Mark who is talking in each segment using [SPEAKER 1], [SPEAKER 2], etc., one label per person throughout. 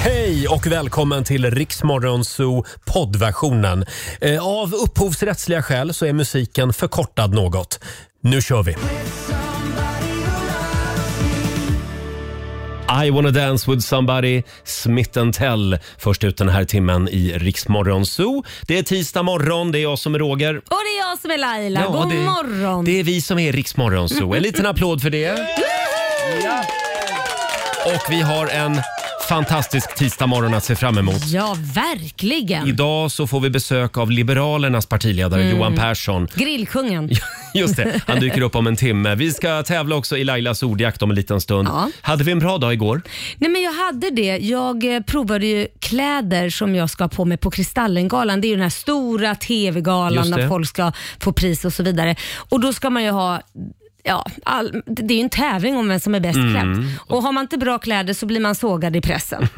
[SPEAKER 1] Hej och välkommen till Riksmorgonzoo poddversionen. Eh, Av upphovsrättsliga skäl så är musiken förkortad något. Nu kör vi! I wanna dance with somebody, Smith Tell, först ut den här timmen i Riksmorgonzoo. Det är tisdag morgon, det är jag som är Roger.
[SPEAKER 2] Och det är jag som är Laila.
[SPEAKER 1] Ja,
[SPEAKER 2] God
[SPEAKER 1] det-
[SPEAKER 2] morgon!
[SPEAKER 1] Det är vi som är Riksmorgonzoo. En liten applåd för det. Och vi har en fantastisk tisdagmorgon att se fram emot.
[SPEAKER 2] Ja, verkligen.
[SPEAKER 1] Idag så får vi besök av Liberalernas partiledare
[SPEAKER 2] Mm.
[SPEAKER 1] Johan Persson.
[SPEAKER 2] Grillkungen.
[SPEAKER 1] Just det, han dyker upp om en timme. Vi ska tävla också i Lailas ordjakt om en liten stund.
[SPEAKER 2] Ja.
[SPEAKER 1] Hade vi en bra dag igår?
[SPEAKER 2] Nej, men jag hade det. Jag eh, provade ju kläder som jag ska ha på mig på Kristallengalan. Det är ju den här stora
[SPEAKER 1] Just
[SPEAKER 2] TV-galan
[SPEAKER 1] det.
[SPEAKER 2] där folk ska få pris och så vidare. Och då ska man ju ha Ja, all, det är ju en tävling om vem som är bäst
[SPEAKER 1] Mm.
[SPEAKER 2] klädd. Och har man inte bra kläder så blir man sågad i pressen.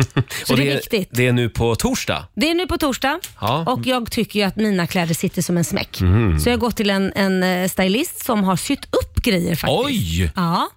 [SPEAKER 2] Så det, är viktigt.
[SPEAKER 1] Det är nu på torsdag.
[SPEAKER 2] Det är nu på torsdag
[SPEAKER 1] Ja. Mhm.
[SPEAKER 2] och jag tycker ju att mina kläder sitter som en smäck. Så jag har gått till en, en eh, stylist som har sytt upp grejer faktiskt.
[SPEAKER 1] Oj!
[SPEAKER 2] Ja.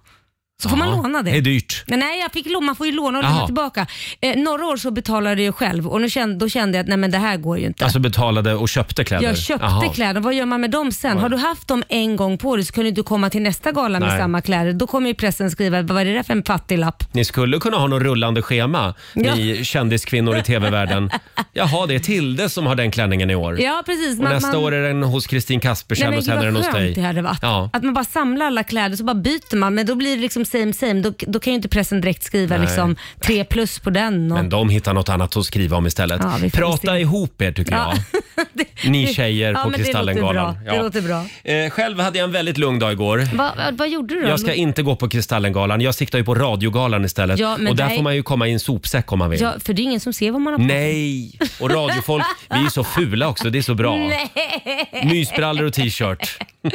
[SPEAKER 2] Så får
[SPEAKER 1] Ja,
[SPEAKER 2] man låna det.
[SPEAKER 1] Det är dyrt.
[SPEAKER 2] Men nej, jag fick låna, man får ju låna och
[SPEAKER 1] Jaha.
[SPEAKER 2] lämna tillbaka. Eh, några år så betalade jag ju själv och nu kände, då kände jag att nej men det här går ju inte.
[SPEAKER 1] Alltså betalade och köpte kläder.
[SPEAKER 2] jag köpte
[SPEAKER 1] Jaha.
[SPEAKER 2] kläder, vad gör man med dem sen? Har du haft dem en gång på dig så kunde du inte komma till nästa gala med
[SPEAKER 1] Nej.
[SPEAKER 2] samma kläder. Då kommer ju pressen skriva, vad är det där för en fattiglapp?
[SPEAKER 1] Ni skulle kunna ha något rullande schema,
[SPEAKER 2] Ja.
[SPEAKER 1] ni kändiskvinnor i tv-världen. Jaha, det är Tilde som har den klänningen i år.
[SPEAKER 2] Ja precis.
[SPEAKER 1] och nästa år är den hos Kristin
[SPEAKER 2] Nej,
[SPEAKER 1] Kaspersen
[SPEAKER 2] men
[SPEAKER 1] och sen är
[SPEAKER 2] gud
[SPEAKER 1] den
[SPEAKER 2] vad
[SPEAKER 1] hos
[SPEAKER 2] skönt
[SPEAKER 1] dig.
[SPEAKER 2] det hade varit.
[SPEAKER 1] Ja.
[SPEAKER 2] Att man bara samlar alla kläder så bara byter man men då blir det liksom same same. Då, då kan ju inte pressen direkt skriva
[SPEAKER 1] Nej.
[SPEAKER 2] liksom tre plus på den. Och,
[SPEAKER 1] Men de hittar något annat att skriva om istället.
[SPEAKER 2] Ja, vi får
[SPEAKER 1] Prata
[SPEAKER 2] se.
[SPEAKER 1] ihop er tycker
[SPEAKER 2] Ja.
[SPEAKER 1] jag. Ni tjejer
[SPEAKER 2] Ja,
[SPEAKER 1] på
[SPEAKER 2] men det
[SPEAKER 1] Kristallengalan.
[SPEAKER 2] låter bra. Det låter bra.
[SPEAKER 1] Eh, själv hade jag en väldigt lugn dag igår.
[SPEAKER 2] Va, va, vad gjorde du då?
[SPEAKER 1] Jag ska inte gå på Kristallengalan. Jag siktar ju på Radiogalan istället.
[SPEAKER 2] Ja, men
[SPEAKER 1] och där
[SPEAKER 2] nej.
[SPEAKER 1] får man ju komma i en sopsäck om man vill.
[SPEAKER 2] ja, för det är ingen som ser vad man har på sig.
[SPEAKER 1] Nej! Och radiofolk, vi är ju så fula också. Det är så bra. Mysbrallor och t-shirt.
[SPEAKER 2] Det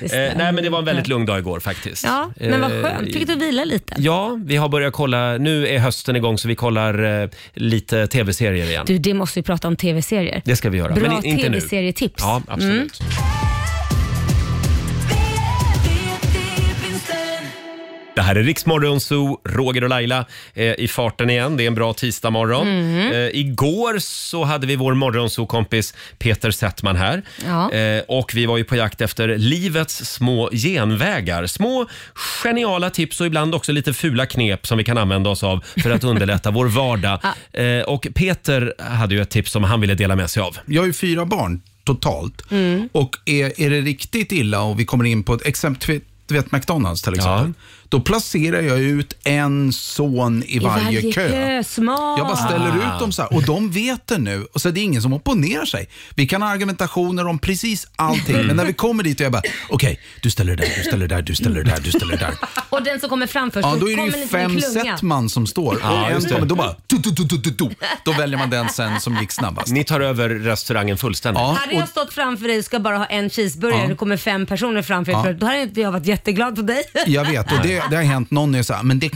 [SPEAKER 1] Eh,
[SPEAKER 2] stämmer.
[SPEAKER 1] nej, men det var en väldigt lugn dag igår faktiskt.
[SPEAKER 2] Ja, men vad
[SPEAKER 1] Eh,
[SPEAKER 2] skönt. Fick du vila lite?
[SPEAKER 1] Ja, vi har börjat kolla. Nu är hösten igång så vi kollar eh, lite tv-serier igen.
[SPEAKER 2] Du, det måste vi prata om tv-serier.
[SPEAKER 1] Det ska vi göra.
[SPEAKER 2] Bra
[SPEAKER 1] men i- inte nu.
[SPEAKER 2] tv-serietips. Mm.
[SPEAKER 1] Ja, absolut. Det här är Riksmorgon Zoo, Roger och Laila eh, i farten igen. Det är en bra tisdagmorgon. Eh, igår så hade vi vår morgonzoo-kompis Peter Settman här.
[SPEAKER 2] Ja.
[SPEAKER 1] Eh, och vi var ju på jakt efter livets små genvägar. Små geniala tips och ibland också lite fula knep som vi kan använda oss av för att underlätta vår vardag. Eh, och Peter hade ju ett tips som han ville dela med sig av.
[SPEAKER 3] Jag har ju fyra barn totalt. Och är, är det riktigt illa och vi kommer in på ett exempel, du vet McDonalds till exempel. Då placerar jag ut en son i,
[SPEAKER 2] I
[SPEAKER 3] varje, kö.
[SPEAKER 2] Smart.
[SPEAKER 3] Jag bara ställer
[SPEAKER 1] Ah.
[SPEAKER 3] ut dem så här och de vet det nu. Och så är det ingen som opponerar sig. Vi kan ha argumentationer om precis
[SPEAKER 1] Mm.
[SPEAKER 3] allting, men när vi kommer dit och jag bara, okej, du ställer det där, du ställer det där, du ställer det där, du ställer det där.
[SPEAKER 2] Och den som kommer fram först,
[SPEAKER 3] Ja,
[SPEAKER 2] hon
[SPEAKER 3] då är det
[SPEAKER 2] kommer
[SPEAKER 3] ju
[SPEAKER 2] lite med
[SPEAKER 3] fem
[SPEAKER 2] klunga.
[SPEAKER 3] set man som står.
[SPEAKER 1] Ja,
[SPEAKER 3] och en
[SPEAKER 1] just det.
[SPEAKER 3] kommer, då bara, tu, tu, tu, tu, tu, tu. då väljer man den sen som gick snabbast.
[SPEAKER 1] Ni tar över restaurangen fullständigt.
[SPEAKER 3] Ja,
[SPEAKER 2] Hade
[SPEAKER 3] och-
[SPEAKER 2] jag stått framför dig och ska bara ha en cheeseburgare och det kommer fem personer framför dig, då hade inte jag varit jätteglad på dig.
[SPEAKER 3] Jag vet och det, det har hänt någon är så här, men det,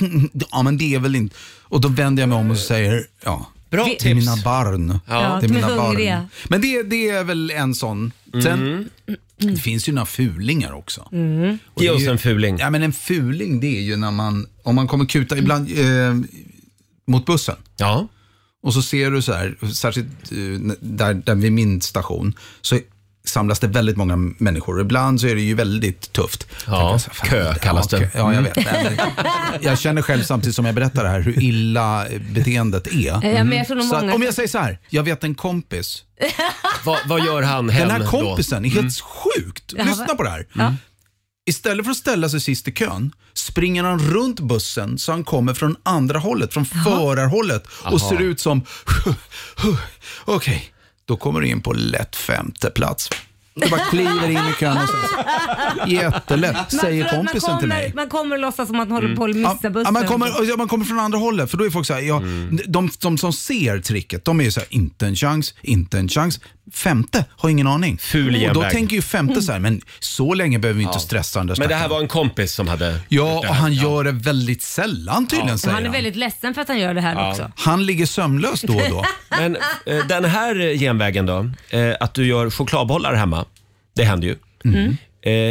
[SPEAKER 3] ja, men det är väl inte... Och då vänder jag mig om och säger, ja.
[SPEAKER 1] Bra
[SPEAKER 3] till
[SPEAKER 1] tips.
[SPEAKER 3] mina barn.
[SPEAKER 2] Ja,
[SPEAKER 3] till
[SPEAKER 2] de är hungriga.
[SPEAKER 3] Men det, det är väl en sån. Sen, Det finns ju några fulingar också. Och det
[SPEAKER 1] Ge
[SPEAKER 3] är
[SPEAKER 1] oss
[SPEAKER 3] ju-
[SPEAKER 1] en fuling.
[SPEAKER 3] Ja, men en fuling det är ju när man, om man kommer kuta ibland eh, mot bussen.
[SPEAKER 1] Ja.
[SPEAKER 3] Och så ser du så här, särskilt eh, där, där vid min station, så samlas det väldigt många människor. Ibland så är det ju väldigt tufft.
[SPEAKER 1] Ja,
[SPEAKER 3] Tänker jag så här, fan,
[SPEAKER 1] kö
[SPEAKER 3] ja,
[SPEAKER 1] kallas det. Mm.
[SPEAKER 3] kö. Ja, jag vet. Men jag känner själv samtidigt som jag berättar det här hur illa beteendet är.
[SPEAKER 2] Ja, men jag tror nog
[SPEAKER 3] Så att,
[SPEAKER 2] många...
[SPEAKER 3] om jag säger så här, jag vet en kompis.
[SPEAKER 1] Vad, vad gör han hem
[SPEAKER 3] Den här
[SPEAKER 1] då? Mm.
[SPEAKER 3] kompisen är helt sjukt. Lyssna på det här. Istället för att ställa sig sist i kön springer han runt bussen så han kommer från andra hållet, från förarhållet och
[SPEAKER 1] Jaha.
[SPEAKER 3] ser ut som... Okej, då kommer du in på lätt femte plats. Du bara kliver in i kön och sen... Jättelätt,
[SPEAKER 2] Man
[SPEAKER 3] säger
[SPEAKER 2] tror att
[SPEAKER 3] kompisen
[SPEAKER 2] man kommer,
[SPEAKER 3] till mig. Mm.
[SPEAKER 2] Man kommer och låtsas som att man håller på att missa
[SPEAKER 3] Ja,
[SPEAKER 2] bussen.
[SPEAKER 3] man, kommer, ja, man kommer från andra hållet, för då är folk så här, ja,
[SPEAKER 1] Mm.
[SPEAKER 3] de, de som ser tricket, de är ju så här, inte en chans, inte en chans. Femte har ingen aning.
[SPEAKER 1] Ful
[SPEAKER 3] och då
[SPEAKER 1] jämväg.
[SPEAKER 3] tänker ju femte så här, men så länge behöver vi inte stressa den där
[SPEAKER 1] Men det här
[SPEAKER 3] stackaren.
[SPEAKER 1] var en kompis som hade...
[SPEAKER 3] Ja, och han gör det väldigt sällan tydligen, säger
[SPEAKER 2] Han är väldigt ledsen för att han gör det här också.
[SPEAKER 3] Han ligger sömnlös då och då.
[SPEAKER 1] Men eh, den här eh, genvägen då, eh, att du
[SPEAKER 3] Mm.
[SPEAKER 2] Mm.
[SPEAKER 1] gör chokladbollar hemma, det händer ju.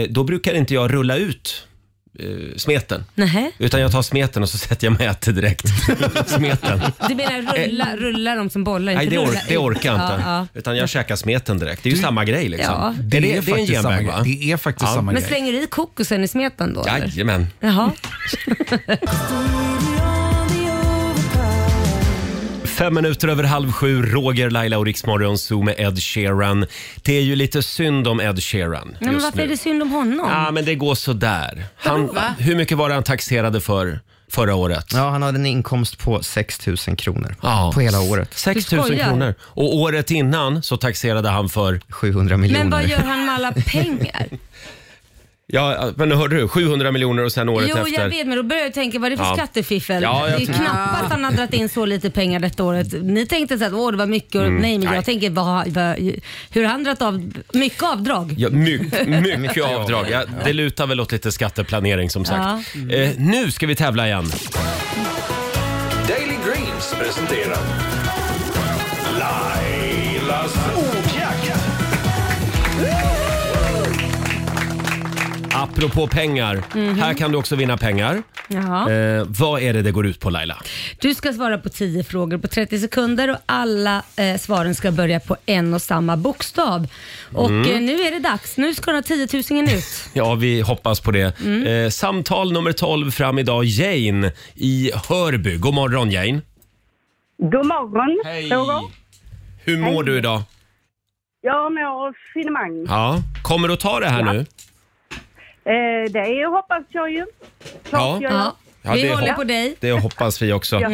[SPEAKER 1] Eh, då brukar inte jag rulla ut eh, smeten.
[SPEAKER 2] Nähä?
[SPEAKER 1] Utan jag tar smeten och så sätter jag mig och äter direkt. smeten.
[SPEAKER 2] Du menar rulla, rulla dem som bollar?
[SPEAKER 1] Nej,
[SPEAKER 2] inte
[SPEAKER 1] det,
[SPEAKER 2] rulla
[SPEAKER 1] or- det
[SPEAKER 2] ut.
[SPEAKER 1] orkar jag inte.
[SPEAKER 2] Ja, ja.
[SPEAKER 1] Utan jag käkar smeten direkt. Det är ju samma grej liksom.
[SPEAKER 2] Ja.
[SPEAKER 1] Det, är- det är en
[SPEAKER 3] faktiskt samma
[SPEAKER 1] genväg
[SPEAKER 3] grej.
[SPEAKER 1] va?
[SPEAKER 3] Det är faktiskt
[SPEAKER 1] Ja.
[SPEAKER 3] samma
[SPEAKER 2] Men
[SPEAKER 3] grej.
[SPEAKER 2] slänger du i kokosen i smeten då? eller?
[SPEAKER 1] Jajamän.
[SPEAKER 2] Jaha.
[SPEAKER 1] Fem minuter över halv sju, Roger, Laila och Riksmorgon Zoo med Ed Sheeran. Det är ju lite synd om Ed Sheeran
[SPEAKER 2] Nej, men
[SPEAKER 1] just
[SPEAKER 2] varför
[SPEAKER 1] nu.
[SPEAKER 2] är det synd om honom?
[SPEAKER 3] Ah,
[SPEAKER 1] Ja, men det går sådär. Han,
[SPEAKER 4] va?
[SPEAKER 1] hur mycket var det han taxerade för förra året?
[SPEAKER 5] Ja, han hade en inkomst på 6 000 kronor
[SPEAKER 1] Ja.
[SPEAKER 5] på hela året.
[SPEAKER 1] 6 000
[SPEAKER 2] Du skojar.
[SPEAKER 1] kronor. Och året innan så taxerade han för,
[SPEAKER 5] 700 miljoner.
[SPEAKER 2] men vad gör han med alla pengar?
[SPEAKER 1] ja men hörde du, 700 miljoner och sen året
[SPEAKER 2] jo,
[SPEAKER 1] efter.
[SPEAKER 2] jag vet, men då börjar jag tänka vad är det för
[SPEAKER 1] Ja.
[SPEAKER 2] skattefiffel?
[SPEAKER 1] Ja, jag
[SPEAKER 2] det är
[SPEAKER 1] tror-
[SPEAKER 2] knappt att han har dragit in så lite pengar detta året. Ni tänkte så att åh, det var mycket. Och, nej, men
[SPEAKER 1] Mm. nej.
[SPEAKER 2] jag tänker vad, vad, hur har han dragit av? Mycket avdrag.
[SPEAKER 1] Ja, mycket, mycket
[SPEAKER 5] Mycket
[SPEAKER 1] avdrag. Ja, det lutar väl åt lite skatteplanering som sagt. Eh, nu ska vi tävla igen.
[SPEAKER 6] Daily Greens presenterar Lailas ordjakt.
[SPEAKER 1] Apropå pengar. Här kan du också vinna pengar.
[SPEAKER 2] Jaha.
[SPEAKER 1] Eh, vad är det det går ut på Laila?
[SPEAKER 2] Du ska svara på 10 frågor på 30 sekunder och alla eh, svaren ska börja på en och samma bokstav. Och
[SPEAKER 1] Mm.
[SPEAKER 2] eh, nu är det dags. Nu ska den här 10 000 ut.
[SPEAKER 1] Ja, vi hoppas på det. Eh, samtal nummer 12 fram idag. Jane i Hörby. God morgon Jane.
[SPEAKER 7] God morgon. Roger.
[SPEAKER 1] Hur mår du idag?
[SPEAKER 7] Jag mår finemang.
[SPEAKER 1] Ja. Kommer du att ta det här nu?
[SPEAKER 7] Eh, det hoppas jag ju.
[SPEAKER 1] Ja.
[SPEAKER 7] jag
[SPEAKER 2] Ja.
[SPEAKER 1] Ja,
[SPEAKER 2] Vi
[SPEAKER 1] det
[SPEAKER 2] håller
[SPEAKER 1] hopp-
[SPEAKER 2] på dig.
[SPEAKER 1] Det hoppas vi också. Eh,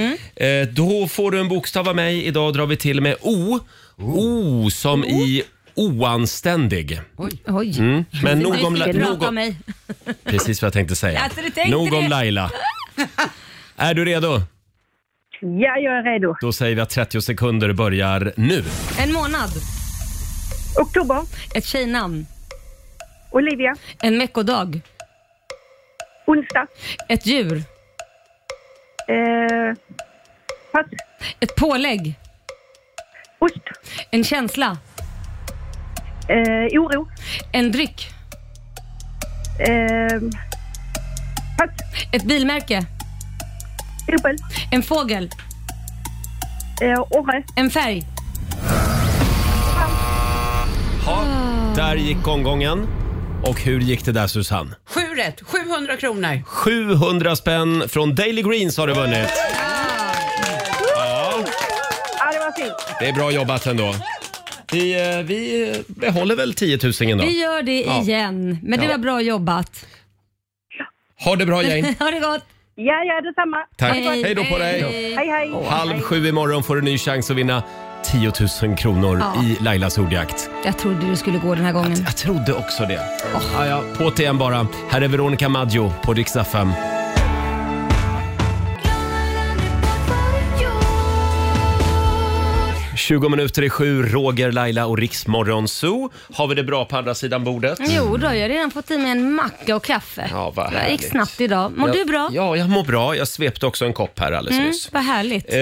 [SPEAKER 1] då får du en bokstav av mig. Idag drar vi till med O. O som i oanständig. Mm.
[SPEAKER 2] Oj.
[SPEAKER 1] Men nog om,
[SPEAKER 2] Du
[SPEAKER 1] La- nog
[SPEAKER 2] prata om
[SPEAKER 1] om...
[SPEAKER 2] mig.
[SPEAKER 1] Precis vad jag tänkte säga.
[SPEAKER 2] Alltså, du tänkte
[SPEAKER 1] Nog om
[SPEAKER 2] det.
[SPEAKER 1] Laila. Är du redo?
[SPEAKER 7] Ja, jag är redo.
[SPEAKER 1] Då säger vi att 30 sekunder börjar nu.
[SPEAKER 2] En månad.
[SPEAKER 7] Oktober.
[SPEAKER 2] Ett tjejnamn.
[SPEAKER 7] Olivia.
[SPEAKER 2] En veckodag.
[SPEAKER 7] Onsdag.
[SPEAKER 2] Ett djur.
[SPEAKER 7] Eh, pass.
[SPEAKER 2] Ett pålägg.
[SPEAKER 7] Ost.
[SPEAKER 2] En känsla.
[SPEAKER 7] Eh, oro.
[SPEAKER 2] En dryck.
[SPEAKER 7] Eh, pass.
[SPEAKER 2] Ett bilmärke.
[SPEAKER 7] Opel.
[SPEAKER 2] En fågel.
[SPEAKER 7] Eh, orre.
[SPEAKER 2] En färg.
[SPEAKER 1] Där gick omgången. Och hur gick det där Susanne?
[SPEAKER 4] Sju rätt, 700 kronor.
[SPEAKER 1] 700 spänn från Daily Greens har du vunnit.
[SPEAKER 7] Ja, det var fint.
[SPEAKER 1] Det är bra jobbat ändå. Vi, eh, vi eh, behåller väl 10 000 idag.
[SPEAKER 2] Vi gör det
[SPEAKER 1] Ja.
[SPEAKER 2] igen. Men det
[SPEAKER 1] Ja.
[SPEAKER 2] var bra jobbat.
[SPEAKER 1] Ha det bra Jane.
[SPEAKER 2] ha det gott.
[SPEAKER 7] Ja, ja, detsamma.
[SPEAKER 1] Tack. Hej då på dig.
[SPEAKER 7] Hej, hej.
[SPEAKER 1] Halv sju imorgon får du en ny chans att vinna 10 000 kronor
[SPEAKER 2] Ja. Mm.
[SPEAKER 1] i Lailas ordjakt.
[SPEAKER 2] Jag trodde du skulle gå den här gången.
[SPEAKER 1] Jag trodde också det. Ja, ja. Återigen bara. Här är Veronica Maggio på Rix FM. Tjugo minuter i sju, Roger, Laila och Riksmorgon Zoo. Har vi det bra på andra sidan bordet?
[SPEAKER 2] Jo då, jag har redan fått i mig en macka och kaffe.
[SPEAKER 1] Ja, vad
[SPEAKER 2] det gick
[SPEAKER 1] härligt.
[SPEAKER 2] snabbt idag. Mår du bra?
[SPEAKER 1] Ja, jag mår bra. Jag svepte också en kopp här alldeles
[SPEAKER 2] Mm,
[SPEAKER 1] nyss.
[SPEAKER 2] vad härligt.
[SPEAKER 1] Eh,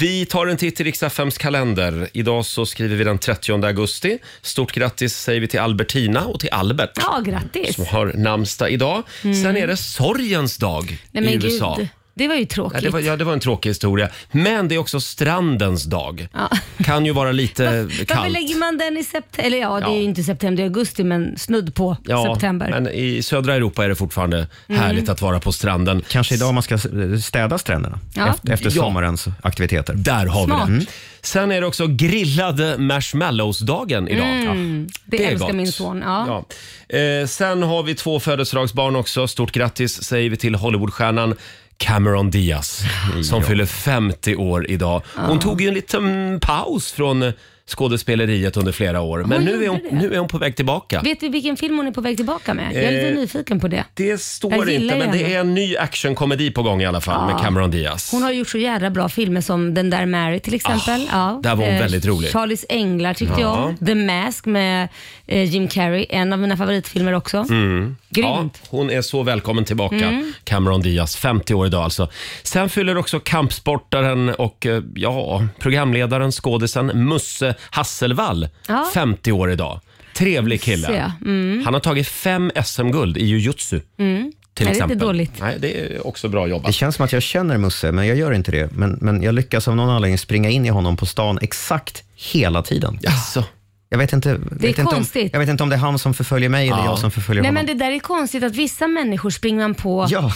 [SPEAKER 1] vi tar en titt i Riks-FMs kalender. Idag så skriver vi den 30 augusti. Stort grattis säger vi till Albertina och till Albert.
[SPEAKER 2] Ja, grattis.
[SPEAKER 1] Som
[SPEAKER 2] Mm.
[SPEAKER 1] har namnsdag idag. Sen är det sorgens dag
[SPEAKER 2] Nej,
[SPEAKER 1] i
[SPEAKER 2] men
[SPEAKER 1] USA.
[SPEAKER 2] gud. Det var ju
[SPEAKER 1] Ja
[SPEAKER 2] tråkigt.
[SPEAKER 1] det, var, ja, det var en tråkig historia. Men det är också strandens dag.
[SPEAKER 2] Ja.
[SPEAKER 1] Kan ju vara lite
[SPEAKER 2] Varför
[SPEAKER 1] kallt.
[SPEAKER 2] lägger man den i september? Eller ja, det
[SPEAKER 1] Ja.
[SPEAKER 2] är ju inte september, det är augusti, men snudd på
[SPEAKER 1] Ja,
[SPEAKER 2] september. Mm.
[SPEAKER 1] men i södra Europa är det fortfarande härligt att vara på stranden.
[SPEAKER 5] Kanske idag man ska eh, städa stränderna
[SPEAKER 2] Ja.
[SPEAKER 5] efter, efter
[SPEAKER 1] Ja.
[SPEAKER 5] sommarens aktiviteter.
[SPEAKER 1] Där har
[SPEAKER 2] Smart.
[SPEAKER 1] vi det. Sen är det också grillade marshmallows-dagen idag.
[SPEAKER 2] Mm. Det,
[SPEAKER 1] är
[SPEAKER 2] älskar
[SPEAKER 1] gott.
[SPEAKER 2] min son. Ja.
[SPEAKER 1] Ja. Eh, sen har vi två födelsedagsbarn också. Stort grattis säger vi till Hollywoodstjärnan Cameron Diaz som fyller 50 år idag. Hon tog ju en liten paus från skådespeleriet under flera år, men nu är, hon, nu är hon på väg tillbaka.
[SPEAKER 2] Vet vi vilken film hon är på väg tillbaka med? Jag är lite
[SPEAKER 1] Eh,
[SPEAKER 2] nyfiken på det.
[SPEAKER 1] Det
[SPEAKER 2] Jag
[SPEAKER 1] står
[SPEAKER 2] gillar
[SPEAKER 1] inte, men det
[SPEAKER 2] henne.
[SPEAKER 1] är en ny actionkomedi på gång i alla fall med Cameron Diaz.
[SPEAKER 2] Hon har gjort så jädra bra filmer som Den där Mary till exempel.
[SPEAKER 1] Ah, där var hon
[SPEAKER 2] Eh,
[SPEAKER 1] väldigt rolig.
[SPEAKER 2] Charlies änglar tyckte jag om. The Mask med eh, Jim Carrey, en av mina favoritfilmer också.
[SPEAKER 1] Mm. Ja,
[SPEAKER 2] Grymt. Mm.
[SPEAKER 1] hon är så välkommen tillbaka, Cameron Diaz. 50 år idag alltså. Sen fyller också kampsportaren och eh, ja, programledaren, skådisen Musse Hasselvall
[SPEAKER 2] Ja.
[SPEAKER 1] 50 år idag. Trevlig
[SPEAKER 2] Ser
[SPEAKER 1] kille.
[SPEAKER 2] jag.
[SPEAKER 1] Han har tagit fem SM-guld i jujutsu. till
[SPEAKER 2] Mm. Nej, det är inte
[SPEAKER 1] exempel.
[SPEAKER 2] dåligt.
[SPEAKER 1] Nej, det är också bra
[SPEAKER 5] Det
[SPEAKER 1] jobbat.
[SPEAKER 5] känns som att jag känner Musse, men jag gör inte det. Men, men jag lyckas av någon anledning springa in i honom på stan exakt hela tiden.
[SPEAKER 1] Jaså?
[SPEAKER 5] Jag vet inte,
[SPEAKER 2] är
[SPEAKER 5] vet inte om,
[SPEAKER 2] konstigt.
[SPEAKER 5] jag vet inte om det är han som förföljer mig eller jag som förföljer
[SPEAKER 2] Nej
[SPEAKER 5] honom.
[SPEAKER 2] men det där är konstigt att vissa människor springer man på
[SPEAKER 5] Ja.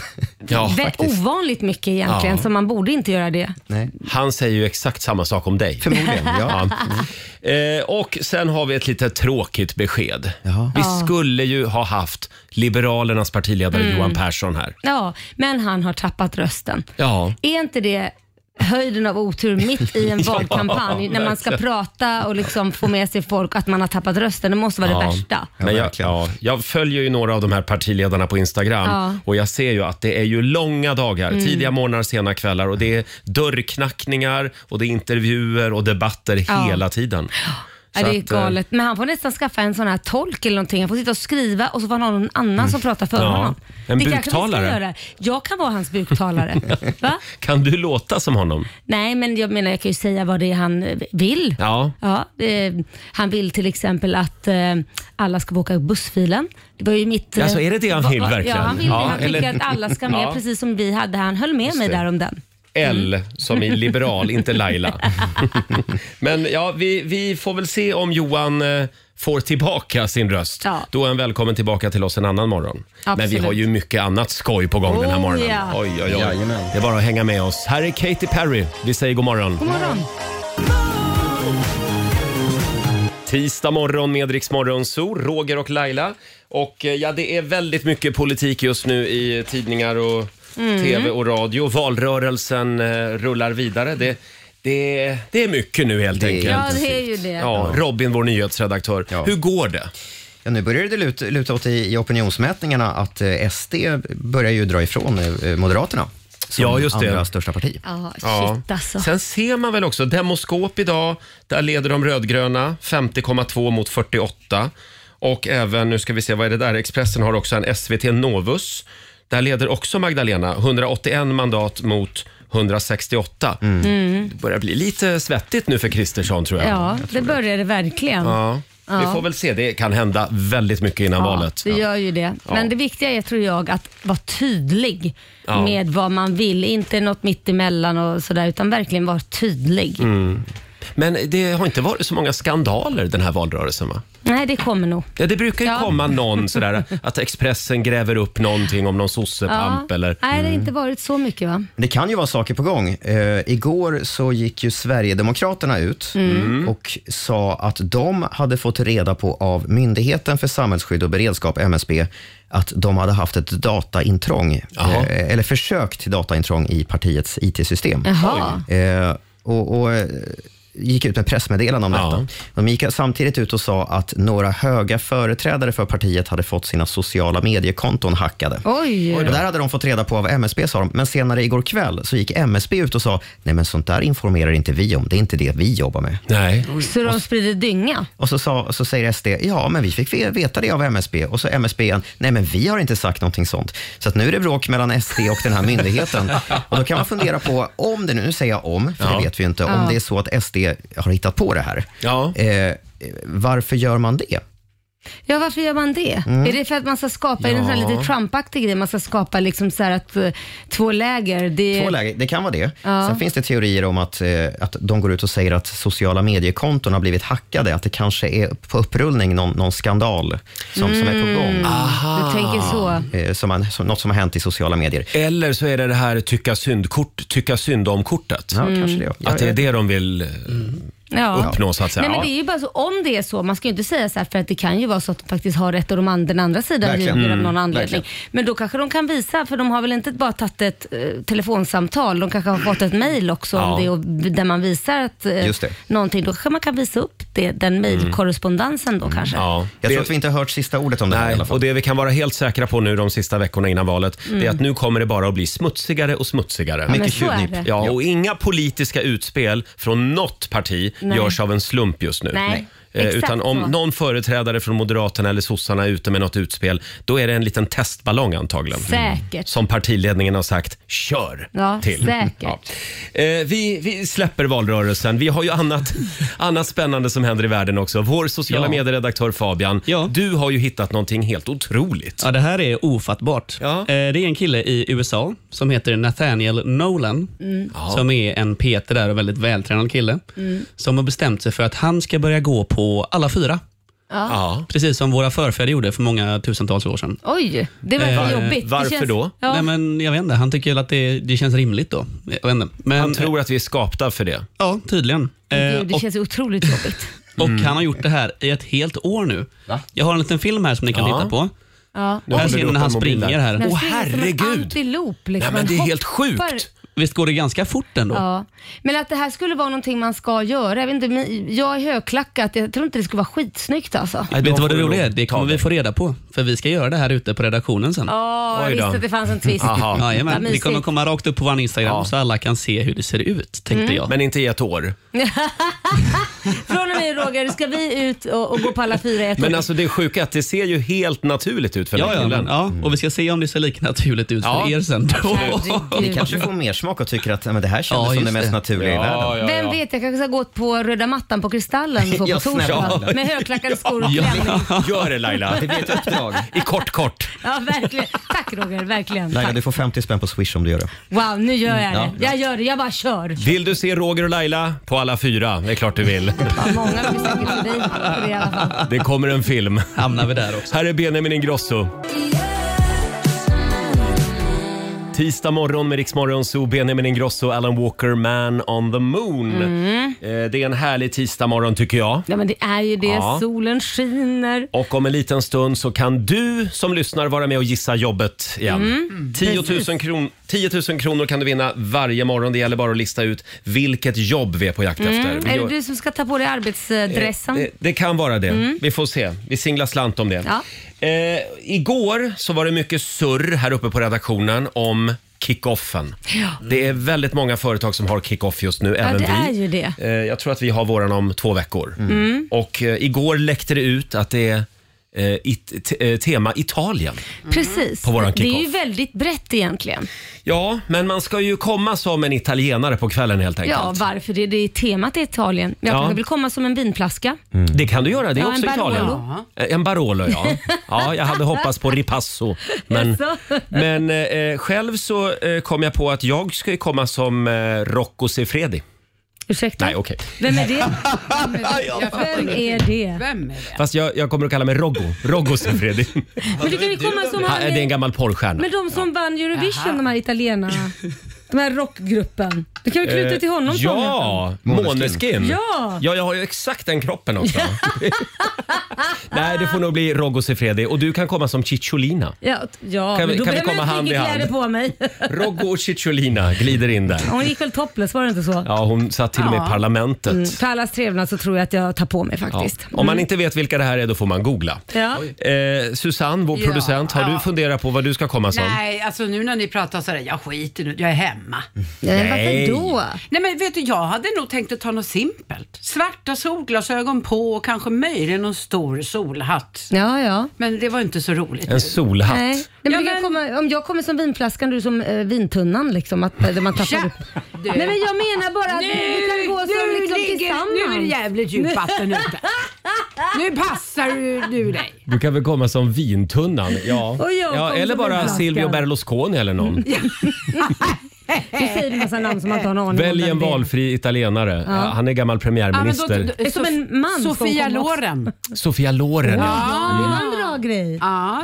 [SPEAKER 1] Ja,
[SPEAKER 2] vä-
[SPEAKER 5] faktiskt.
[SPEAKER 2] ovanligt mycket egentligen,
[SPEAKER 1] Ja.
[SPEAKER 2] så man borde inte göra det.
[SPEAKER 5] Nej,
[SPEAKER 1] Han säger ju exakt samma sak om dig.
[SPEAKER 5] förmodligen. Ja.
[SPEAKER 1] Eh, och sen har vi ett lite tråkigt besked.
[SPEAKER 5] Jaha.
[SPEAKER 1] Vi skulle ju ha haft Liberalernas partiledare
[SPEAKER 2] Mm.
[SPEAKER 1] Johan Persson här.
[SPEAKER 2] Ja, men han har tappat rösten.
[SPEAKER 1] Ja.
[SPEAKER 2] Är inte det höjden av otur mitt i en
[SPEAKER 1] Ja,
[SPEAKER 2] valkampanj när man ska
[SPEAKER 1] verkligen.
[SPEAKER 2] prata och liksom få med sig folk att man har tappat rösten? Det måste vara det värsta.
[SPEAKER 1] Men jag,
[SPEAKER 5] verkligen.
[SPEAKER 1] ja, jag följer ju några av de här partiledarna på Instagram
[SPEAKER 2] Ja. Mm.
[SPEAKER 1] och jag ser ju att det är ju långa dagar, tidiga morgnar, sena kvällar och det är dörrknackningar och det är intervjuer och debatter
[SPEAKER 2] Ja.
[SPEAKER 1] hela tiden.
[SPEAKER 2] Ja, det är
[SPEAKER 1] att, eh,
[SPEAKER 2] galet. Men han får nästan skaffa en sån här tolk eller någonting. Han får sitta och skriva och så får han ha någon annan som pratar för
[SPEAKER 1] Mm. Ja,
[SPEAKER 2] honom.
[SPEAKER 1] en
[SPEAKER 2] det kanske vi ska
[SPEAKER 1] buktalare.
[SPEAKER 2] göra. Jag kan vara hans buktalare. Va?
[SPEAKER 1] Kan du låta som honom?
[SPEAKER 2] Nej, men jag menar jag kan ju säga vad det är han eh, vill.
[SPEAKER 1] Ja.
[SPEAKER 2] Ja, eh, han vill till exempel att eh, alla ska få åka bussfilen. Det var ju mitt... eh,
[SPEAKER 1] Alltså, är det det han
[SPEAKER 2] va-
[SPEAKER 1] vill
[SPEAKER 2] va-
[SPEAKER 1] verkligen?
[SPEAKER 2] Ja, han vill
[SPEAKER 1] Ja,
[SPEAKER 2] det. Han tycker
[SPEAKER 1] eller-
[SPEAKER 2] att alla ska med,
[SPEAKER 1] Ja.
[SPEAKER 2] precis som vi hade. Han höll med mig
[SPEAKER 1] det.
[SPEAKER 2] där om den.
[SPEAKER 1] L
[SPEAKER 2] Mm.
[SPEAKER 1] som i liberal, inte Laila. Men ja, vi, vi får väl se om Johan eh, får tillbaka sin röst.
[SPEAKER 2] Ja.
[SPEAKER 1] Då är han välkommen tillbaka till oss en annan morgon. Men vi
[SPEAKER 2] Absolut.
[SPEAKER 1] har ju mycket annat skoj på gång den här
[SPEAKER 2] Oh,
[SPEAKER 1] morgonen.
[SPEAKER 2] ja.
[SPEAKER 1] Oj, oj, oj. Det är bara att hänga med oss. Här är Katy Perry. Vi säger god morgon.
[SPEAKER 2] God morgon.
[SPEAKER 1] Tisdag morgon med Rix Morgon Zoo, Roger och Laila. Och eh, ja, det är väldigt mycket politik just nu i tidningar och tv och radio. Valrörelsen eh, rullar vidare. Det, det, det är mycket nu helt enkelt.
[SPEAKER 2] Ja, det är ju det.
[SPEAKER 1] Ja, Robin, vår nyhetsredaktör.
[SPEAKER 5] Ja.
[SPEAKER 1] Hur går det?
[SPEAKER 5] Ja, nu börjar det luta, luta åt i, i opinionsmätningarna att eh, SD börjar ju dra ifrån eh, Moderaterna som
[SPEAKER 1] Ja, just det.
[SPEAKER 5] andra största parti.
[SPEAKER 2] Ja,
[SPEAKER 1] Ja.
[SPEAKER 2] shit alltså.
[SPEAKER 1] Sen ser man väl också Demoskop idag. Där leder de rödgröna 50,2 mot 48. Och även, nu ska vi se, vad är det där? Expressen har också en SVT Novus. Där leder också Magdalena 181 mandat mot 168. Det börjar bli lite svettigt nu för Kristersson tror jag.
[SPEAKER 2] Mm. Ja, det börjar det verkligen.
[SPEAKER 1] Ja. Vi får väl se, det kan hända väldigt mycket innan
[SPEAKER 2] Ja,
[SPEAKER 1] valet.
[SPEAKER 2] det gör ju det. Men det viktiga är, tror jag, att vara tydlig
[SPEAKER 1] Ja.
[SPEAKER 2] med vad man vill. Inte något mitt emellan och sådär, utan verkligen vara tydlig.
[SPEAKER 1] Mm. Men det har inte varit så många skandaler den här valrörelsen va?
[SPEAKER 2] Nej, det kommer nog.
[SPEAKER 1] Ja, det brukar ju
[SPEAKER 2] Ja.
[SPEAKER 1] komma någon sådär att Expressen gräver upp någonting om någon sossepamp eller... Mm.
[SPEAKER 2] Nej, det har inte varit så mycket va?
[SPEAKER 5] Det kan ju vara saker på gång. Eh, igår så gick ju Sverigedemokraterna ut
[SPEAKER 1] Mm.
[SPEAKER 5] och sa att de hade fått reda på av Myndigheten för samhällsskydd och beredskap, MSB, att de hade haft ett dataintrång,
[SPEAKER 1] Jaha.
[SPEAKER 5] eh, eller försök till dataintrång i partiets IT-system.
[SPEAKER 2] Jaha.
[SPEAKER 5] Eh, och, och eh, gick ut med pressmeddelande om
[SPEAKER 1] Ja.
[SPEAKER 5] detta. De gick samtidigt ut och sa att några höga företrädare för partiet hade fått sina sociala mediekonton hackade.
[SPEAKER 2] Oj!
[SPEAKER 5] Och där hade de fått reda på av MSB, sa de. Men senare igår kväll så gick MSB ut och sa, nej men sånt där informerar inte vi om. Det är inte det vi jobbar med.
[SPEAKER 1] Nej.
[SPEAKER 2] Så de sprider dynga?
[SPEAKER 5] Och så, sa, så säger SD, ja men vi fick ve- veta det av MSB. Och så MSB igen, nej men vi har inte sagt någonting sånt. Så att nu är det bråk mellan SD och den här myndigheten. och då kan man fundera på, om det nu, nu säger jag om, för
[SPEAKER 1] Ja.
[SPEAKER 5] det vet vi ju inte, om det är så att SD har hittat på det här.
[SPEAKER 1] Ja.
[SPEAKER 5] Eh, varför gör man det?
[SPEAKER 2] Ja, varför gör man det? Är det för att man ska skapa, är det en sån här lite Trump-aktig grej, man ska skapa liksom så här att eh, två läger? Det,
[SPEAKER 5] Två läger, det kan vara det. Sen finns det teorier om att, eh, att de går ut och säger att sociala mediekonton har blivit hackade, att det kanske är på upprullning någon, någon skandal som, som är på gång.
[SPEAKER 2] Du tänker så?
[SPEAKER 5] Eh, Som man, som, något som har hänt i sociala medier.
[SPEAKER 1] Eller så är det det här tycka, syndkort, tycka synd om-kortet.
[SPEAKER 5] Ja, kanske det. Mm. Jag,
[SPEAKER 1] Att det är det de vill eh,
[SPEAKER 2] Ja.
[SPEAKER 1] uppnå så att säga.
[SPEAKER 2] Nej, men
[SPEAKER 1] Ja.
[SPEAKER 2] det är ju bara så, om det är så, man ska ju inte säga så här för att det kan ju vara så att de faktiskt har rätt och de andra, den andra sidan
[SPEAKER 5] Verkligen.
[SPEAKER 2] ljuger av någon anledning.
[SPEAKER 5] verkligen.
[SPEAKER 2] Men då kanske de kan visa, för de har väl inte bara tagit ett eh, telefonsamtal, de kanske har fått ett mejl också
[SPEAKER 1] Ja.
[SPEAKER 2] om det och, där man visar att eh,
[SPEAKER 5] Just det.
[SPEAKER 2] någonting, då kanske man kan visa upp det, den mejlkorrespondensen då kanske.
[SPEAKER 1] Ja.
[SPEAKER 5] jag
[SPEAKER 1] Det-
[SPEAKER 5] tror att vi inte har hört sista ordet om det här i
[SPEAKER 1] Nej,
[SPEAKER 5] alla fall.
[SPEAKER 1] och det vi kan vara helt säkra på nu de sista veckorna innan valet, det är att nu kommer det bara att bli smutsigare och smutsigare.
[SPEAKER 2] Mm. men
[SPEAKER 5] Mycket
[SPEAKER 2] så är
[SPEAKER 5] tjuvnyp.
[SPEAKER 2] det.
[SPEAKER 1] Ja, och inga politiska utspel från något parti
[SPEAKER 2] Nej.
[SPEAKER 1] görs av en slump just nu.
[SPEAKER 2] Nej.
[SPEAKER 1] Eh,
[SPEAKER 2] Exakt
[SPEAKER 1] utan om
[SPEAKER 2] så.
[SPEAKER 1] någon företrädare från Moderaterna eller sossarna är ute med något utspel, då är det en liten testballong antagligen. Mm.
[SPEAKER 2] Säkert.
[SPEAKER 1] Som partiledningen har sagt, kör
[SPEAKER 2] Ja,
[SPEAKER 1] till.
[SPEAKER 2] säkert.
[SPEAKER 1] Eh, vi, vi släpper valrörelsen. Vi har ju annat, annat spännande som händer i världen också. Vår sociala
[SPEAKER 8] Ja.
[SPEAKER 1] medieredaktör Fabian,
[SPEAKER 8] Ja.
[SPEAKER 1] du har ju hittat någonting helt otroligt.
[SPEAKER 8] Ja, det här är ofattbart.
[SPEAKER 1] Ja.
[SPEAKER 8] Eh, Det är en kille i USA som heter Nathaniel Nolan,
[SPEAKER 2] Mm.
[SPEAKER 8] som är en Peter där och väldigt vältränad kille, som har bestämt sig för att han ska börja gå på alla fyra.
[SPEAKER 1] Ja.
[SPEAKER 8] Precis som våra förfäder gjorde för många tusentals år sedan.
[SPEAKER 2] Oj, det verkar
[SPEAKER 8] Eh,
[SPEAKER 2] jobbigt. Det
[SPEAKER 1] varför
[SPEAKER 2] känns-
[SPEAKER 1] då?
[SPEAKER 2] Ja.
[SPEAKER 8] Nej, men jag vet inte, han tycker väl att det, det känns rimligt då. Jag vet inte. Men, eh,
[SPEAKER 1] Han tror att vi är skapta för det.
[SPEAKER 8] Ja, tydligen. Eh,
[SPEAKER 2] Gud, det
[SPEAKER 8] och
[SPEAKER 2] känns otroligt jobbigt.
[SPEAKER 8] och
[SPEAKER 1] Mm.
[SPEAKER 8] han har gjort det här i ett helt år nu. Jag har en liten film här som ni kan
[SPEAKER 1] Ja.
[SPEAKER 8] titta på.
[SPEAKER 2] Ja.
[SPEAKER 1] Nu
[SPEAKER 8] här
[SPEAKER 1] håller
[SPEAKER 8] ser
[SPEAKER 1] du
[SPEAKER 8] ni
[SPEAKER 1] upp
[SPEAKER 8] när han
[SPEAKER 1] en mobil
[SPEAKER 8] springer
[SPEAKER 1] där.
[SPEAKER 8] här.
[SPEAKER 2] Men
[SPEAKER 1] Åh,
[SPEAKER 2] det är som en
[SPEAKER 1] herregud.
[SPEAKER 2] Antilop, liksom.
[SPEAKER 1] Nej, men det är
[SPEAKER 2] Man
[SPEAKER 1] helt
[SPEAKER 2] hoppar.
[SPEAKER 1] sjukt.
[SPEAKER 8] Visst går det ganska fort ändå?
[SPEAKER 2] Ja. Men att det här skulle vara någonting man ska göra. Jag, vet inte, men jag är högklackat. Jag tror inte det skulle vara skitsnyggt alltså.
[SPEAKER 8] Jag
[SPEAKER 1] då
[SPEAKER 8] vet du vad
[SPEAKER 1] får
[SPEAKER 8] det
[SPEAKER 1] du
[SPEAKER 8] roliga är?
[SPEAKER 1] nog
[SPEAKER 8] Det
[SPEAKER 1] ta
[SPEAKER 8] kommer vi
[SPEAKER 1] dig.
[SPEAKER 8] få reda på. För vi ska göra det här ute på redaktionen sen.
[SPEAKER 2] Ja, jag
[SPEAKER 1] Oj då.
[SPEAKER 2] visste att det fanns en twist.
[SPEAKER 1] Aha.
[SPEAKER 2] Vad
[SPEAKER 8] Jajamän, vi
[SPEAKER 2] mysigt.
[SPEAKER 8] kommer komma rakt upp på vår Instagram
[SPEAKER 1] Ja.
[SPEAKER 8] så alla kan se hur det ser ut, tänkte
[SPEAKER 2] Mm.
[SPEAKER 8] jag.
[SPEAKER 1] Men inte i ett år.
[SPEAKER 2] Från och med Roger ska vi ut och, och gå på alla fyra i ett
[SPEAKER 1] Men
[SPEAKER 2] år.
[SPEAKER 1] alltså det är sjuka är att det ser ju helt naturligt ut för den
[SPEAKER 8] ja, ja,
[SPEAKER 1] killen.
[SPEAKER 8] men, ja, och vi ska se om det ser lika naturligt ut
[SPEAKER 1] Ja.
[SPEAKER 8] för er sen. Då.
[SPEAKER 5] Ni kanske får mer smak och tycker att ja, men det här kändes
[SPEAKER 8] Ja,
[SPEAKER 5] som
[SPEAKER 8] just
[SPEAKER 5] det mest
[SPEAKER 8] det.
[SPEAKER 5] naturliga i världen.
[SPEAKER 2] Vem vet, jag kanske ska gå på röda mattan på Kristallen på, på
[SPEAKER 5] Ja,
[SPEAKER 2] torsdag.
[SPEAKER 5] snälla.
[SPEAKER 2] Med högklackade skor och
[SPEAKER 8] Ja.
[SPEAKER 2] klänning. Ja.
[SPEAKER 1] Gör det Laila.
[SPEAKER 5] Det blir ett uppdrag.
[SPEAKER 1] I kort kort.
[SPEAKER 2] verkligen. Tack Roger, verkligen.
[SPEAKER 5] Laila,
[SPEAKER 2] Tack.
[SPEAKER 5] du får 50 spänn på Swish om du gör det.
[SPEAKER 2] Wow, nu gör jag
[SPEAKER 1] Mm,
[SPEAKER 5] Ja,
[SPEAKER 2] det. Jag gör det, jag bara kör.
[SPEAKER 1] Vill du se Roger och Laila på alla fyra? Det är klart du vill.
[SPEAKER 2] Ja, många kommer säkert förbi på det i alla fall.
[SPEAKER 1] Det kommer en film.
[SPEAKER 8] Hamnar vi där också.
[SPEAKER 1] Här är Benjamin Ingrosso. Tisdag morgon med Riksmorgon Zoo, Benjamin Ingrosso och Alan Walker, Man on the Moon.
[SPEAKER 2] Mm.
[SPEAKER 1] Eh, Det är en härlig tisdag morgon tycker jag.
[SPEAKER 2] Ja, men det är ju det.
[SPEAKER 1] Ja.
[SPEAKER 2] Solen skiner.
[SPEAKER 1] Och om en liten stund så kan du som lyssnar vara med och gissa jobbet igen.
[SPEAKER 2] Mm.
[SPEAKER 1] 10, 000 kron 10 000 kronor kan du vinna varje morgon. Det gäller bara att lista ut vilket jobb vi är på jakt efter. Vi
[SPEAKER 2] Mm. Är det
[SPEAKER 1] gör- Eh,
[SPEAKER 2] du som ska ta på dig arbetsdressen?
[SPEAKER 1] det, det kan vara det. Vi får se. Vi singlar slant om det.
[SPEAKER 2] Mm. Ja.
[SPEAKER 1] Eh, igår så var det mycket surr här uppe på redaktionen om kickoffen. Det är väldigt många företag som har kickoff just nu, även
[SPEAKER 2] det
[SPEAKER 1] vi.
[SPEAKER 2] är ju det. Mm.
[SPEAKER 1] Eh, jag tror att vi har våran om två veckor. Och eh, igår läckte det ut att det är eh, it, t- eh, tema Italien.
[SPEAKER 2] Precis.
[SPEAKER 1] eh, På våran
[SPEAKER 2] det är ju
[SPEAKER 1] kick-off.
[SPEAKER 2] väldigt brett egentligen.
[SPEAKER 1] Ja, men man ska ju komma som en italienare på kvällen helt enkelt.
[SPEAKER 2] Ja, varför det, det är temat i Italien. Jag
[SPEAKER 1] Ja.
[SPEAKER 2] kanske vill komma som en vinflaska.
[SPEAKER 1] Det kan du göra, det är
[SPEAKER 2] Ja, en
[SPEAKER 1] också
[SPEAKER 2] Barolo.
[SPEAKER 1] Italien. Eh, En Barolo ja. ja. Jag hade hoppats på Ripasso. Men,
[SPEAKER 2] Jaså?
[SPEAKER 1] men eh, själv så eh, kom jag på att jag ska ju komma som eh, Rocco Siffredi.
[SPEAKER 2] Ursäkta?
[SPEAKER 1] Nej, okej.
[SPEAKER 2] Vem är det? Vem är det?
[SPEAKER 4] Vem är det?
[SPEAKER 1] Fast jag, jag kommer att kalla mig Roggo. Roggo Siffredi.
[SPEAKER 2] Men du kan ju komma som
[SPEAKER 1] Ha,
[SPEAKER 2] han
[SPEAKER 1] det är en
[SPEAKER 2] med,
[SPEAKER 1] gammal porrstjärna.
[SPEAKER 2] med de som vann Eurovision, de här italienarna. De här rockgruppen. Du kan väl knyta till honom Tommy?
[SPEAKER 1] Eh, Ja, Måneskin.
[SPEAKER 2] Ja.
[SPEAKER 1] ja, jag har ju exakt den kroppen också. Nej, det får nog bli Roggo Siffredi och du kan komma som Cicciolina.
[SPEAKER 2] Ja, ja
[SPEAKER 1] Kan vi-
[SPEAKER 2] men då
[SPEAKER 1] kan vi
[SPEAKER 2] behöver
[SPEAKER 1] komma
[SPEAKER 2] jag
[SPEAKER 1] hand i
[SPEAKER 2] inte
[SPEAKER 1] hand?
[SPEAKER 2] kläder på mig.
[SPEAKER 1] Roggo och Cicciolina glider in där.
[SPEAKER 2] Hon gick väl topless, var det inte så? Mm.
[SPEAKER 1] Ja, hon satt till och med i parlamentet.
[SPEAKER 2] För allas trevnad så tror jag att jag tar på mig
[SPEAKER 1] Ja.
[SPEAKER 2] faktiskt.
[SPEAKER 1] Om man inte vet vilka det här är då får man googla.
[SPEAKER 2] Ja.
[SPEAKER 1] Eh, Susanne, vår producent, har du
[SPEAKER 4] Ja.
[SPEAKER 1] funderat på vad du ska komma som?
[SPEAKER 4] Nej, alltså nu när ni pratar så här, jag skiter nu, jag är hemma.
[SPEAKER 1] Mm.
[SPEAKER 2] Nej.
[SPEAKER 1] Nej.
[SPEAKER 2] Varför då?
[SPEAKER 4] Nej men vet du, jag hade nog tänkt att ta något simpelt. Svarta solglasögon på och kanske möjligen någon stor solhatt.
[SPEAKER 2] Ja, ja.
[SPEAKER 4] Men det var inte så roligt.
[SPEAKER 1] En solhatt.
[SPEAKER 2] Nej. Nej, men
[SPEAKER 4] Ja,
[SPEAKER 2] du kan
[SPEAKER 4] men-
[SPEAKER 2] Komma, om jag kommer som vinflaskan, du som eh, vintunnan liksom. Att, eh, där man tappar
[SPEAKER 4] Ja,
[SPEAKER 2] upp.
[SPEAKER 4] du.
[SPEAKER 2] Nej men jag menar bara att vi kan gå som
[SPEAKER 4] nu
[SPEAKER 2] liksom
[SPEAKER 4] ligger- Nu är det
[SPEAKER 2] tillsammans.
[SPEAKER 4] jävligt djupt vatten ute. Nu passar du, du dig.
[SPEAKER 1] Du kan väl komma som vintunnan? Ja.
[SPEAKER 2] Och jag
[SPEAKER 1] ja
[SPEAKER 2] kom
[SPEAKER 1] eller
[SPEAKER 2] som en
[SPEAKER 1] bara
[SPEAKER 2] flaska.
[SPEAKER 1] Silvio Berlusconi eller någon.
[SPEAKER 2] Du säger en massa namn som man inte har någon aning om
[SPEAKER 1] Välj
[SPEAKER 2] vem
[SPEAKER 1] en
[SPEAKER 2] det är.
[SPEAKER 1] valfri italienare. Han är gammal premiärminister.
[SPEAKER 2] Det är som en man som
[SPEAKER 4] Sofia
[SPEAKER 2] kom också.
[SPEAKER 4] Loren.
[SPEAKER 1] Sofia Loren. Ja.
[SPEAKER 2] Ja, det var en bra grej.
[SPEAKER 4] Ja,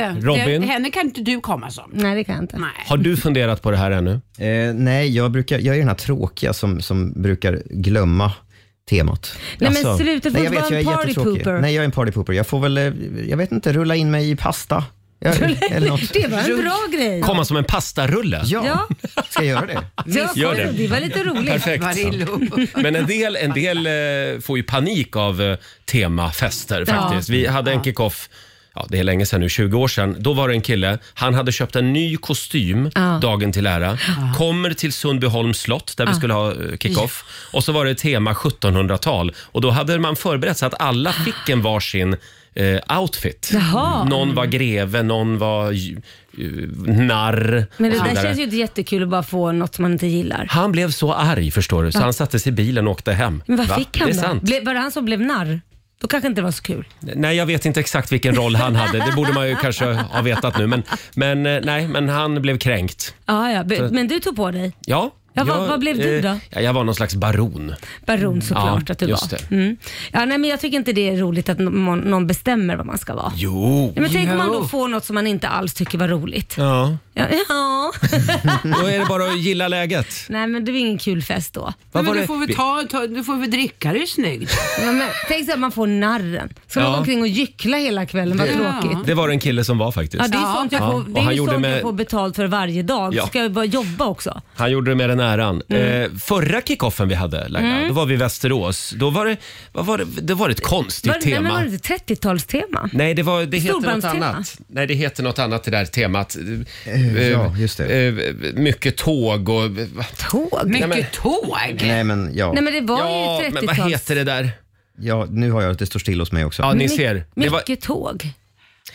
[SPEAKER 1] Ja.
[SPEAKER 4] det.
[SPEAKER 1] Robin?
[SPEAKER 4] det. Henne kan inte du komma som.
[SPEAKER 2] Nej det kan jag inte.
[SPEAKER 4] Nej.
[SPEAKER 1] Har du funderat på det här ännu?
[SPEAKER 5] Eh, nej, jag, brukar, jag är den här tråkiga som, som brukar glömma temat.
[SPEAKER 2] Nej men
[SPEAKER 1] Alltså.
[SPEAKER 2] sluta, du får
[SPEAKER 5] Nej, jag
[SPEAKER 2] inte
[SPEAKER 5] vet,
[SPEAKER 2] vara en
[SPEAKER 5] jag är
[SPEAKER 2] party
[SPEAKER 5] jättetråkig.
[SPEAKER 2] pooper.
[SPEAKER 5] Nej, jag är en party pooper. Jag får väl, eh, jag vet inte, rulla in mig i pasta. Jag, eller något.
[SPEAKER 2] Det var en bra grej.
[SPEAKER 1] Komma som en pastarulle?
[SPEAKER 5] Ja,
[SPEAKER 2] Ja.
[SPEAKER 5] ska jag göra det?
[SPEAKER 2] Ja,
[SPEAKER 1] Gör det.
[SPEAKER 2] det var lite roligt.
[SPEAKER 1] Perfekt.
[SPEAKER 4] Varillo.
[SPEAKER 1] Men en del, en del eh, får ju panik av eh, temafester faktiskt. Vi hade en kickoff ja, det är länge sedan nu, 20 år sedan. Då var det en kille, han hade köpt en ny kostym
[SPEAKER 2] Ja.
[SPEAKER 1] dagen till ära. Kommer till Sundbyholms slott där vi skulle ha eh, kick-off. Och så var det tema 1700-tal. Och då hade man förberett sig att alla fick en varsin eh, outfit.
[SPEAKER 2] Jaha.
[SPEAKER 1] Någon var greve, någon var ju- eh, narr.
[SPEAKER 2] Men
[SPEAKER 1] och
[SPEAKER 2] det
[SPEAKER 1] så
[SPEAKER 2] där
[SPEAKER 1] vidare.
[SPEAKER 2] känns ju inte jättekul att bara få något man inte gillar.
[SPEAKER 1] Han blev så arg förstår du, så han satte sig i bilen och åkte hem.
[SPEAKER 2] Men vad
[SPEAKER 1] Va?
[SPEAKER 2] fick han
[SPEAKER 1] det är
[SPEAKER 2] då?
[SPEAKER 1] Sant.
[SPEAKER 2] Ble, var det han som blev narr? Då kanske inte det var så kul.
[SPEAKER 1] Nej, jag vet inte exakt vilken roll han hade. Det borde man ju kanske ha vetat nu. Men, men eh, nej, men han blev kränkt.
[SPEAKER 2] Ja, ja. be- Men du tog på dig
[SPEAKER 1] Ja.
[SPEAKER 2] Ja, vad- vad blev du
[SPEAKER 1] eh,
[SPEAKER 2] då?
[SPEAKER 1] ja, jag var någon slags baron.
[SPEAKER 2] baron såklart
[SPEAKER 1] Mm. Ja,
[SPEAKER 2] att du
[SPEAKER 1] just
[SPEAKER 2] var.
[SPEAKER 1] det.
[SPEAKER 2] Mm. Ja, nej, men jag tycker inte det är roligt att någon, någon bestämmer vad man ska vara.
[SPEAKER 9] Jo.
[SPEAKER 2] Nej, men tänk om man då
[SPEAKER 4] Jo.
[SPEAKER 2] får något som man inte alls tycker var roligt.
[SPEAKER 1] Ja.
[SPEAKER 2] Ja. ja.
[SPEAKER 1] Då är det bara att gilla läget.
[SPEAKER 2] nej men det var ingen kul fest då.
[SPEAKER 1] Vad
[SPEAKER 4] Nej, men
[SPEAKER 1] var
[SPEAKER 4] du
[SPEAKER 1] det-
[SPEAKER 4] får väl ta, ta, du får väl dricka dig snyggt.
[SPEAKER 2] Ja, men, tänk så att man får narren. Ska man
[SPEAKER 1] Ja.
[SPEAKER 2] gå omkring och gyckla hela kvällen? Vad
[SPEAKER 1] Det-
[SPEAKER 2] tråkigt.
[SPEAKER 1] Det var det en kille som var faktiskt.
[SPEAKER 2] Ja, det är
[SPEAKER 4] Ja.
[SPEAKER 2] sånt jag
[SPEAKER 1] Ja,
[SPEAKER 2] får,
[SPEAKER 1] och
[SPEAKER 2] det är
[SPEAKER 1] han
[SPEAKER 2] ju
[SPEAKER 1] gjorde
[SPEAKER 2] sånt jag
[SPEAKER 1] med-
[SPEAKER 2] får betalt för varje dag.
[SPEAKER 1] Ja.
[SPEAKER 2] Ska jag bara jobba också?
[SPEAKER 1] Han gjorde det med den äran.
[SPEAKER 2] Mm.
[SPEAKER 1] Eh, förra kickoffen vi hade, Laila, då var vi i Västerås. Då var det, vad var det, det var ett konstigt
[SPEAKER 2] Var, nej,
[SPEAKER 1] tema.
[SPEAKER 2] men var det inte 30-talstema?
[SPEAKER 1] Nej, det, var, det heter något
[SPEAKER 2] Storbandstema.
[SPEAKER 1] annat. Nej, det heter något annat det där temat.
[SPEAKER 5] Eh, ja, just det.
[SPEAKER 1] Eh, mycket tåg och...
[SPEAKER 2] Tåg?
[SPEAKER 4] Mycket
[SPEAKER 1] men-
[SPEAKER 4] tåg.
[SPEAKER 5] Nej, men ja.
[SPEAKER 2] Nej men det var ju
[SPEAKER 1] Ja,
[SPEAKER 2] 30-tals...
[SPEAKER 1] men vad heter det där?
[SPEAKER 5] ja, nu har jag, det står still hos mig också.
[SPEAKER 1] Ja, ni
[SPEAKER 2] My-
[SPEAKER 1] ser. Det, var,
[SPEAKER 2] Mycket tåg.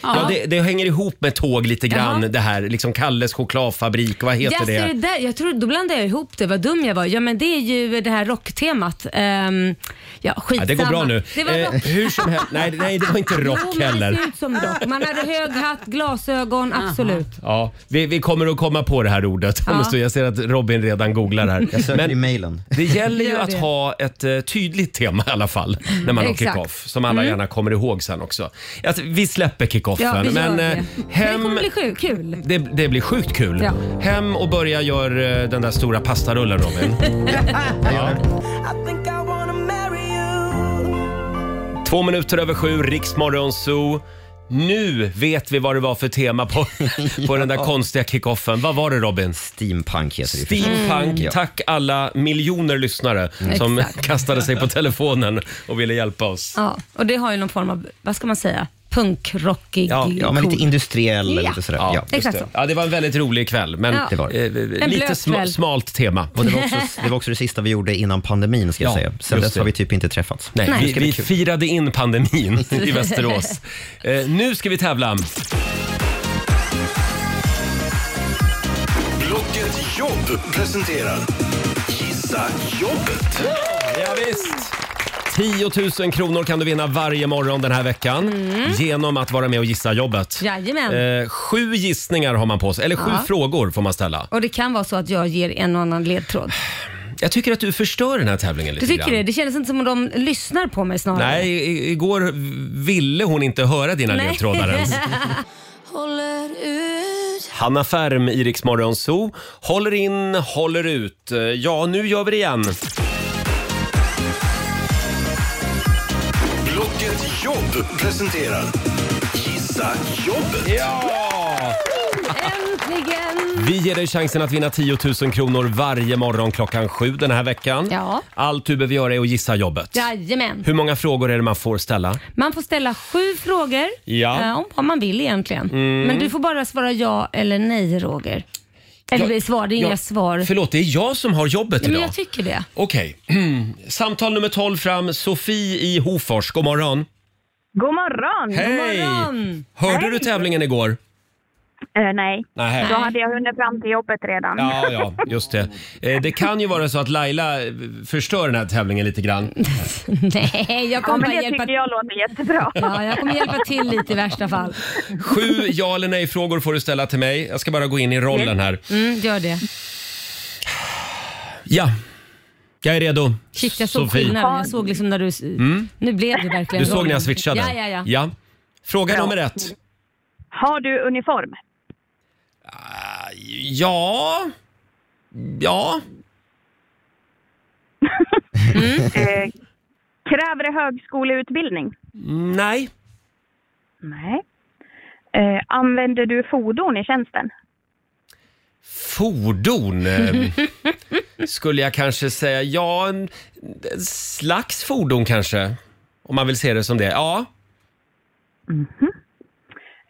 [SPEAKER 1] ja, det, det hänger ihop med tåg lite grann
[SPEAKER 2] Jaha.
[SPEAKER 1] det här. Liksom Kalles chokladfabrik, vad heter
[SPEAKER 2] Jaså,
[SPEAKER 1] det?
[SPEAKER 2] det där, jag tror, då blandade jag ihop det, vad dum jag var. Ja men det är ju det här rocktemat. Ehm, ja skitsamma.
[SPEAKER 1] Ja, det går bra nu.
[SPEAKER 2] Det var
[SPEAKER 1] Eh,
[SPEAKER 2] rock.
[SPEAKER 1] hur som helst, nej, nej, det var inte
[SPEAKER 2] Jo,
[SPEAKER 1] rock
[SPEAKER 2] men det
[SPEAKER 1] heller.
[SPEAKER 2] ser ut som rock. Man hade hög hatt, glasögon, absolut.
[SPEAKER 1] Ja, vi, vi kommer att komma på det här ordet. om en
[SPEAKER 2] Ja.
[SPEAKER 1] stund. Jag ser att Robin redan googlar här.
[SPEAKER 5] Jag söker i mailen.
[SPEAKER 1] Det gäller ju
[SPEAKER 2] Gör
[SPEAKER 1] att
[SPEAKER 2] det.
[SPEAKER 1] ha ett eh, tydligt tema i alla fall när man har
[SPEAKER 2] Exakt. Mm.
[SPEAKER 1] kick-off. Som alla gärna kommer ihåg sen också. Att vi släpper kick-offen.
[SPEAKER 2] Ja, vi gör
[SPEAKER 1] men eh,
[SPEAKER 2] det. Men det
[SPEAKER 1] hem...
[SPEAKER 2] kommer bli sjuk, kul.
[SPEAKER 1] Det, det blir sjukt kul.
[SPEAKER 2] Ja.
[SPEAKER 1] Hem och börja göra den där stora pastarullen Robin. ja. Två minuter över sju, Riksmorgon Zoo. Nu vet vi vad det var för tema på, på den där konstiga kickoffen. Vad var det Robin?
[SPEAKER 5] Steampunk heter det. ju.
[SPEAKER 1] Steampunk.
[SPEAKER 5] Ja.
[SPEAKER 1] Tack alla miljoner lyssnare som
[SPEAKER 2] Exakt.
[SPEAKER 1] kastade sig på telefonen och ville hjälpa oss.
[SPEAKER 2] Ja, och det har ju någon form av, vad ska man säga, punkrockig...
[SPEAKER 1] Ja,
[SPEAKER 5] Ja, men lite
[SPEAKER 2] cool.
[SPEAKER 5] industriell eller
[SPEAKER 2] Ja.
[SPEAKER 5] lite sådär. Ja.
[SPEAKER 1] just
[SPEAKER 2] Exakt
[SPEAKER 1] det.
[SPEAKER 2] så.
[SPEAKER 1] ja, det var en väldigt rolig kväll, men
[SPEAKER 2] Ja. Det
[SPEAKER 5] var det.
[SPEAKER 1] eh, lite
[SPEAKER 2] blöt
[SPEAKER 1] sma-
[SPEAKER 2] kväll.
[SPEAKER 1] smalt tema.
[SPEAKER 5] Och det, var också, det var också det sista vi gjorde innan pandemin ska jag
[SPEAKER 1] Ja,
[SPEAKER 5] säga. Sen
[SPEAKER 1] just
[SPEAKER 5] dess har
[SPEAKER 1] det.
[SPEAKER 5] vi typ inte träffats.
[SPEAKER 1] Nej,
[SPEAKER 2] Nej.
[SPEAKER 1] Vi, vi firade in pandemin i Västerås. Eh, nu ska vi tävla.
[SPEAKER 3] Blocket Jobb presenterar Gissa Jobbet.
[SPEAKER 1] Ja, visst. 10 000 kronor kan du vinna varje morgon den här veckan genom att vara med och gissa jobbet.
[SPEAKER 2] Mm. Jajamän.
[SPEAKER 1] Eh, sju gissningar har man på sig, eller sju
[SPEAKER 2] Ja.
[SPEAKER 1] frågor får man ställa.
[SPEAKER 2] Och det kan vara så att jag ger en och annan ledtråd.
[SPEAKER 1] Jag tycker att du förstör den här tävlingen lite
[SPEAKER 2] Du tycker
[SPEAKER 1] grann.
[SPEAKER 2] det? Det kändes inte som om de lyssnar på mig snarare.
[SPEAKER 1] Nej, i- igår ville hon inte höra dina
[SPEAKER 2] Nej.
[SPEAKER 1] ledtrådar ens. Hanna Färm i Rix Morgon Zoo. Håller in, håller ut. Eh, Ja, nu gör vi det igen.
[SPEAKER 3] Blocket Jobb presenterar Gissa Jobbet.
[SPEAKER 1] Ja!
[SPEAKER 2] Äntligen!
[SPEAKER 1] Vi ger dig chansen att vinna 10 000 kronor varje morgon klockan sju den här veckan.
[SPEAKER 2] Ja.
[SPEAKER 1] Allt du behöver göra är att gissa jobbet.
[SPEAKER 2] Jajamän.
[SPEAKER 1] Hur många frågor är det man får ställa?
[SPEAKER 2] Man får ställa sju frågor
[SPEAKER 1] Ja. Mm.
[SPEAKER 2] eh, om vad man vill egentligen. Men du får bara svara ja eller nej Roger. Eller
[SPEAKER 1] Ja,
[SPEAKER 2] svar, det är inga
[SPEAKER 1] ja,
[SPEAKER 2] svar.
[SPEAKER 1] Förlåt, det är jag som har jobbet
[SPEAKER 2] Nej, men
[SPEAKER 1] idag.
[SPEAKER 2] jag tycker det.
[SPEAKER 1] Okej. Samtal nummer 12 fram. Sofie i Hofors, god morgon.
[SPEAKER 7] God morgon!
[SPEAKER 1] Hej!
[SPEAKER 2] morgon.
[SPEAKER 1] Hörde
[SPEAKER 7] Hej.
[SPEAKER 1] du tävlingen igår?
[SPEAKER 7] Eh, nej,
[SPEAKER 1] Nej.
[SPEAKER 7] då hade jag hunnit fram till jobbet redan.
[SPEAKER 1] Ja, ja, just det. Eh, Det kan ju vara så att Laila eh, förstör den här tävlingen lite grann.
[SPEAKER 2] Nej, jag
[SPEAKER 7] Ja,
[SPEAKER 2] kommer, bara
[SPEAKER 7] men det
[SPEAKER 2] hjälpa,
[SPEAKER 7] tycker jag låter jättebra.
[SPEAKER 2] ja, jag kommer hjälpa till lite i värsta fall.
[SPEAKER 1] Sju ja eller nej-frågor får du ställa till mig. Jag ska bara gå in i rollen här.
[SPEAKER 2] Mm, gör det.
[SPEAKER 1] Ja, jag är redo.
[SPEAKER 2] Shit, jag såg
[SPEAKER 1] Sofie. Mm.
[SPEAKER 2] skillnaden. Jag såg liksom när du... Nu blev det verkligen
[SPEAKER 1] Du såg när
[SPEAKER 2] rollen.
[SPEAKER 1] jag switchade?
[SPEAKER 2] Ja, ja, ja.
[SPEAKER 1] Fråga nummer ett.
[SPEAKER 7] Har du uniform?
[SPEAKER 1] Ja... Ja.
[SPEAKER 7] Eh, kräver det högskoleutbildning?
[SPEAKER 1] Nej.
[SPEAKER 7] Nej. Eh, använder du fordon i tjänsten?
[SPEAKER 1] Fordon eh, skulle jag kanske säga. Ja, en, en slags fordon kanske. Om man vill se det som det. Ja.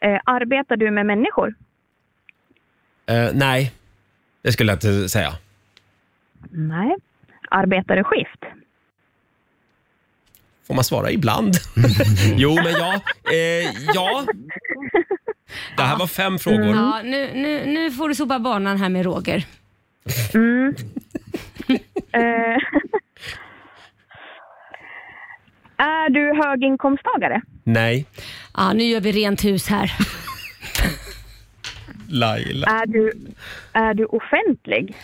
[SPEAKER 7] Eh, arbetar du med människor?
[SPEAKER 1] Eh, nej, det skulle jag inte säga.
[SPEAKER 7] Nej. Arbetar du skift?
[SPEAKER 1] Får man svara ibland? jo, men ja. Eh, ja. Det här var fem frågor.
[SPEAKER 2] Ja, nu, nu, nu får du sopa banan här med Roger.
[SPEAKER 7] Eh, är du höginkomsttagare?
[SPEAKER 1] Nej.
[SPEAKER 2] Ja, nu gör vi rent hus här.
[SPEAKER 1] Laila.
[SPEAKER 7] Är du, är du offentlig?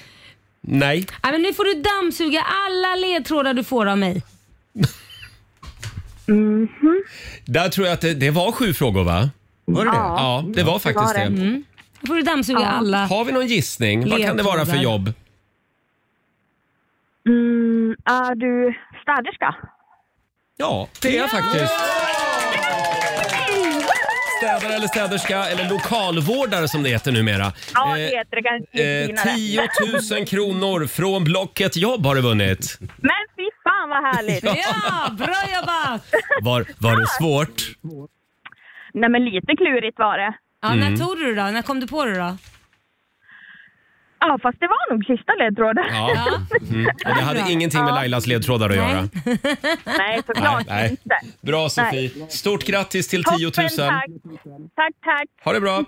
[SPEAKER 1] Nej.
[SPEAKER 2] Ja, men nu får du dammsuga alla ledtrådar du får av mig.
[SPEAKER 1] Där tror jag att det, det var sju frågor, va? Var det det? Ja, det var faktiskt
[SPEAKER 7] var
[SPEAKER 1] det.
[SPEAKER 7] det.
[SPEAKER 2] Nu får du dammsuga alla.
[SPEAKER 1] Har vi någon gissning? Vad kan det vara för
[SPEAKER 2] Ledtrådar.
[SPEAKER 1] jobb?
[SPEAKER 7] Mm, är du städerska?
[SPEAKER 1] Ja, det är jag faktiskt. Städare eller städerska eller lokalvårdare som det heter numera.
[SPEAKER 7] Ja,
[SPEAKER 1] Eh,
[SPEAKER 7] det heter det kanske
[SPEAKER 1] Eh,
[SPEAKER 7] lite finare.
[SPEAKER 1] 10 000 kronor från Blocket Jobb har du vunnit.
[SPEAKER 7] Men fy fan vad härligt!
[SPEAKER 2] Ja, bra jobbat!
[SPEAKER 1] Var, var det svårt?
[SPEAKER 7] Nej men lite klurigt var det.
[SPEAKER 2] Ja, När tog du det då? När kom du på det då?
[SPEAKER 7] Ja fast det var nog sista ledtråden.
[SPEAKER 1] Ja. Mm. Och det hade ingenting med Lailas ledtrådar att göra.
[SPEAKER 7] Nej såklart
[SPEAKER 1] Nej, nej.
[SPEAKER 7] inte.
[SPEAKER 1] Bra Sofie. Stort grattis till 10 000.
[SPEAKER 7] Toppen, tack. Tack, tack.
[SPEAKER 1] Ha det bra.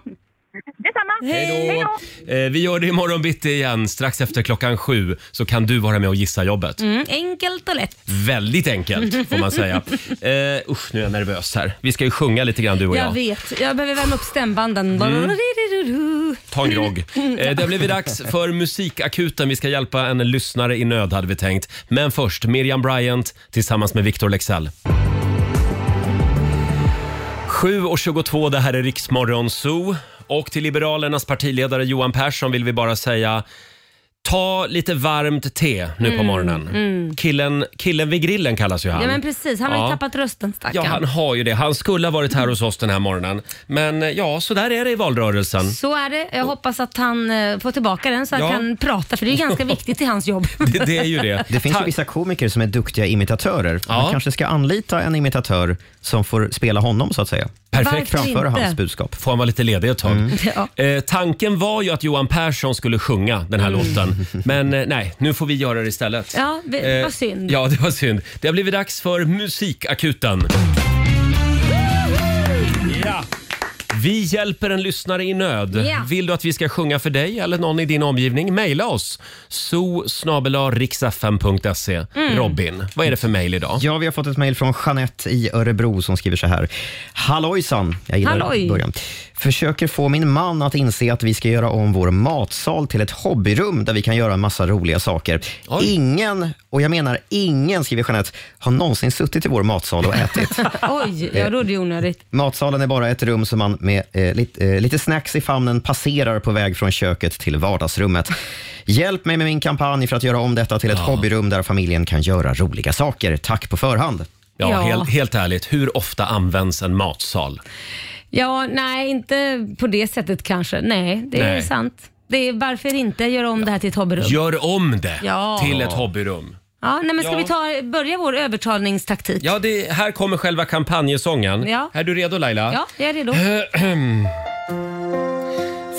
[SPEAKER 7] Detsamma.
[SPEAKER 1] Hej då. Eh, vi gör det imorgon bitti igen strax efter klockan sju så kan du vara med och gissa jobbet.
[SPEAKER 2] Mm, enkelt och lätt.
[SPEAKER 1] Väldigt enkelt får man säga. Eh, usch, nu är jag nervös här. Vi ska ju sjunga lite grann du och
[SPEAKER 2] Jag
[SPEAKER 1] jag.
[SPEAKER 2] vet. Jag behöver värma upp stämbanden. Baroriririruru.
[SPEAKER 1] Ta en grogg. Eh, det har blivit dags för Musikakuten. Vi ska hjälpa en lyssnare i nöd hade vi tänkt. Men först Miriam Bryant tillsammans med Victor Lexell. 7.22, det här är Riksmorgon Zoo. Och till Liberalernas partiledare Johan Persson vill vi bara säga Ta lite varmt te nu på morgonen. Killen, killen vid grillen kallas ju han.
[SPEAKER 2] Mm, Ja men precis, han har
[SPEAKER 1] Ja.
[SPEAKER 2] ju tappat rösten
[SPEAKER 1] Ja,
[SPEAKER 2] stackarn.
[SPEAKER 1] han har ju det. Han skulle ha varit här hos oss den här morgonen. Men eh, ja, så där är det i valrörelsen.
[SPEAKER 2] Så är det. Jag hoppas att han eh, får tillbaka den så han
[SPEAKER 1] Ja.
[SPEAKER 2] kan prata för det är ganska viktigt i hans jobb.
[SPEAKER 1] Det, det är ju det.
[SPEAKER 5] Det finns
[SPEAKER 1] Ta-
[SPEAKER 5] ju vissa komiker som är duktiga imitatörer.
[SPEAKER 1] Ja.
[SPEAKER 5] Man kanske ska anlita en imitatör som får spela honom, så att säga.
[SPEAKER 1] Perfekt.
[SPEAKER 2] Varför Mm.
[SPEAKER 5] Framföra
[SPEAKER 2] inte?
[SPEAKER 5] hans budskap.
[SPEAKER 1] Får han vara lite ledig ett tag.
[SPEAKER 2] Ja.
[SPEAKER 1] Eh, tanken var ju att Johan Persson skulle sjunga den här låten. Men eh, nej, nu får vi göra det istället.
[SPEAKER 2] Mm.
[SPEAKER 1] Eh,
[SPEAKER 2] Ja, vi- vad synd.
[SPEAKER 1] Ja, det var synd. Det har blivit dags för Musikakuten. Ja. Vi hjälper en lyssnare i nöd.
[SPEAKER 2] Ja.
[SPEAKER 1] Vill du att vi ska sjunga för dig eller någon i din omgivning? Mejla oss. so
[SPEAKER 2] Mm.
[SPEAKER 1] Robin, vad är det för mejl idag?
[SPEAKER 5] Ja, vi har fått ett mejl från Jeanette i Örebro som skriver så här. Hallojsan! Jag gillar
[SPEAKER 2] Halloj.
[SPEAKER 5] början. Försöker få min man att inse att vi ska göra om vår matsal till ett hobbyrum där vi kan göra en massa roliga saker.
[SPEAKER 1] Oj.
[SPEAKER 5] Ingen, och jag menar ingen, skriver Jeanette, har någonsin suttit i vår matsal och ätit.
[SPEAKER 2] Oj, ja då är det onödigt.
[SPEAKER 5] Matsalen är bara ett rum som man med eh, lite, eh, lite snacks i famnen passerar på väg från köket till vardagsrummet. Hjälp mig med min kampanj för att göra om detta till ett hobbyrum där familjen kan göra roliga saker. Tack på förhand.
[SPEAKER 1] Ja,
[SPEAKER 2] Ja.
[SPEAKER 1] Helt, helt ärligt, hur ofta används en matsal?
[SPEAKER 2] Ja, nej, inte på det sättet kanske. Nej, det är
[SPEAKER 1] Nej.
[SPEAKER 2] sant. Det är, varför inte göra om det här till ett hobbyrum? Ja,
[SPEAKER 1] Gör om det
[SPEAKER 2] Ja.
[SPEAKER 1] till ett hobbyrum.
[SPEAKER 2] nej, men ska
[SPEAKER 1] Ja.
[SPEAKER 2] vi ta, börja vår övertalningstaktik?
[SPEAKER 1] Ja, det, här kommer själva kampanjesången.
[SPEAKER 2] Ja.
[SPEAKER 1] Är du redo Laila?
[SPEAKER 2] Ja, jag är redo.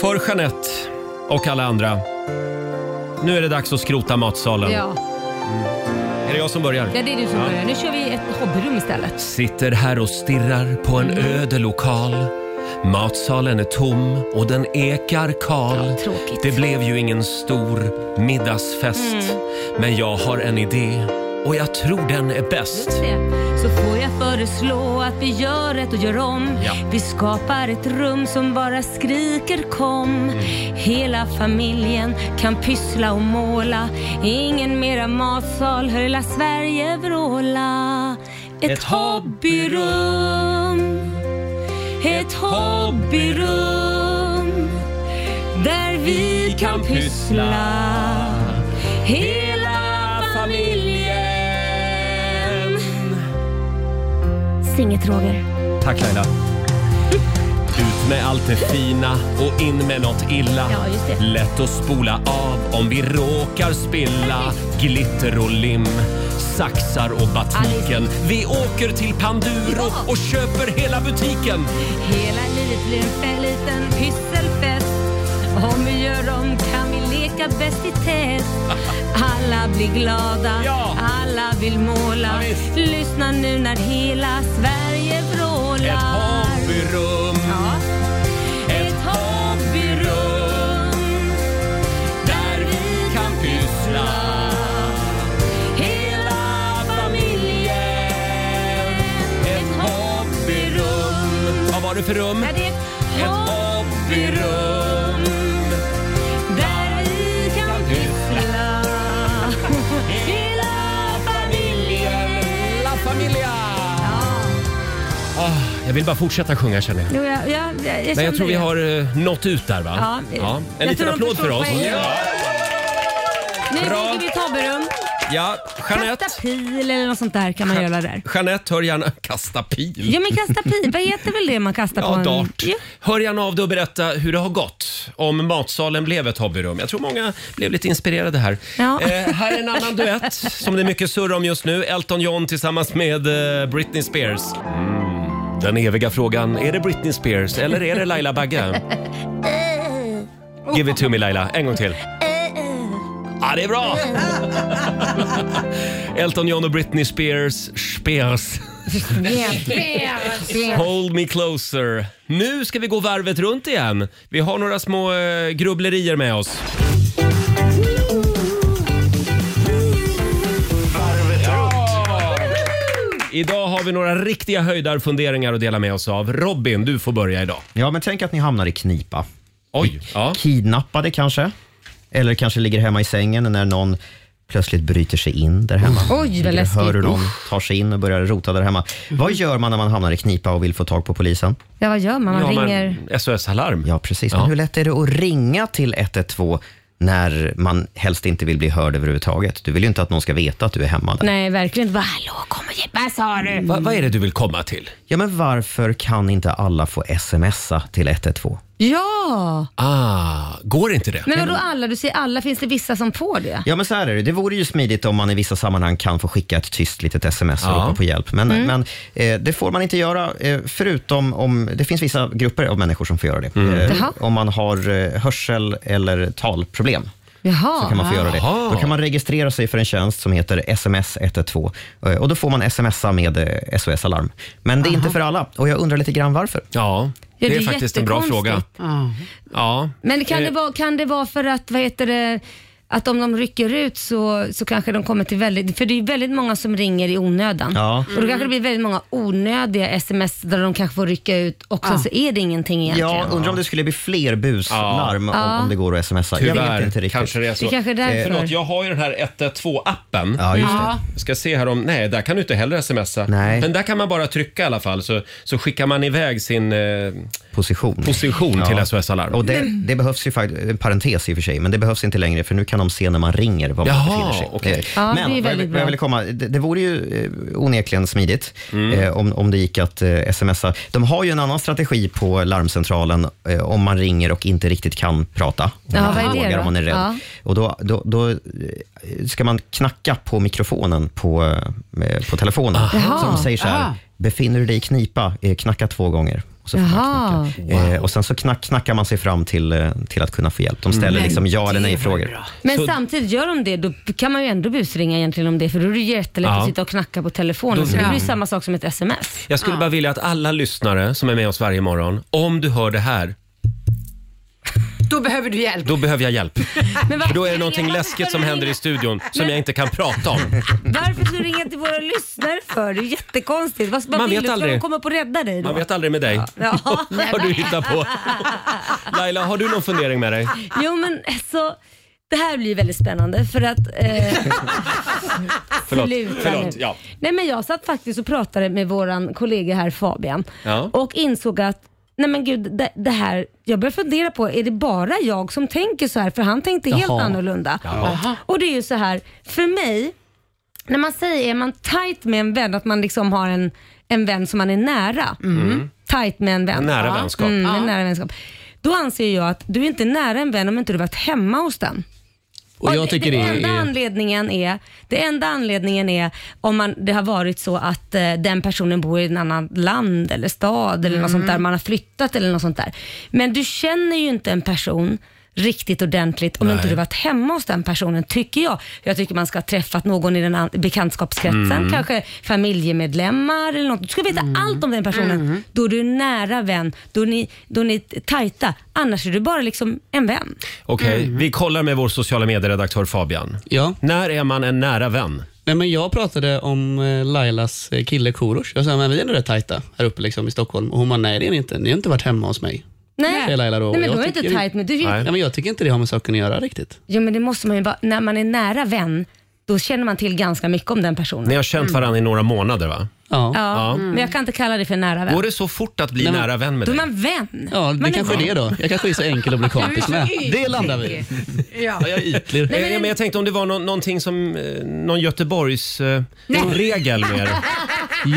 [SPEAKER 1] För Jeanette och alla andra. Nu är det dags att skrota matsalen.
[SPEAKER 2] Ja,
[SPEAKER 1] Är det jag som börjar?
[SPEAKER 2] ja det är du som börjar. Nu kör vi ett hobbyrum istället.
[SPEAKER 1] Sitter här och stirrar på en
[SPEAKER 2] Mm.
[SPEAKER 1] öde lokal. Matsalen är tom och den ekar kal.
[SPEAKER 2] Ja, tråkigt.
[SPEAKER 1] det blev ju ingen stor middagsfest.
[SPEAKER 2] Mm.
[SPEAKER 1] Men jag har en idé och jag tror den är bäst.
[SPEAKER 2] Just det. Så får jag föreslå att vi gör ett och gör om.
[SPEAKER 1] Ja.
[SPEAKER 2] Vi skapar ett rum som bara skriker kom. Hela familjen kan pyssla och måla. Ingen mera matsal, hör hela Sverige vråla. Ett,
[SPEAKER 1] Ett
[SPEAKER 2] hobbyrum. Ett hobbyrum. Där vi kan pyssla. Hela familjen. Sing it Roger.
[SPEAKER 1] Tack Laila. Ut med allt det fina och in med något illa.
[SPEAKER 10] Ja, just det.
[SPEAKER 1] Lätt att spola av om vi råkar spilla. Glitter och lim, saxar och batiken. Vi åker till Panduro
[SPEAKER 10] Ja.
[SPEAKER 1] och köper hela butiken.
[SPEAKER 10] Hela livet blir en fe- liten pysselfest. Om vi gör om kan vi leka bäst i test. Alla blir glada,
[SPEAKER 1] Ja.
[SPEAKER 10] alla vill måla.
[SPEAKER 1] Ja, visst.
[SPEAKER 10] Lyssna nu när hela Sverige vrålar.
[SPEAKER 1] Ett hobbyrum.
[SPEAKER 10] Ja. Ett hobbyrum där vi kan pyssla hela familjen. Ett hobbyrum.
[SPEAKER 1] Vad var det för rum?
[SPEAKER 10] Ja, det är
[SPEAKER 1] Ett
[SPEAKER 10] ett hobbyrum där vi kan pyssla hela familjen.
[SPEAKER 1] La Familia!
[SPEAKER 10] Ja.
[SPEAKER 1] Ah, jag vill bara fortsätta sjunga känner jag.
[SPEAKER 10] Jo, jag, jag, jag,
[SPEAKER 1] Men jag
[SPEAKER 10] kände
[SPEAKER 1] tror vi
[SPEAKER 10] det.
[SPEAKER 1] har eh, nått ut där va?
[SPEAKER 10] Ja.
[SPEAKER 1] En
[SPEAKER 10] Jag
[SPEAKER 1] liten
[SPEAKER 10] tror de
[SPEAKER 1] applåd för
[SPEAKER 10] förstår
[SPEAKER 1] oss.
[SPEAKER 10] poängen. Nu
[SPEAKER 1] Bra.
[SPEAKER 10] bygger vi ett hobbyrum.
[SPEAKER 1] Ja, Jeanette.
[SPEAKER 10] Kasta pil eller något sånt där kan man göra där.
[SPEAKER 1] Jeanette hör gärna... Kasta pil?
[SPEAKER 10] Ja men kasta pil, vad heter väl det man kastar på
[SPEAKER 1] Ja,
[SPEAKER 10] en...
[SPEAKER 1] dart.
[SPEAKER 10] Ja.
[SPEAKER 1] Hör gärna av dig och berätta hur det har gått. Om matsalen blev ett hobbyrum. Jag tror många blev lite inspirerade här.
[SPEAKER 10] Ja.
[SPEAKER 1] Eh, här är en annan duett som det är mycket surr om just nu. Elton John tillsammans med eh, Britney Spears. Mm, den eviga frågan, är det Britney Spears eller är det Laila Bagge? Give it to me Laila, en gång till. Ja, det är bra! Elton John och Britney Spears, Spears. Hold me closer. Nu ska vi gå varvet runt igen. Vi har några små eh, grubblerier med oss. Idag har vi några riktiga höjdarfunderingar att dela med oss av. Robin, du får börja idag.
[SPEAKER 5] Ja, men tänk att ni hamnar i knipa.
[SPEAKER 1] Oj! Ja.
[SPEAKER 5] Kidnappade kanske? Eller kanske ligger hemma i sängen när någon plötsligt bryter sig in där hemma.
[SPEAKER 2] Oj, vad
[SPEAKER 5] Ligger och
[SPEAKER 2] läskigt. Mm.
[SPEAKER 5] Hör hur de tar sig in och börjar rota där hemma. Vad gör man när man hamnar i knipa och vill få tag på polisen?
[SPEAKER 2] Ja, vad gör man? Man
[SPEAKER 1] ja, men
[SPEAKER 2] ringer...
[SPEAKER 1] SOS Alarm.
[SPEAKER 5] Ja, precis. Men
[SPEAKER 1] Ja.
[SPEAKER 5] hur lätt är det att ringa till 112 när man helst inte vill bli hörd överhuvudtaget? Du vill ju inte att någon ska veta att du är hemma där.
[SPEAKER 2] Nej, verkligen inte. Bara, Hallå, kom och hjälp. Vad sa du?
[SPEAKER 1] Va, vad är det du vill komma till?
[SPEAKER 5] Ja, men varför kan inte alla få smsa till 112?
[SPEAKER 2] Ja!
[SPEAKER 1] Ah, går inte det?
[SPEAKER 2] Men vadå alla? Du säger alla. Finns det vissa som får det?
[SPEAKER 5] Ja, men så här är det. Det vore ju smidigt om man i vissa sammanhang kan få skicka ett tyst litet sms och
[SPEAKER 1] Ja.
[SPEAKER 5] ropa på hjälp. Men,
[SPEAKER 2] Mm.
[SPEAKER 5] men eh, det får man inte göra, eh, förutom om... Det finns vissa grupper av människor som får göra det.
[SPEAKER 1] Mm.
[SPEAKER 5] Eh,
[SPEAKER 2] Jaha.
[SPEAKER 5] om man har eh, hörsel eller talproblem.
[SPEAKER 2] Jaha.
[SPEAKER 5] så kan man få göra det.
[SPEAKER 1] Jaha.
[SPEAKER 5] Då kan man registrera sig för en tjänst som heter SMS 112 eh, och då får man smsa med eh, SOS Alarm. Men det är inte för alla och jag undrar lite grann varför.
[SPEAKER 1] Ja, det,
[SPEAKER 2] Ja,
[SPEAKER 1] är
[SPEAKER 2] det är
[SPEAKER 1] faktiskt en bra fråga.
[SPEAKER 2] jättekonstigt.
[SPEAKER 4] Ja.
[SPEAKER 1] Ja.
[SPEAKER 2] Men kan,
[SPEAKER 1] Eh.
[SPEAKER 2] det vara, kan det vara för att, vad heter det, att om de rycker ut så, så kanske de kommer till väldigt, för det är ju väldigt många som ringer i onödan.
[SPEAKER 5] Ja.
[SPEAKER 2] Och då kanske det blir väldigt många onödiga sms där de kanske får rycka ut och sen så är det ingenting egentligen.
[SPEAKER 5] Jag undrar om det skulle bli fler buslarm om, om det går att smsa. jag
[SPEAKER 1] Tyvärr
[SPEAKER 5] vet inte riktigt.
[SPEAKER 1] kanske det är så. Eh,
[SPEAKER 2] Det kanske är därför.
[SPEAKER 1] Förlåt, jag har ju den här 112-appen.
[SPEAKER 5] Ja, just det.
[SPEAKER 4] Ja.
[SPEAKER 1] Jag ska se här om... Nej, där kan du inte heller smsa.
[SPEAKER 5] Nej.
[SPEAKER 1] Den där kan man bara trycka i alla fall så, så skickar man iväg sin eh,
[SPEAKER 5] Position.
[SPEAKER 1] position
[SPEAKER 5] Ja.
[SPEAKER 1] till SOS Alarm.
[SPEAKER 5] Och det, det behövs ju faktiskt, en parentes i och för sig, men det behövs inte längre för nu kan de se när man ringer var man
[SPEAKER 1] Jaha,
[SPEAKER 5] befinner sig.
[SPEAKER 1] okej.
[SPEAKER 5] Eh,
[SPEAKER 2] Ja, det är
[SPEAKER 5] men vad jag,
[SPEAKER 2] väldigt
[SPEAKER 5] vad jag
[SPEAKER 2] bra.
[SPEAKER 5] ville komma, det, det vore ju eh, onekligen smidigt
[SPEAKER 1] Mm.
[SPEAKER 5] eh, om, om det gick att eh, smsa. De har ju en annan strategi på larmcentralen eh, om man ringer och inte riktigt kan prata. Om
[SPEAKER 2] Ja,
[SPEAKER 5] man
[SPEAKER 2] vad är det
[SPEAKER 5] frågar
[SPEAKER 2] då?
[SPEAKER 5] om man är rädd.
[SPEAKER 2] Ja.
[SPEAKER 5] Och då, då, då eh, ska man knacka på mikrofonen på, eh, på telefonen som säger så här,
[SPEAKER 4] Aha.
[SPEAKER 5] befinner du dig i knipa, eh, knacka två gånger. Och så får man
[SPEAKER 2] Jaha.
[SPEAKER 5] knacka. Eh, och sen så knack, knackar man sig fram till, eh, till att kunna få hjälp. De
[SPEAKER 2] Mm.
[SPEAKER 5] ställer liksom ja eller nej-frågor.
[SPEAKER 2] Men samtidigt, gör de det, då kan man ju ändå busringa egentligen om det, för då är det jättelätt
[SPEAKER 1] Ja.
[SPEAKER 2] att sitta och knacka på telefonen. Så det blir ju samma sak som ett sms.
[SPEAKER 1] Jag skulle bara vilja att alla lyssnare som är med oss varje morgon, om du hör det här,
[SPEAKER 4] Då behöver du hjälp.
[SPEAKER 1] då behöver jag hjälp.
[SPEAKER 2] Men
[SPEAKER 1] För då är det någonting läskigt som händer i studion som jag inte kan prata om.
[SPEAKER 2] Varför ska du ringa till våra lyssnare för? Det är ju jättekonstigt. Vad, vad
[SPEAKER 1] Man
[SPEAKER 2] vill
[SPEAKER 1] vet
[SPEAKER 2] du? Ska
[SPEAKER 1] aldrig.
[SPEAKER 2] de komma upp och rädda dig då?
[SPEAKER 1] Man vet aldrig med dig.
[SPEAKER 2] Ja.
[SPEAKER 1] Vad du hittar på. Laila, har du någon fundering med dig?
[SPEAKER 2] Jo men alltså, det här blir ju väldigt spännande för att... Eh,
[SPEAKER 1] Förlåt.
[SPEAKER 2] sluta
[SPEAKER 1] Förlåt.
[SPEAKER 2] nu.
[SPEAKER 1] Ja.
[SPEAKER 2] Nej men jag satt faktiskt och pratade med våran kollega här Fabian
[SPEAKER 1] Ja.
[SPEAKER 2] och insåg att Nej men gud, det, det här, jag började fundera på, är det bara jag som tänker så här? För han tänkte helt
[SPEAKER 5] Jaha.
[SPEAKER 2] annorlunda. Och det är ju så här, för mig, när man säger är man tight med en vän, att man liksom har en, en vän som man är nära. tajt med en vän.
[SPEAKER 1] Mm. Nära vänskap.
[SPEAKER 2] Mm, en
[SPEAKER 4] Ja.
[SPEAKER 2] nära vänskap. Då anser jag att du är inte nära en vän om inte du varit hemma hos den.
[SPEAKER 8] Och jag tycker det
[SPEAKER 2] den enda
[SPEAKER 8] är...
[SPEAKER 2] anledningen är, det enda anledningen är om man, det har varit så att eh, den personen bor i ett annat land eller stad eller något
[SPEAKER 8] Mm.
[SPEAKER 2] sånt där, man har flyttat eller något sånt där. Men du känner ju inte en person riktigt ordentligt om inte du varit hemma hos den personen, tycker jag. Jag tycker man ska ha träffat någon i den an- bekantskapskretsen,
[SPEAKER 8] Mm.
[SPEAKER 2] kanske familjemedlemmar eller något. Du ska veta allt om den personen.
[SPEAKER 8] Mm.
[SPEAKER 2] Då är du nära vän, då är, ni, då är ni tajta. Annars är du bara liksom en vän.
[SPEAKER 1] Okej,
[SPEAKER 2] Mm.
[SPEAKER 1] vi kollar med vår sociala medieredaktör Fabian.
[SPEAKER 8] Ja.
[SPEAKER 1] När är man en nära vän?
[SPEAKER 8] Nej, men jag pratade om eh, Lailas eh, kille Korosh. Jag sa, men vi är ändå rätt tajta här uppe liksom, i Stockholm. Och hon bara, nej det är ni inte. Ni har inte varit hemma hos mig.
[SPEAKER 2] Nej,
[SPEAKER 8] Säger Laila då.
[SPEAKER 2] Nej men
[SPEAKER 8] Jag
[SPEAKER 2] då är det
[SPEAKER 8] tycker
[SPEAKER 2] inte tajt. Men du,
[SPEAKER 1] Nej.
[SPEAKER 8] Nej, men jag tycker inte det har med saken att göra riktigt.
[SPEAKER 2] Jo men det måste man ju bara, när man är nära vän, då känner man till ganska mycket om den personen.
[SPEAKER 1] Ni har känt varandra i några månader va?
[SPEAKER 8] Ja.
[SPEAKER 2] Ja, men jag kan inte kalla det för nära vän.
[SPEAKER 1] Går det så fort att bli
[SPEAKER 8] Nej, men-
[SPEAKER 1] nära vän med
[SPEAKER 2] Då är
[SPEAKER 1] dig?
[SPEAKER 2] man vän.
[SPEAKER 8] Ja, det
[SPEAKER 2] man
[SPEAKER 8] kanske är det då. Jag kanske är så enkel att bli kompis med. Det landar vi i.
[SPEAKER 4] Ja.
[SPEAKER 8] Ja, Jag är ytlig.
[SPEAKER 1] Nej, Eh, men, jag tänkte om det var nå- någonting som eh, någon Göteborgs eh, regel med det.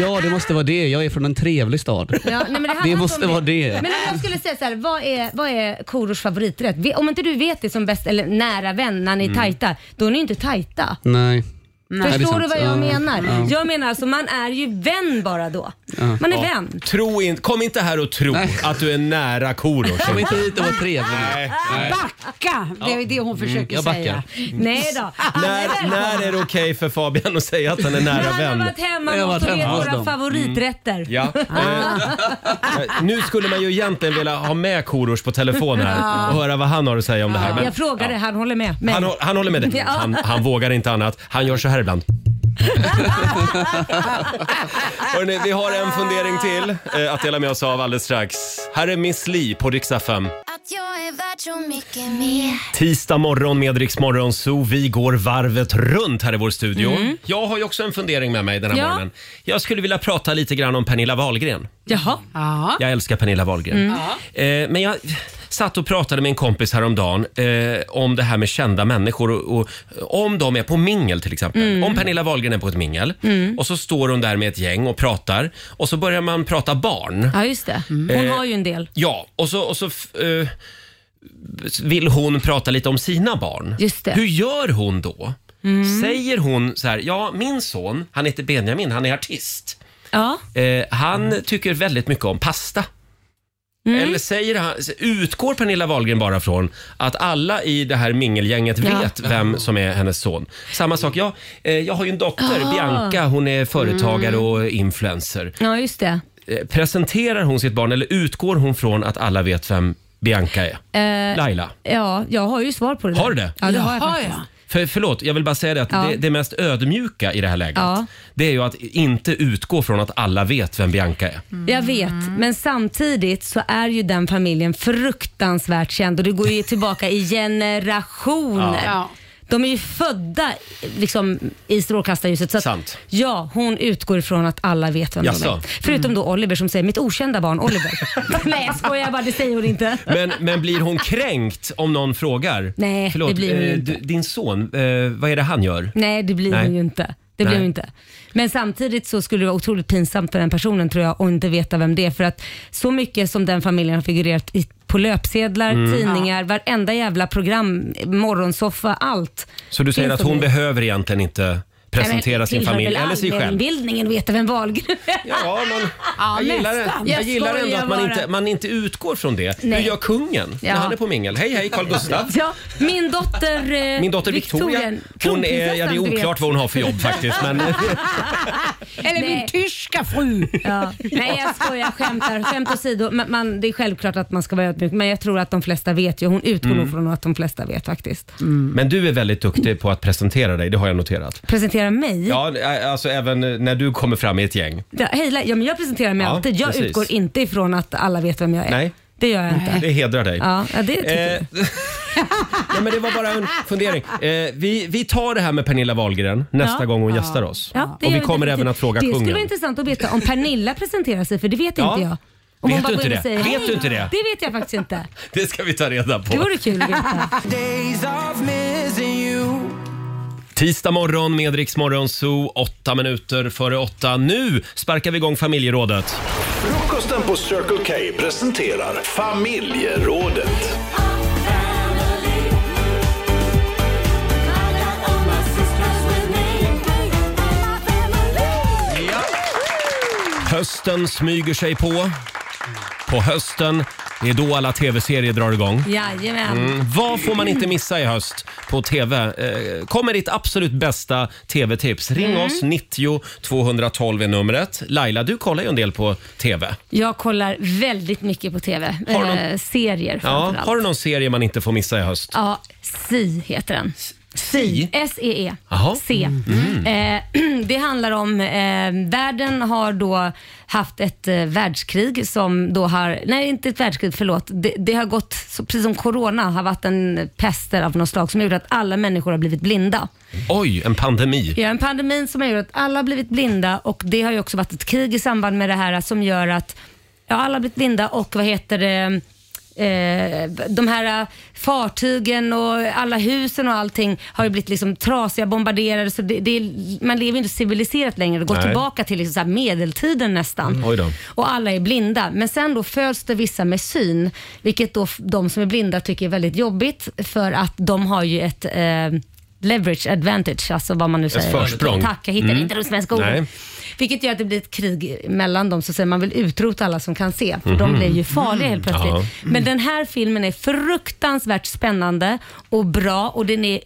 [SPEAKER 8] Ja, det måste vara det. Jag är från en trevlig stad.
[SPEAKER 2] Ja, nej, men det handlar
[SPEAKER 8] Det
[SPEAKER 2] inte
[SPEAKER 8] måste
[SPEAKER 2] om
[SPEAKER 8] vara det.
[SPEAKER 2] Men om jag skulle säga så här, vad är, vad är Korosh favoriträtt? Ve- Om inte du vet det som bäst, eller nära vän, när ni är tajta, då är ni inte tajta.
[SPEAKER 8] Mm. Nej. det är
[SPEAKER 2] Förstår
[SPEAKER 8] sant.
[SPEAKER 2] du vad jag
[SPEAKER 8] Ja.
[SPEAKER 2] menar?
[SPEAKER 8] Ja.
[SPEAKER 2] Jag menar alltså, man är ju vän bara då. Man är vän.
[SPEAKER 1] Tro in, kom inte här och tro
[SPEAKER 8] Nej.
[SPEAKER 1] att du är nära Korosh.
[SPEAKER 8] Kom inte hit och var trevlig.
[SPEAKER 4] Backa! Det är det hon försöker
[SPEAKER 8] jag backar.
[SPEAKER 4] säga.
[SPEAKER 2] Nej då. Han är
[SPEAKER 1] när,
[SPEAKER 2] välkommen.
[SPEAKER 1] när är det okej för Fabian att säga att han är nära
[SPEAKER 2] Han har
[SPEAKER 1] vän?
[SPEAKER 2] varit hemma
[SPEAKER 8] Jag har
[SPEAKER 2] hos
[SPEAKER 8] varit
[SPEAKER 2] och gett
[SPEAKER 8] hemma hos
[SPEAKER 2] våra
[SPEAKER 8] dem.
[SPEAKER 2] favoriträtter.
[SPEAKER 1] Ja. Eh, eh, nu skulle man ju egentligen vilja ha med Korosh på telefon här och höra vad han har att säga om det här. Men
[SPEAKER 2] jag frågade, han håller med. Men,
[SPEAKER 1] han, hå- han håller med dig.
[SPEAKER 2] Ja.
[SPEAKER 1] Han, han vågar inte annat. Han gör så här ibland. Hörrni, vi har en fundering till eh, att dela med oss av alldeles strax. Här är Miss Li på Rix FM.
[SPEAKER 11] Att jag är värd så mycket mer.
[SPEAKER 1] Tisdag morgon med Rix Morgon Zoo. Vi går varvet runt här i vår studio. Jag har ju också en fundering med mig den här
[SPEAKER 2] Mm. Ja.
[SPEAKER 1] morgonen. Jag skulle vilja prata lite grann om Pernilla Wahlgren.
[SPEAKER 2] Jaha.
[SPEAKER 4] Ja.
[SPEAKER 1] Jag älskar Pernilla Wahlgren.
[SPEAKER 2] Mm.
[SPEAKER 1] Eh, men jag satt och pratade med en kompis häromdagen eh, om det här med kända människor och, och om de är på mingel till exempel.
[SPEAKER 2] Mm.
[SPEAKER 1] Om Pernilla Wahlgren är på ett mingel och så står hon där med ett gäng och pratar och så börjar man prata barn.
[SPEAKER 2] Ja, just det.
[SPEAKER 1] Mm.
[SPEAKER 2] Hon
[SPEAKER 1] Eh.
[SPEAKER 2] har ju en del.
[SPEAKER 1] Ja, och så, och så f- eh, vill hon prata lite om sina barn.
[SPEAKER 2] Just det. Mm.
[SPEAKER 1] Hur gör hon då? Säger hon så här, ja min son, han heter Benjamin, han är artist.
[SPEAKER 2] Ja.
[SPEAKER 1] Eh, han
[SPEAKER 2] Mm.
[SPEAKER 1] tycker väldigt mycket om pasta. Eller säger han, utgår Pernilla Wahlgren bara från att alla i det här mingelgänget vet vem som är hennes son? Samma sak, jag, eh, jag har ju en dotter, Bianca, hon är företagare
[SPEAKER 2] Mm.
[SPEAKER 1] och influencer.
[SPEAKER 2] ja, just det.
[SPEAKER 1] Eh, presenterar hon sitt barn eller utgår hon från att alla vet vem Bianca är?
[SPEAKER 2] Eh,
[SPEAKER 1] Laila?
[SPEAKER 2] Ja, jag har ju svar på det där.
[SPEAKER 1] Har du det?
[SPEAKER 2] Ja, det har jag
[SPEAKER 4] Jaha,
[SPEAKER 2] faktiskt.
[SPEAKER 4] ja.
[SPEAKER 1] För, förlåt, jag vill bara säga det att
[SPEAKER 2] Ja.
[SPEAKER 1] det, det mest ödmjuka i det här läget,
[SPEAKER 2] Ja.
[SPEAKER 1] det är ju att inte utgå från att alla vet vem Bianca är.
[SPEAKER 2] Jag vet, men samtidigt så är ju den familjen fruktansvärt känd och det går ju tillbaka i generationer.
[SPEAKER 4] Ja.
[SPEAKER 2] De är ju födda liksom, i strålkastarljuset. Så att,
[SPEAKER 1] Sant.
[SPEAKER 2] Ja, hon utgår ifrån att alla vet vem de
[SPEAKER 1] Jaså? Mm.
[SPEAKER 2] är. Förutom då Oliver som säger mitt okända barn Oliver. Nej jag skojar bara, det säger hon inte.
[SPEAKER 1] Men, men blir hon kränkt om någon frågar?
[SPEAKER 2] Nej,
[SPEAKER 1] Förlåt,
[SPEAKER 2] det blir hon
[SPEAKER 1] eh,
[SPEAKER 2] inte.
[SPEAKER 1] d- Din son, eh, vad är det han gör?
[SPEAKER 2] Nej, det blir
[SPEAKER 1] Nej.
[SPEAKER 2] hon ju inte. Det
[SPEAKER 1] Nej.
[SPEAKER 2] blir hon inte. Men samtidigt så skulle det vara otroligt pinsamt för den personen tror jag och inte veta vem det är. För att så mycket som den familjen har figurerat i, på löpsedlar,
[SPEAKER 1] Mm.
[SPEAKER 2] tidningar, varenda jävla program, morgonsoffa, allt.
[SPEAKER 1] Så du säger
[SPEAKER 2] Finns
[SPEAKER 1] att hon
[SPEAKER 2] det.
[SPEAKER 1] behöver egentligen inte presentera
[SPEAKER 2] Nej, men
[SPEAKER 1] sin
[SPEAKER 2] tillhör
[SPEAKER 1] familj
[SPEAKER 2] väl
[SPEAKER 1] eller sig själv?
[SPEAKER 2] allmänbildningen att veta vem Wahlgren är.
[SPEAKER 1] Ja, men jag gillar, det.
[SPEAKER 4] nästan.
[SPEAKER 1] Jag
[SPEAKER 2] Jag
[SPEAKER 1] gillar ändå
[SPEAKER 2] skojar
[SPEAKER 1] att man
[SPEAKER 2] bara.
[SPEAKER 1] inte, man inte utgår från det. Hur
[SPEAKER 2] Nej.
[SPEAKER 1] gör kungen
[SPEAKER 2] Ja.
[SPEAKER 1] när han är på mingel? Hej, hej, Carl Gustaf.
[SPEAKER 2] Ja, min dotter eh,
[SPEAKER 1] Min dotter Victoria, hon är, ja, det är
[SPEAKER 2] kronprinsessan, du vet.
[SPEAKER 1] oklart vad hon har för jobb faktiskt. Men,
[SPEAKER 4] Eller min
[SPEAKER 2] Nej.
[SPEAKER 4] tyska fru.
[SPEAKER 2] Ja. Nej jag skojar, jag skämtar. Skämt åsido, man, man, det är självklart att man ska vara ödmjuk men jag tror att de flesta vet ju. Hon utgår
[SPEAKER 1] Mm.
[SPEAKER 2] nog från att de flesta vet faktiskt.
[SPEAKER 1] men du är väldigt duktig på att presentera dig, det har jag noterat.
[SPEAKER 2] Presentera mig? Ja.
[SPEAKER 1] Ja, alltså även när du kommer fram i ett gäng.
[SPEAKER 2] hej, La- ja, men jag presenterar mig
[SPEAKER 1] Ja,
[SPEAKER 2] alltid. Jag
[SPEAKER 1] precis.
[SPEAKER 2] utgår inte ifrån att alla vet vem jag är.
[SPEAKER 1] Nej.
[SPEAKER 2] Det gör jag inte.
[SPEAKER 1] Det hedrar dig.
[SPEAKER 2] Ja, ja, det tycker jag.
[SPEAKER 1] Eh, Nej, men det var bara en fundering. Eh, vi, vi tar det här med Pernilla Wahlgren nästa
[SPEAKER 2] Ja.
[SPEAKER 1] gång hon gästar oss.
[SPEAKER 2] Ja, det
[SPEAKER 1] och
[SPEAKER 2] gör
[SPEAKER 1] vi kommer
[SPEAKER 2] definitivt.
[SPEAKER 1] även att fråga
[SPEAKER 2] det Det skulle
[SPEAKER 1] kungen.
[SPEAKER 2] vara intressant att veta om Pernilla presenterar sig för det vet
[SPEAKER 1] Ja.
[SPEAKER 2] inte jag. Om
[SPEAKER 1] Vet
[SPEAKER 2] hon bara
[SPEAKER 1] du
[SPEAKER 2] går
[SPEAKER 1] inte
[SPEAKER 2] in
[SPEAKER 1] det?
[SPEAKER 2] och säger,
[SPEAKER 1] Vet
[SPEAKER 2] "Hej
[SPEAKER 1] du
[SPEAKER 2] då."
[SPEAKER 1] inte det?
[SPEAKER 2] Det vet jag faktiskt inte.
[SPEAKER 1] Det ska vi ta reda
[SPEAKER 2] Det
[SPEAKER 1] på.
[SPEAKER 2] vore kul att veta.
[SPEAKER 1] Tisdag morgon med Rix Morgon Zoo, åtta minuter före åtta. Nu sparkar vi igång familjerådet.
[SPEAKER 12] Frukosten på Circle K presenterar Familjerådet.
[SPEAKER 1] Hösten smyger sig på. På hösten, det är då alla tv-serier drar igång.
[SPEAKER 2] Jajamän.
[SPEAKER 1] Mm. Vad får man inte missa i höst på TV? Eh, kommer ditt absolut bästa TV-tips. Ring
[SPEAKER 2] Mm.
[SPEAKER 1] oss, 90 212 är numret. Laila, du kollar ju en del på TV.
[SPEAKER 2] Jag kollar väldigt mycket på TV.
[SPEAKER 1] Har du någon-
[SPEAKER 2] Eh, serier
[SPEAKER 1] Ja,
[SPEAKER 2] framförallt.
[SPEAKER 1] har du någon serie man inte får missa i höst?
[SPEAKER 2] Ja, Si heter den. Si? S-E-E.
[SPEAKER 1] Jaha.
[SPEAKER 2] C.
[SPEAKER 1] Mm.
[SPEAKER 2] Eh, det handlar om eh, världen har då haft ett eh, världskrig som då har, nej inte ett världskrig, förlåt. Det, det har gått, så, precis som corona, har varit en pester av något slag som gjort att alla människor har blivit blinda.
[SPEAKER 1] Oj, en pandemi.
[SPEAKER 2] Ja, en pandemi som har gjort att alla har blivit blinda och det har ju också varit ett krig i samband med det här som gör att ja, alla har blivit blinda och vad heter det, eh, de här eh, fartygen och alla husen och allting har ju blivit liksom trasiga, bombarderade. Så det, det är, man lever ju inte civiliserat längre och går
[SPEAKER 13] Nej. Mm,
[SPEAKER 2] tillbaka till liksom så här medeltiden nästan
[SPEAKER 13] Oj då.
[SPEAKER 2] och alla är blinda. Men sen då föds det vissa med syn, vilket då f- de som är blinda tycker är väldigt jobbigt för att de har ju ett eh, leverage advantage, alltså vad man nu
[SPEAKER 13] Ett
[SPEAKER 2] säger.
[SPEAKER 13] försprång.
[SPEAKER 2] Tack, jag hittade
[SPEAKER 13] Mm.
[SPEAKER 2] inte de svenska orden.
[SPEAKER 13] Nej.
[SPEAKER 2] Vilket gör att det blir ett krig mellan dem, så säger man vill utrota alla som kan se, för de
[SPEAKER 13] Mhm.
[SPEAKER 2] blir ju farliga helt plötsligt.
[SPEAKER 13] Ja.
[SPEAKER 2] Men den här filmen är fruktansvärt spännande och bra och den är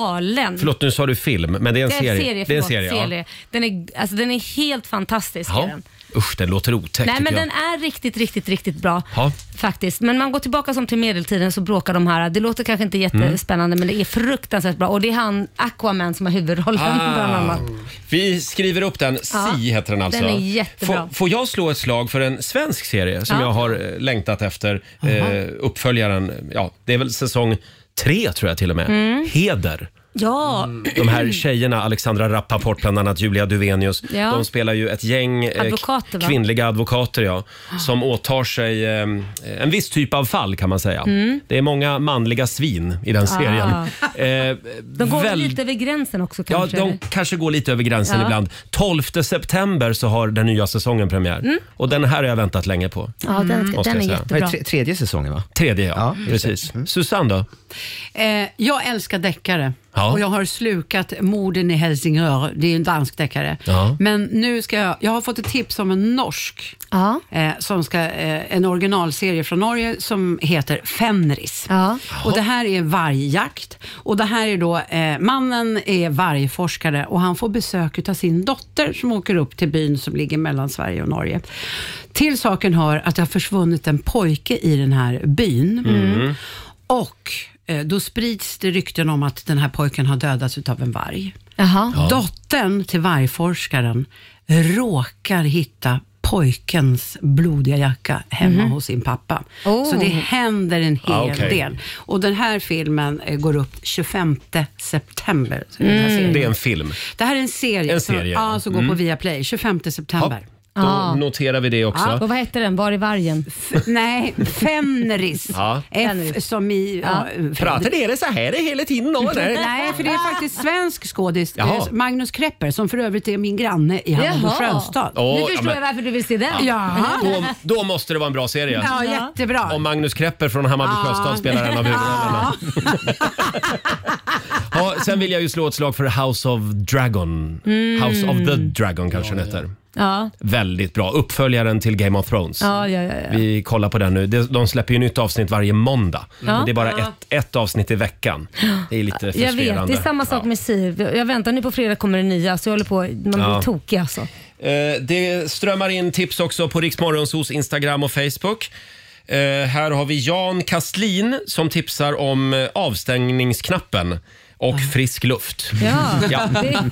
[SPEAKER 2] galen.
[SPEAKER 1] Förlåt, nu sa du film, men det är en
[SPEAKER 2] Det är
[SPEAKER 1] serie.
[SPEAKER 2] en serie,
[SPEAKER 1] det är en
[SPEAKER 2] förlåt,
[SPEAKER 1] serie, ja.
[SPEAKER 2] serie. Den, är, alltså, den är helt fantastisk. är
[SPEAKER 1] Ja.
[SPEAKER 2] den.
[SPEAKER 1] Usch, den låter otäck
[SPEAKER 2] Nej, men
[SPEAKER 1] tycker jag.
[SPEAKER 2] den är riktigt, riktigt, riktigt bra.
[SPEAKER 1] Ja.
[SPEAKER 2] Faktiskt. Men man går tillbaka som till medeltiden så bråkar de här. Det låter kanske inte
[SPEAKER 1] Mm.
[SPEAKER 2] jättespännande men det är fruktansvärt bra. Och det är han Aquaman som har huvudrollen bland
[SPEAKER 1] Ah,
[SPEAKER 2] annat.
[SPEAKER 1] vi skriver upp den. Si
[SPEAKER 2] Ja,
[SPEAKER 1] heter den alltså.
[SPEAKER 2] den är jättebra.
[SPEAKER 1] Får, får jag slå ett slag för en svensk serie som
[SPEAKER 2] Ja.
[SPEAKER 1] jag har eh, längtat efter?
[SPEAKER 2] Jaha.
[SPEAKER 1] Eh, uppföljaren, ja, det är väl säsong tre tror jag till och med.
[SPEAKER 2] Mm.
[SPEAKER 1] Heder.
[SPEAKER 2] Ja.
[SPEAKER 1] De här tjejerna, Alexandra Rappaport bland annat, Julia Duvenius.
[SPEAKER 2] Ja.
[SPEAKER 1] De spelar ju ett gäng eh,
[SPEAKER 2] Advokater, va?
[SPEAKER 1] kvinnliga advokater ja, som åtar sig eh, en viss typ av fall kan man säga.
[SPEAKER 2] Mm.
[SPEAKER 1] Det är många manliga svin i den
[SPEAKER 2] Ah.
[SPEAKER 1] serien. Eh,
[SPEAKER 2] De går väl
[SPEAKER 1] väl-
[SPEAKER 2] lite över gränsen också
[SPEAKER 1] Ja,
[SPEAKER 2] kanske?
[SPEAKER 1] de
[SPEAKER 2] eller?
[SPEAKER 1] kanske går lite över gränsen
[SPEAKER 2] Ja.
[SPEAKER 1] ibland. 12 september så har den nya säsongen premiär.
[SPEAKER 2] Mm.
[SPEAKER 1] Och den här har jag väntat länge på.
[SPEAKER 2] Ja, den ska-
[SPEAKER 1] måste jag
[SPEAKER 2] den är
[SPEAKER 1] säga.
[SPEAKER 2] jättebra. Det är tre-
[SPEAKER 1] tredje säsongen va? Tredje ja, precis.
[SPEAKER 2] Mm.
[SPEAKER 1] Susanne då?
[SPEAKER 4] Eh, jag älskar deckare
[SPEAKER 1] Ja.
[SPEAKER 4] och jag har slukat Morden i Helsingör. Det är ju en dansk deckare.
[SPEAKER 1] Ja.
[SPEAKER 4] Men nu ska jag, jag har fått ett tips om en norsk, eh, som ska, eh, en originalserie från Norge som heter Fenris. Och det här är vargjakt och det här är då, eh, mannen är vargforskare och han får besök av sin dotter som åker upp till byn som ligger mellan Sverige och Norge. Till saken hör att det har försvunnit en pojke i den här byn.
[SPEAKER 13] Mm.
[SPEAKER 4] Och eh, då sprids det rykten om att den här pojken har dödats utav en varg.
[SPEAKER 13] Ja.
[SPEAKER 4] Dottern till vargforskaren råkar hitta pojkens blodiga jacka hemma
[SPEAKER 13] Mhm.
[SPEAKER 4] hos sin pappa.
[SPEAKER 13] Oh.
[SPEAKER 4] Så det händer en hel
[SPEAKER 13] Ah, okej.
[SPEAKER 4] del. Och den här filmen eh, går upp 25 september. Så den här serien.
[SPEAKER 2] Mm.
[SPEAKER 1] Det är en film.
[SPEAKER 4] det här är en serie,
[SPEAKER 1] En
[SPEAKER 4] som,
[SPEAKER 1] serie,
[SPEAKER 4] ja,
[SPEAKER 1] ja.
[SPEAKER 4] som går på
[SPEAKER 1] Mm.
[SPEAKER 4] Viaplay 25 september.
[SPEAKER 1] Då noterar vi det också.
[SPEAKER 2] Och vad hette den? Var är vargen?
[SPEAKER 4] Nej, Fenris.
[SPEAKER 1] Ja.
[SPEAKER 4] F som i... Ja.
[SPEAKER 1] Pratar ni så här hela tiden då, eller?
[SPEAKER 4] Nej, för det är faktiskt svensk skådis.
[SPEAKER 1] Jaha.
[SPEAKER 4] eh, Magnus Krepper som för övrigt är min granne i Hammarby
[SPEAKER 2] Jaha.
[SPEAKER 4] Sjöstad.
[SPEAKER 1] Åh, Nu ja, förstår men- jag
[SPEAKER 2] varför du vill se den.
[SPEAKER 4] Ja.
[SPEAKER 1] Då, då måste det vara en bra serie.
[SPEAKER 4] Ja, jättebra.
[SPEAKER 1] Om Magnus Krepper från Hammarby
[SPEAKER 4] Ja.
[SPEAKER 1] Sjöstad spelar en av huvudrollerna. ja, sen vill jag ju slå ett slag för House of Dragon.
[SPEAKER 2] Mm.
[SPEAKER 1] House of the Dragon kanske den heter.
[SPEAKER 2] Ja.
[SPEAKER 1] Väldigt bra. Uppföljaren till Game of Thrones.
[SPEAKER 2] Ja, ja, ja, ja.
[SPEAKER 1] Vi kollar på den nu. De- De släpper ju nytt avsnitt varje måndag.
[SPEAKER 2] Ja.
[SPEAKER 1] Men Det är bara
[SPEAKER 2] Ja.
[SPEAKER 1] ett, ett avsnitt i veckan. Det är lite
[SPEAKER 2] Jag
[SPEAKER 1] frustrerande.
[SPEAKER 2] vet, det är samma sak med Siv. Jag väntar nu på fredag kommer det nya så jag håller på, man blir
[SPEAKER 1] Ja.
[SPEAKER 2] tokig alltså.
[SPEAKER 1] Eh, det strömmar in tips också på Riksmorgonsos Instagram och Facebook. Eh, här har vi Jan Kastlin som tipsar om eh, avstängningsknappen och frisk luft.
[SPEAKER 13] Ja,
[SPEAKER 2] det-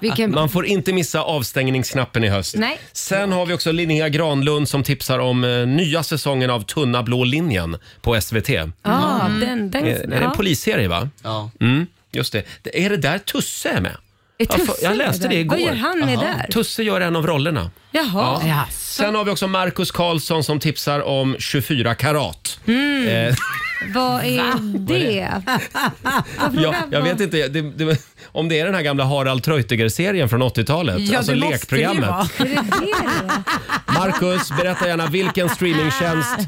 [SPEAKER 2] vilken-
[SPEAKER 1] Man får inte missa avstängningsknappen i höst.
[SPEAKER 2] Nej.
[SPEAKER 1] Sen har vi också Linnea Granlund som tipsar om eh, nya säsongen av Tunna blå linjen på SVT.
[SPEAKER 2] Ja, den,
[SPEAKER 1] Eh,
[SPEAKER 2] den,
[SPEAKER 1] det Eh, är en
[SPEAKER 2] ja.
[SPEAKER 1] polisserie va? Ja. Mm, just det. Det- Är det där Tusse är med?
[SPEAKER 2] Är
[SPEAKER 1] Jag,
[SPEAKER 2] Tusse
[SPEAKER 1] jag
[SPEAKER 2] med
[SPEAKER 1] läste
[SPEAKER 2] där?
[SPEAKER 1] det igår.
[SPEAKER 2] Vad gör han med där?
[SPEAKER 1] Tusse gör en av rollerna.
[SPEAKER 2] Jaha.
[SPEAKER 1] Ja. Sen har vi också Markus Karlsson som tipsar om 24 karat.
[SPEAKER 2] Mm.
[SPEAKER 1] Eh,
[SPEAKER 2] Vad är det?
[SPEAKER 1] ja, jag vet inte det, det, om det är den här gamla Harald Treutiger-serien från 80-talet. alltså lekprogrammet.
[SPEAKER 2] Är det det?
[SPEAKER 1] Markus, berätta gärna vilken streamingtjänst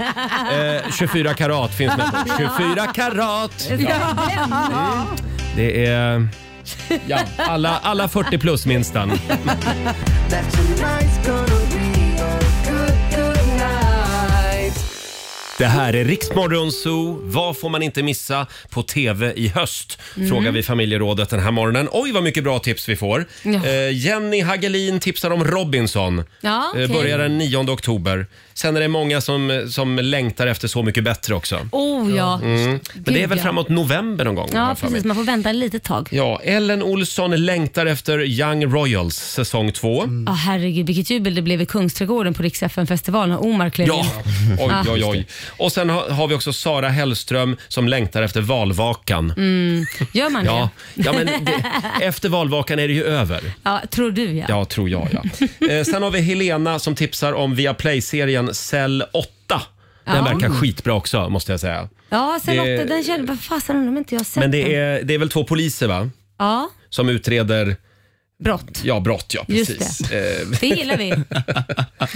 [SPEAKER 1] eh, 24 karat finns med på. 24 karat! Mm. Det är... Ja, alla, alla 40 plus minst den. Det här är Riksmorgon Zoo. Vad får man inte missa på TV i höst?
[SPEAKER 13] Mm.
[SPEAKER 1] Frågar vi familjerådet den här morgonen. Oj, vad mycket bra tips vi får.
[SPEAKER 2] Ja.
[SPEAKER 1] Eh, Jenny Hagelin tipsar om Robinson.
[SPEAKER 2] Ja,
[SPEAKER 1] Eh,
[SPEAKER 2] okej.
[SPEAKER 1] Börjar den 9 oktober. Sen är det många som, som längtar efter Så mycket bättre också.
[SPEAKER 2] Oh ja.
[SPEAKER 1] Mm. Men det är
[SPEAKER 2] Gud,
[SPEAKER 1] väl
[SPEAKER 2] ja.
[SPEAKER 1] framåt november någon gång? har
[SPEAKER 2] Ja,
[SPEAKER 1] jag för mig.
[SPEAKER 2] precis. Man får vänta lite tag.
[SPEAKER 1] Ja, Ellen Olsson längtar efter Young Royals säsong 2.
[SPEAKER 2] Ja, herregud vilket jubel det blev i Kungsträdgården på Rix festivalen när Omar klev
[SPEAKER 1] Ja,
[SPEAKER 2] in.
[SPEAKER 1] oj,
[SPEAKER 2] Ah.
[SPEAKER 1] oj, oj. Och sen har, har vi också Sara Hellström som längtar efter valvakan.
[SPEAKER 2] Mm. Gör man
[SPEAKER 1] Ja,
[SPEAKER 2] det?
[SPEAKER 1] ja, men det, efter valvakan är det ju över.
[SPEAKER 2] ja, tror du ja.
[SPEAKER 1] Ja, tror jag ja. Eh, sen har vi Helena som tipsar om Viaplay-serien Cell 8. Den
[SPEAKER 2] Ja.
[SPEAKER 1] verkar
[SPEAKER 2] Mm.
[SPEAKER 1] skitbra också, måste jag säga.
[SPEAKER 2] Ja, sen
[SPEAKER 1] Det-
[SPEAKER 2] åtta, den kände, vad fasen undrar om inte jag har sett
[SPEAKER 1] Men det
[SPEAKER 2] den.
[SPEAKER 1] är, det är väl två poliser, va?
[SPEAKER 2] Ja,
[SPEAKER 1] Som utreder...
[SPEAKER 2] Brott.
[SPEAKER 1] Ja, brott ja.
[SPEAKER 2] Just
[SPEAKER 1] Precis. Eh,
[SPEAKER 2] det gillar vi.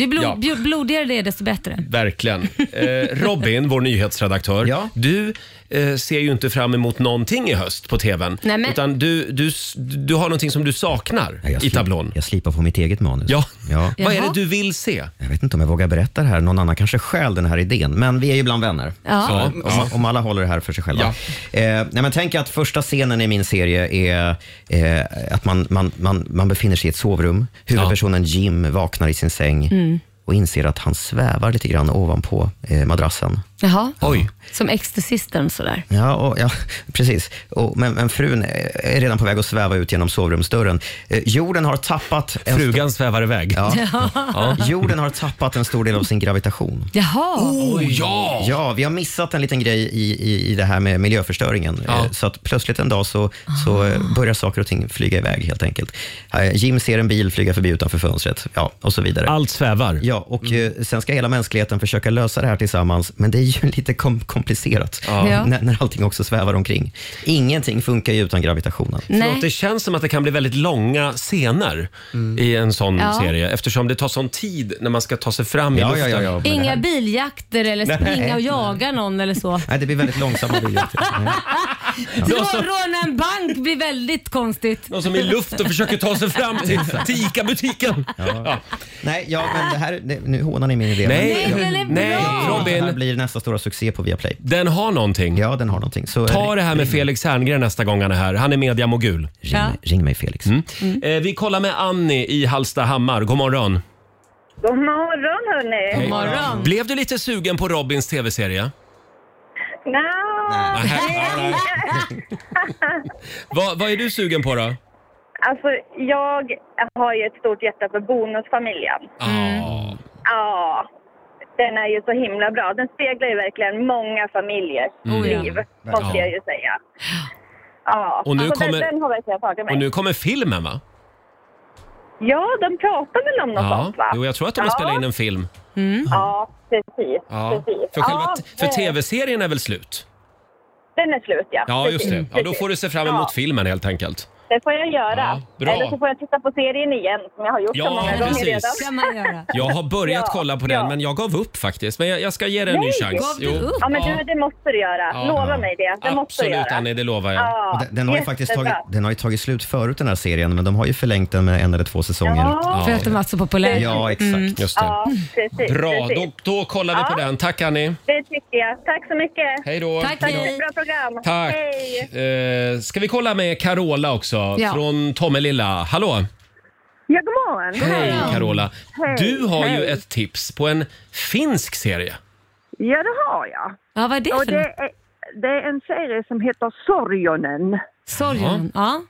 [SPEAKER 2] Ju, blod,
[SPEAKER 1] Ja.
[SPEAKER 2] ju blodigare det är desto bättre.
[SPEAKER 1] Verkligen. Eh, Robin, vår nyhetsredaktör, du eh, ser ju inte fram emot någonting i höst på TVn.
[SPEAKER 2] Nej, men-
[SPEAKER 1] Utan du, du, s- du har någonting som du saknar i tablån.
[SPEAKER 5] Jag slipar på mitt eget manus.
[SPEAKER 1] Ja.
[SPEAKER 5] Ja.
[SPEAKER 1] Vad är det du vill se?
[SPEAKER 5] Jag vet inte om jag vågar berätta det här. Någon annan kanske stjäl den här idén. Men vi är ju bland vänner.
[SPEAKER 2] Ja.
[SPEAKER 5] Så,
[SPEAKER 2] Ja.
[SPEAKER 5] Om, om alla håller det här för sig själva. Eh, nej, men tänk att första scenen i min serie är eh, att man, man, man, man befinner sig i ett sovrum. Huvudpersonen Jim vaknar i sin säng
[SPEAKER 2] Mm.
[SPEAKER 5] och inser att han svävar lite grann ovanpå eh, madrassen.
[SPEAKER 2] Jaha.
[SPEAKER 5] Oj.
[SPEAKER 2] Som Exorcisten sådär.
[SPEAKER 5] Ja, och, ja precis. Och, men, men frun är redan på väg att sväva ut genom sovrumsdörren. Eh, jorden har tappat...
[SPEAKER 1] Frugan svävar iväg.
[SPEAKER 5] Ja.
[SPEAKER 2] Ja.
[SPEAKER 5] Ja. Jorden har tappat en stor del av sin gravitation.
[SPEAKER 2] Jaha.
[SPEAKER 1] Oh,
[SPEAKER 5] Ja, vi har missat en liten grej i, i, i det här med miljöförstöringen. Eh, Så att plötsligt en dag så, så
[SPEAKER 1] Ah.
[SPEAKER 5] eh, börjar saker och ting flyga iväg helt enkelt. Eh, Jim ser en bil flyga förbi utanför fönstret ja, och så vidare.
[SPEAKER 1] Allt svävar.
[SPEAKER 5] Ja, och
[SPEAKER 1] Mm.
[SPEAKER 5] eh, sen ska hela mänskligheten försöka lösa det här tillsammans, men det är ju lite kom komplicerat
[SPEAKER 1] Ja. Ja.
[SPEAKER 5] När, när allting också svävar omkring. Ingenting funkar ju utan gravitationen.
[SPEAKER 1] Förlåt, det känns som att det kan bli väldigt långa scener i en sån
[SPEAKER 2] Ja.
[SPEAKER 1] serie eftersom det tar sån tid när man ska ta sig fram i
[SPEAKER 5] Ja, ja,
[SPEAKER 1] luften.
[SPEAKER 5] ja, ja, men
[SPEAKER 2] Inga biljakter eller
[SPEAKER 1] Nej.
[SPEAKER 2] springa och jaga någon eller så.
[SPEAKER 5] Nej, det blir väldigt långsamma biljetter.
[SPEAKER 2] Rå- Råna en bank blir väldigt konstigt.
[SPEAKER 1] Någon som är i luften försöker ta sig fram till, till ICA-butiken. Ja.
[SPEAKER 5] Nej, ja, men det här, det, nu hånar ni min idé.
[SPEAKER 1] Nej,
[SPEAKER 5] men,
[SPEAKER 1] den är nej, bra. Robin.
[SPEAKER 5] Det här blir nästa stora succé på Viaplay.
[SPEAKER 1] Den har någonting.
[SPEAKER 5] Ja, den har någonting. Så
[SPEAKER 1] Ta det här med Felix Herngren nästa gång han är här. Han är mediamogul.
[SPEAKER 5] Ring, ring mig Felix.
[SPEAKER 1] Eh, vi kollar med Annie i Hallstahammar. God morgon.
[SPEAKER 14] God morgon hörni!
[SPEAKER 1] Hej. Blev du lite sugen på Robins tv-serie?
[SPEAKER 14] Nja,
[SPEAKER 1] Nej. Vad, vad är du sugen på då?
[SPEAKER 14] Alltså jag har ju ett stort hjärta för Bonusfamiljen.
[SPEAKER 1] Ah.
[SPEAKER 14] Ja, den är ju så himla bra. Den speglar ju verkligen många familjers
[SPEAKER 1] Mm.
[SPEAKER 14] liv, måste
[SPEAKER 1] Ja.
[SPEAKER 14] jag ju säga. Ja,
[SPEAKER 1] Och nu
[SPEAKER 14] så
[SPEAKER 1] kommer-
[SPEAKER 14] den, den har verkligen tagit mig.
[SPEAKER 1] Och nu kommer filmen va?
[SPEAKER 14] Ja, de pratar väl om något sånt va?
[SPEAKER 1] Jo, jag tror att de vill
[SPEAKER 14] Ja.
[SPEAKER 1] spela in en film.
[SPEAKER 14] Ja, precis.
[SPEAKER 1] Ja.
[SPEAKER 14] precis.
[SPEAKER 1] För, själva
[SPEAKER 14] Ja,
[SPEAKER 1] t- för
[SPEAKER 14] eh,
[SPEAKER 1] tv-serien är väl slut?
[SPEAKER 14] Den är slut ja.
[SPEAKER 1] Ja, just det.
[SPEAKER 14] Precis,
[SPEAKER 1] Ja, då
[SPEAKER 14] precis.
[SPEAKER 1] får du se fram emot filmen helt enkelt.
[SPEAKER 14] Det får jag göra.
[SPEAKER 1] Ja, bra.
[SPEAKER 14] Eller så får jag titta på serien igen som jag har gjort
[SPEAKER 1] Ja,
[SPEAKER 14] så många
[SPEAKER 1] precis.
[SPEAKER 14] gånger redan.
[SPEAKER 2] kan man göra.
[SPEAKER 1] Jag har börjat kolla på den, men jag gav upp faktiskt. Men jag, jag ska ge den en ny chans. Jo.
[SPEAKER 14] Ja, men du, det måste du göra.
[SPEAKER 1] Ja.
[SPEAKER 14] Lova mig det. Det måste du
[SPEAKER 1] Absolut,
[SPEAKER 14] göra.
[SPEAKER 1] Annie, det lovar jag.
[SPEAKER 14] Ja,
[SPEAKER 5] Och den, den, har ju
[SPEAKER 14] jättebra.
[SPEAKER 5] faktiskt tagit, den har ju tagit slut förut den här serien, men de har ju förlängt den med en eller två säsonger.
[SPEAKER 2] För att de var så populära.
[SPEAKER 5] Ja, exakt.
[SPEAKER 1] Just det.
[SPEAKER 14] Mm. Ja, precis.
[SPEAKER 1] Bra,
[SPEAKER 14] precis.
[SPEAKER 1] då, då kollar vi på den. Tack Annie.
[SPEAKER 14] Det tycker jag. Tack så mycket.
[SPEAKER 1] Hej då. Tack,
[SPEAKER 14] Tack för
[SPEAKER 1] hej.
[SPEAKER 14] ett bra program.
[SPEAKER 1] Tack.
[SPEAKER 14] Hej.
[SPEAKER 1] Eh, ska vi kolla med Carola också
[SPEAKER 14] Ja.
[SPEAKER 1] från Tommelilla. Hallå!
[SPEAKER 14] Ja, god morgon.
[SPEAKER 1] Hej Carola!
[SPEAKER 14] Hej,
[SPEAKER 1] Du har ju
[SPEAKER 14] hej.
[SPEAKER 1] ett tips på en finsk serie.
[SPEAKER 15] Ja, det har jag.
[SPEAKER 2] Ja, vad är det
[SPEAKER 15] och
[SPEAKER 2] för
[SPEAKER 15] det,
[SPEAKER 2] något?
[SPEAKER 15] är, det är en serie som heter Sorjonen.
[SPEAKER 2] Sorgen, ja.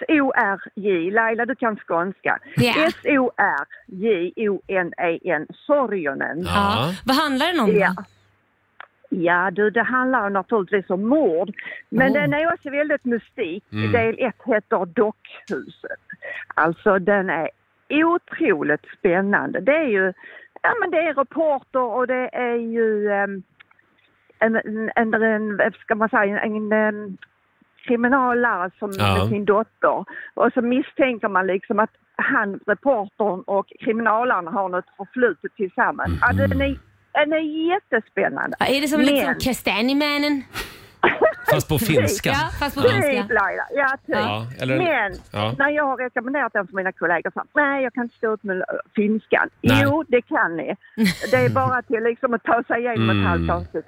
[SPEAKER 15] S-O-R-J. Laila, du kan skånska.
[SPEAKER 2] Ja.
[SPEAKER 15] E S-O-R-J-O-N-E-N. Sorjonen.
[SPEAKER 2] ja. Vad handlar den om då?
[SPEAKER 15] Ja, du, det handlar ju naturligtvis om mord. Men
[SPEAKER 13] Oh.
[SPEAKER 15] den är också väldigt mystik.
[SPEAKER 13] Mm.
[SPEAKER 15] Del ett heter Dockhuset. Alltså, den är otroligt spännande. Det är ju, ja men det är reporter och det är ju em, en, en, en, en vad ska man säga, en, en kriminallärare som
[SPEAKER 13] Ja.
[SPEAKER 15] med sin dotter. Och så misstänker man liksom att han, reportern och kriminalläraren har något förflutet tillsammans. Ja,
[SPEAKER 1] Mhm.
[SPEAKER 15] den, är, den är jättespännande.
[SPEAKER 2] Ja, är det som
[SPEAKER 15] Men-
[SPEAKER 2] liksom Kastanjemannen?
[SPEAKER 1] Fast på finska.
[SPEAKER 2] Ja, fast på
[SPEAKER 15] Typ,
[SPEAKER 2] finska.
[SPEAKER 15] Laila. Ja, typ.
[SPEAKER 1] Ja, eller-
[SPEAKER 15] Men
[SPEAKER 1] ja.
[SPEAKER 15] när jag har rekommenderat den för mina kollegor så nej, jag kan inte stå ut med eh, finskan.
[SPEAKER 1] Nej.
[SPEAKER 15] Jo, det kan ni. Det är bara till liksom att ta sig igenom
[SPEAKER 1] Mm.
[SPEAKER 15] ett halvt avsnitt.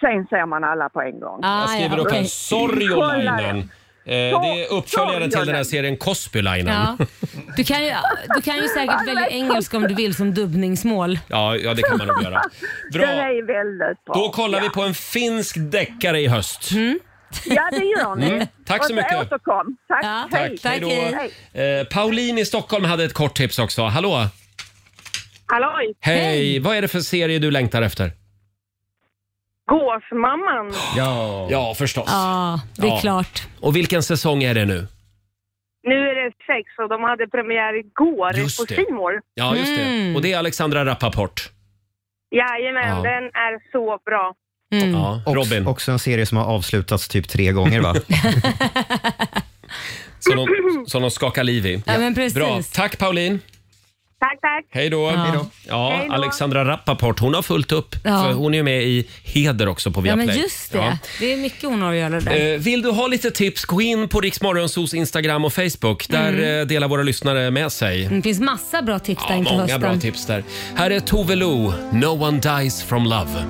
[SPEAKER 15] Sen ser man alla på en gång.
[SPEAKER 1] Jag skriver upp här, Sorjolainen. Eh, det är uppföljaren till den här serien Cosbylainen.
[SPEAKER 2] Ja. Du, kan ju, du kan ju säkert välja engelska om du vill som dubbningsmål.
[SPEAKER 1] Ja, ja, det kan man nog göra. Bra.
[SPEAKER 15] är väldigt
[SPEAKER 1] Då kollar vi på en finsk deckare i höst.
[SPEAKER 15] Ja, det gör ni.
[SPEAKER 1] Mm. Tack så
[SPEAKER 15] Och
[SPEAKER 1] mycket.
[SPEAKER 15] återkom. Tack. Hej.
[SPEAKER 1] Tack, hejdå. Eh, Pauline i Stockholm hade ett kort tips också. Hallå!
[SPEAKER 16] Halloj!
[SPEAKER 1] Hej! Vad är det för serie du längtar efter?
[SPEAKER 16] Gåsmamman.
[SPEAKER 1] Ja, ja förstås.
[SPEAKER 16] Ja, det är
[SPEAKER 2] klart.
[SPEAKER 1] Och vilken säsong är det nu?
[SPEAKER 16] Nu är det sex och de hade premiär igår
[SPEAKER 1] Just
[SPEAKER 16] på
[SPEAKER 1] det.
[SPEAKER 16] C More.
[SPEAKER 1] Ja, just det. Och det är Alexandra Rappaport.
[SPEAKER 16] Jajamän,
[SPEAKER 5] Ja.
[SPEAKER 16] den är så bra.
[SPEAKER 1] Ja,
[SPEAKER 5] Robin. Också en serie som har avslutats typ tre gånger va?
[SPEAKER 1] Som de, som de skakar liv i.
[SPEAKER 2] Ja, men precis.
[SPEAKER 1] Bra. Tack Pauline!
[SPEAKER 16] Tack, tack.
[SPEAKER 1] Hej då!
[SPEAKER 2] Ja. Hej
[SPEAKER 1] Ja.
[SPEAKER 2] då. Hej då.
[SPEAKER 1] Alexandra Rappaport, hon har fullt upp.
[SPEAKER 2] Ja.
[SPEAKER 1] För hon är ju med i Heder också på
[SPEAKER 2] Ja
[SPEAKER 1] Viaplay.
[SPEAKER 2] men just det.
[SPEAKER 1] Ja.
[SPEAKER 2] Det är mycket hon har att göra där.
[SPEAKER 1] Eh, Vill du ha lite tips, gå in på Riksmorgonsos Instagram och Facebook. Där
[SPEAKER 2] Mm.
[SPEAKER 1] eh, delar våra lyssnare med sig.
[SPEAKER 2] Det finns massa bra tips där inför
[SPEAKER 1] Många
[SPEAKER 2] hösten.
[SPEAKER 1] bra tips där. Här är Tove Lo, No One Dies From Love.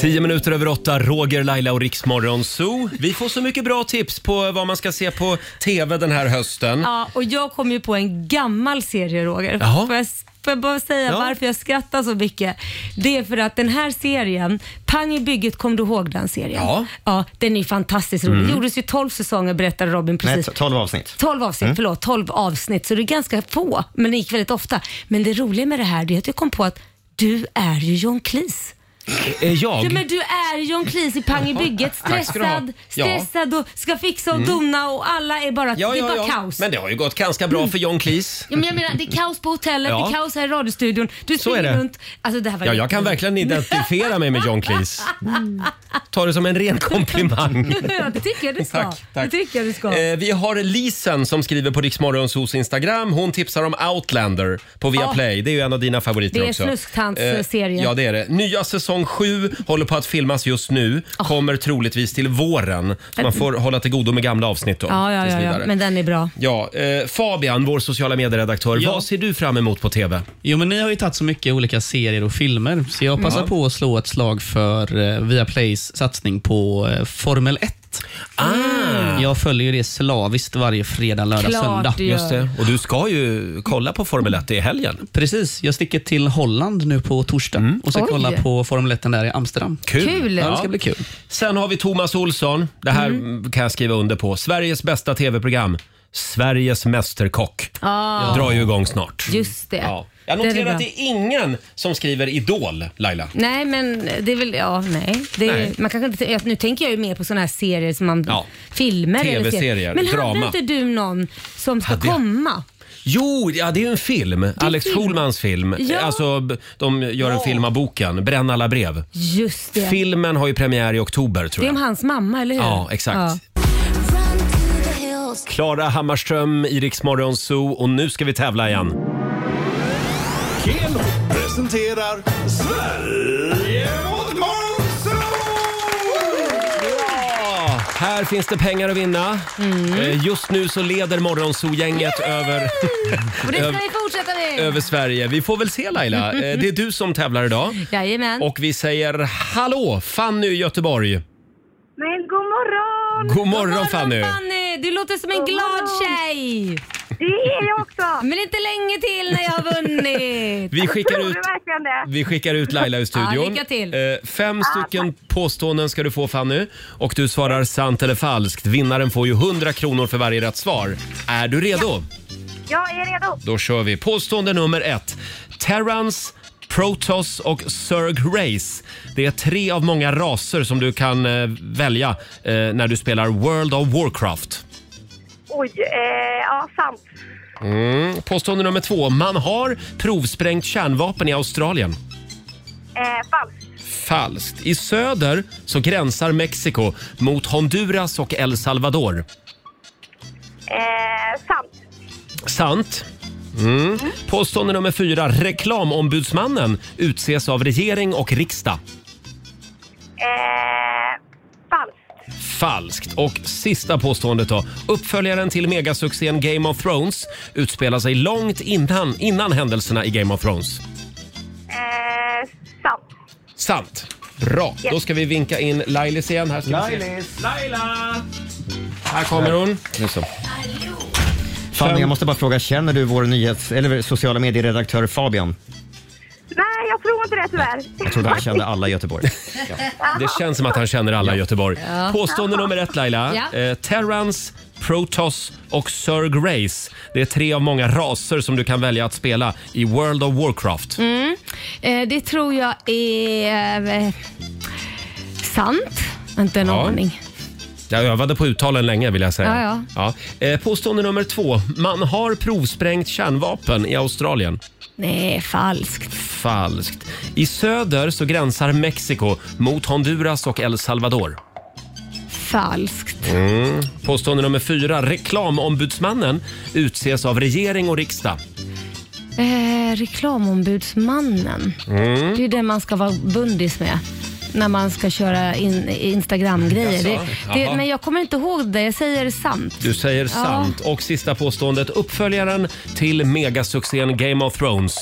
[SPEAKER 1] Tio minuter över åtta, Roger, Laila och Riksmorgon Zoo. Vi får så mycket bra tips på vad man ska se på TV den här hösten.
[SPEAKER 2] Ja, och jag kom ju på en gammal serie Roger.
[SPEAKER 1] Jaha.
[SPEAKER 2] Får jag, får jag bara säga
[SPEAKER 1] Ja.
[SPEAKER 2] varför jag skrattar så mycket? Det är för att den här serien, Pang i bygget, kom du ihåg den serien?
[SPEAKER 5] Ja.
[SPEAKER 2] ja den är ju fantastiskt rolig.
[SPEAKER 5] Mm.
[SPEAKER 2] Det gjordes ju 12 säsonger berättade Robin
[SPEAKER 5] Nej,
[SPEAKER 2] precis.
[SPEAKER 5] t- 12 avsnitt.
[SPEAKER 2] 12 avsnitt,
[SPEAKER 5] Mm.
[SPEAKER 2] förlåt, 12 avsnitt, så det är ganska få, men det gick väldigt ofta. Men det roliga med det här det är att jag kom på att du är ju John Cleese.
[SPEAKER 1] Är jag?
[SPEAKER 2] Ja, men du är ju John Cleese i Pang i bygget.
[SPEAKER 1] Tack ska du ha.
[SPEAKER 2] Stressad,
[SPEAKER 1] Ja.
[SPEAKER 2] stressad och ska fixa och
[SPEAKER 1] Mm.
[SPEAKER 2] dona och alla är bara, det är bara kaos.
[SPEAKER 1] Men det har ju gått ganska bra för John Cleese.
[SPEAKER 2] Ja, men jag menar, det är kaos på hotellet,
[SPEAKER 1] Ja.
[SPEAKER 2] det är kaos här i radiostudion. Du
[SPEAKER 1] Så är
[SPEAKER 2] springer
[SPEAKER 1] det.
[SPEAKER 2] runt. Alltså, det här var
[SPEAKER 1] Ja, jag kan verkligen identifiera mig med John Cleese. Ta det som en ren komplimang.
[SPEAKER 2] Ja, det tycker jag du ska.
[SPEAKER 1] Tack, tack.
[SPEAKER 2] Det tycker jag du ska.
[SPEAKER 1] Eh, vi har Lisen som skriver på Riksmorgonsos Instagram. Hon tipsar om Outlander på Viaplay. Det är ju en av dina favoriter
[SPEAKER 2] Det är
[SPEAKER 1] också.
[SPEAKER 2] snusktantsserien.
[SPEAKER 1] Eh, Ja, det är det. Nya säsong 7 håller på att filmas just nu.
[SPEAKER 2] Ah.
[SPEAKER 1] Kommer troligtvis till våren. Så man får hålla till godo med gamla avsnitt då.
[SPEAKER 2] ja, ja,
[SPEAKER 1] tills
[SPEAKER 2] ja, ja,
[SPEAKER 1] vidare.
[SPEAKER 2] men den är bra.
[SPEAKER 1] Ja, eh, Fabian, vår sociala medieredaktör.
[SPEAKER 8] Ja.
[SPEAKER 1] Vad ser du fram emot på TV?
[SPEAKER 8] Jo, men ni har ju tagit så mycket olika serier och filmer, så jag passar
[SPEAKER 1] Ja.
[SPEAKER 8] på att slå ett slag för eh, Viaplays satsning på eh, Formel 1.
[SPEAKER 1] Ah.
[SPEAKER 8] Jag följer ju det slaviskt varje fredag, lördag,
[SPEAKER 1] Klart
[SPEAKER 8] söndag.
[SPEAKER 1] du gör. Just det.
[SPEAKER 8] Och
[SPEAKER 1] du ska ju kolla på Formel 1 i helgen.
[SPEAKER 8] Precis. Jag sticker till Holland nu på torsdag och ska
[SPEAKER 1] Oj.
[SPEAKER 8] kolla på Formel 1 där i Amsterdam.
[SPEAKER 1] Kul.
[SPEAKER 8] Ja, det ska
[SPEAKER 1] Ja.
[SPEAKER 8] bli kul.
[SPEAKER 1] Sen har vi Thomas Olsson. Det här mm, kan jag skriva under på. Sveriges bästa tv-program. Sveriges Mästerkock.
[SPEAKER 2] Ah.
[SPEAKER 1] Drar ju igång snart.
[SPEAKER 2] Just det.
[SPEAKER 1] Ja. Jag
[SPEAKER 2] Det är
[SPEAKER 1] noterar
[SPEAKER 2] bra.
[SPEAKER 1] att det är ingen som skriver Idol, Laila.
[SPEAKER 2] Nej, men det är väl, ja, nej. Det är,
[SPEAKER 1] Nej.
[SPEAKER 2] Man kanske inte, jag- nu tänker jag ju mer på sådana här serier som man,
[SPEAKER 1] Ja.
[SPEAKER 2] filmer eller
[SPEAKER 1] TV-serier,
[SPEAKER 2] Men
[SPEAKER 1] drama.
[SPEAKER 2] hade inte du någon som ska
[SPEAKER 1] Hade jag?
[SPEAKER 2] komma?
[SPEAKER 1] Jo, ja, det är ju en film. Alex
[SPEAKER 2] film.
[SPEAKER 1] Schulmans film.
[SPEAKER 2] Ja.
[SPEAKER 1] Alltså, b- de gör en film av boken Bränn alla brev.
[SPEAKER 2] Just det.
[SPEAKER 1] Filmen har ju premiär i oktober
[SPEAKER 2] det
[SPEAKER 1] tror
[SPEAKER 2] är om
[SPEAKER 1] jag.
[SPEAKER 2] hans mamma, eller hur?
[SPEAKER 1] Ja, exakt. Klara Hammarström i Rix Morgon Zoo och nu ska vi tävla igen.
[SPEAKER 12] Keno presenterar Sverige mot
[SPEAKER 1] Ja, här finns det pengar att vinna. Eh, Just nu så leder Morgonzoo-gänget över,
[SPEAKER 2] Och det ska
[SPEAKER 1] över,
[SPEAKER 2] vi fortsätta med.
[SPEAKER 1] över Sverige. Vi får väl se Laila. Eh, Det är du som tävlar idag.
[SPEAKER 2] Jajamän.
[SPEAKER 1] Och vi säger hallå Fanny i Göteborg.
[SPEAKER 16] Men god morgon!
[SPEAKER 1] God morgon Fanny.
[SPEAKER 2] Fanny, du låter som en
[SPEAKER 16] God
[SPEAKER 2] glad
[SPEAKER 16] morgon.
[SPEAKER 2] tjej.
[SPEAKER 16] Det är jag också.
[SPEAKER 2] Men inte länge till när jag har vunnit.
[SPEAKER 1] Vi skickar ut-
[SPEAKER 16] Tror du verkligen det?
[SPEAKER 1] Vi skickar ut Laila ur studion.
[SPEAKER 2] Ja, lycka till. Ah,
[SPEAKER 1] Eh, Fem stycken påståenden ska du få Fanny. Och du svarar sant eller falskt. Vinnaren får ju 100 kronor för varje rätt svar. Är du redo?
[SPEAKER 16] Jag är redo.
[SPEAKER 1] Då kör vi. Påstående nummer ett. Terrans, Protoss och Zerg Race. Det är tre av många raser som du kan eh, välja eh, när du spelar World of Warcraft.
[SPEAKER 16] Oj, eh, ja sant.
[SPEAKER 1] Mm. Påstående nummer två. Man har provsprängt kärnvapen i Australien.
[SPEAKER 16] Eh, falskt.
[SPEAKER 1] Falskt. I söder så gränsar Mexiko mot Honduras och El Salvador.
[SPEAKER 16] Eh, sant.
[SPEAKER 1] Sant. Mm. Påstående nummer fyra. Reklamombudsmannen utses av regering och riksdag.
[SPEAKER 16] Eh, falskt.
[SPEAKER 1] Falskt. Och sista påståendet då. Uppföljaren till megasuccén Game of Thrones utspelar sig långt innan, innan händelserna i Game of Thrones.
[SPEAKER 16] Eh, sant.
[SPEAKER 1] Sant. Bra.
[SPEAKER 16] Ja.
[SPEAKER 1] Då ska vi vinka in Lailis igen. Här, ska vi se.
[SPEAKER 12] Lailis! Laila!
[SPEAKER 1] Här kommer hon.
[SPEAKER 5] Nu så. Fanny, jag måste bara fråga, känner du vår nyhets eller sociala medieredaktör Fabian?
[SPEAKER 16] Nej, jag tror inte det tyvärr.
[SPEAKER 5] Jag trodde han kände alla i Göteborg.
[SPEAKER 1] Det känns som att han känner alla i Göteborg.
[SPEAKER 16] Ja.
[SPEAKER 1] Påstående nummer ett Laila.
[SPEAKER 16] Ja.
[SPEAKER 1] Eh, Terrans, Protoss och Zerg Race. Det är tre av många raser som du kan välja att spela i World of Warcraft.
[SPEAKER 2] Mm. Eh, det tror jag är eh, sant. Inte en
[SPEAKER 1] Ja.
[SPEAKER 2] aning.
[SPEAKER 1] Jag övade på uttalen länge vill jag säga.
[SPEAKER 2] Ja,
[SPEAKER 1] Ja. Eh, Påstående nummer två. Man har provsprängt kärnvapen i Australien.
[SPEAKER 2] Nej, falskt.
[SPEAKER 1] Falskt. I söder så gränsar Mexiko mot Honduras och El Salvador.
[SPEAKER 2] Falskt.
[SPEAKER 1] Mm. Påstående nummer fyra. Reklamombudsmannen utses av regering och riksdag.
[SPEAKER 2] Eh, reklamombudsmannen. Det är
[SPEAKER 1] Mm.
[SPEAKER 2] ju den man ska vara bundis med när man ska köra in, Instagram-grejer.
[SPEAKER 1] Jaså?
[SPEAKER 2] Det, det,
[SPEAKER 1] Jaha.
[SPEAKER 2] men jag kommer inte ihåg det. Jag säger sant.
[SPEAKER 1] Du säger
[SPEAKER 2] Ja.
[SPEAKER 1] sant. Och sista påståendet. Uppföljaren till megasuccén Game of Thrones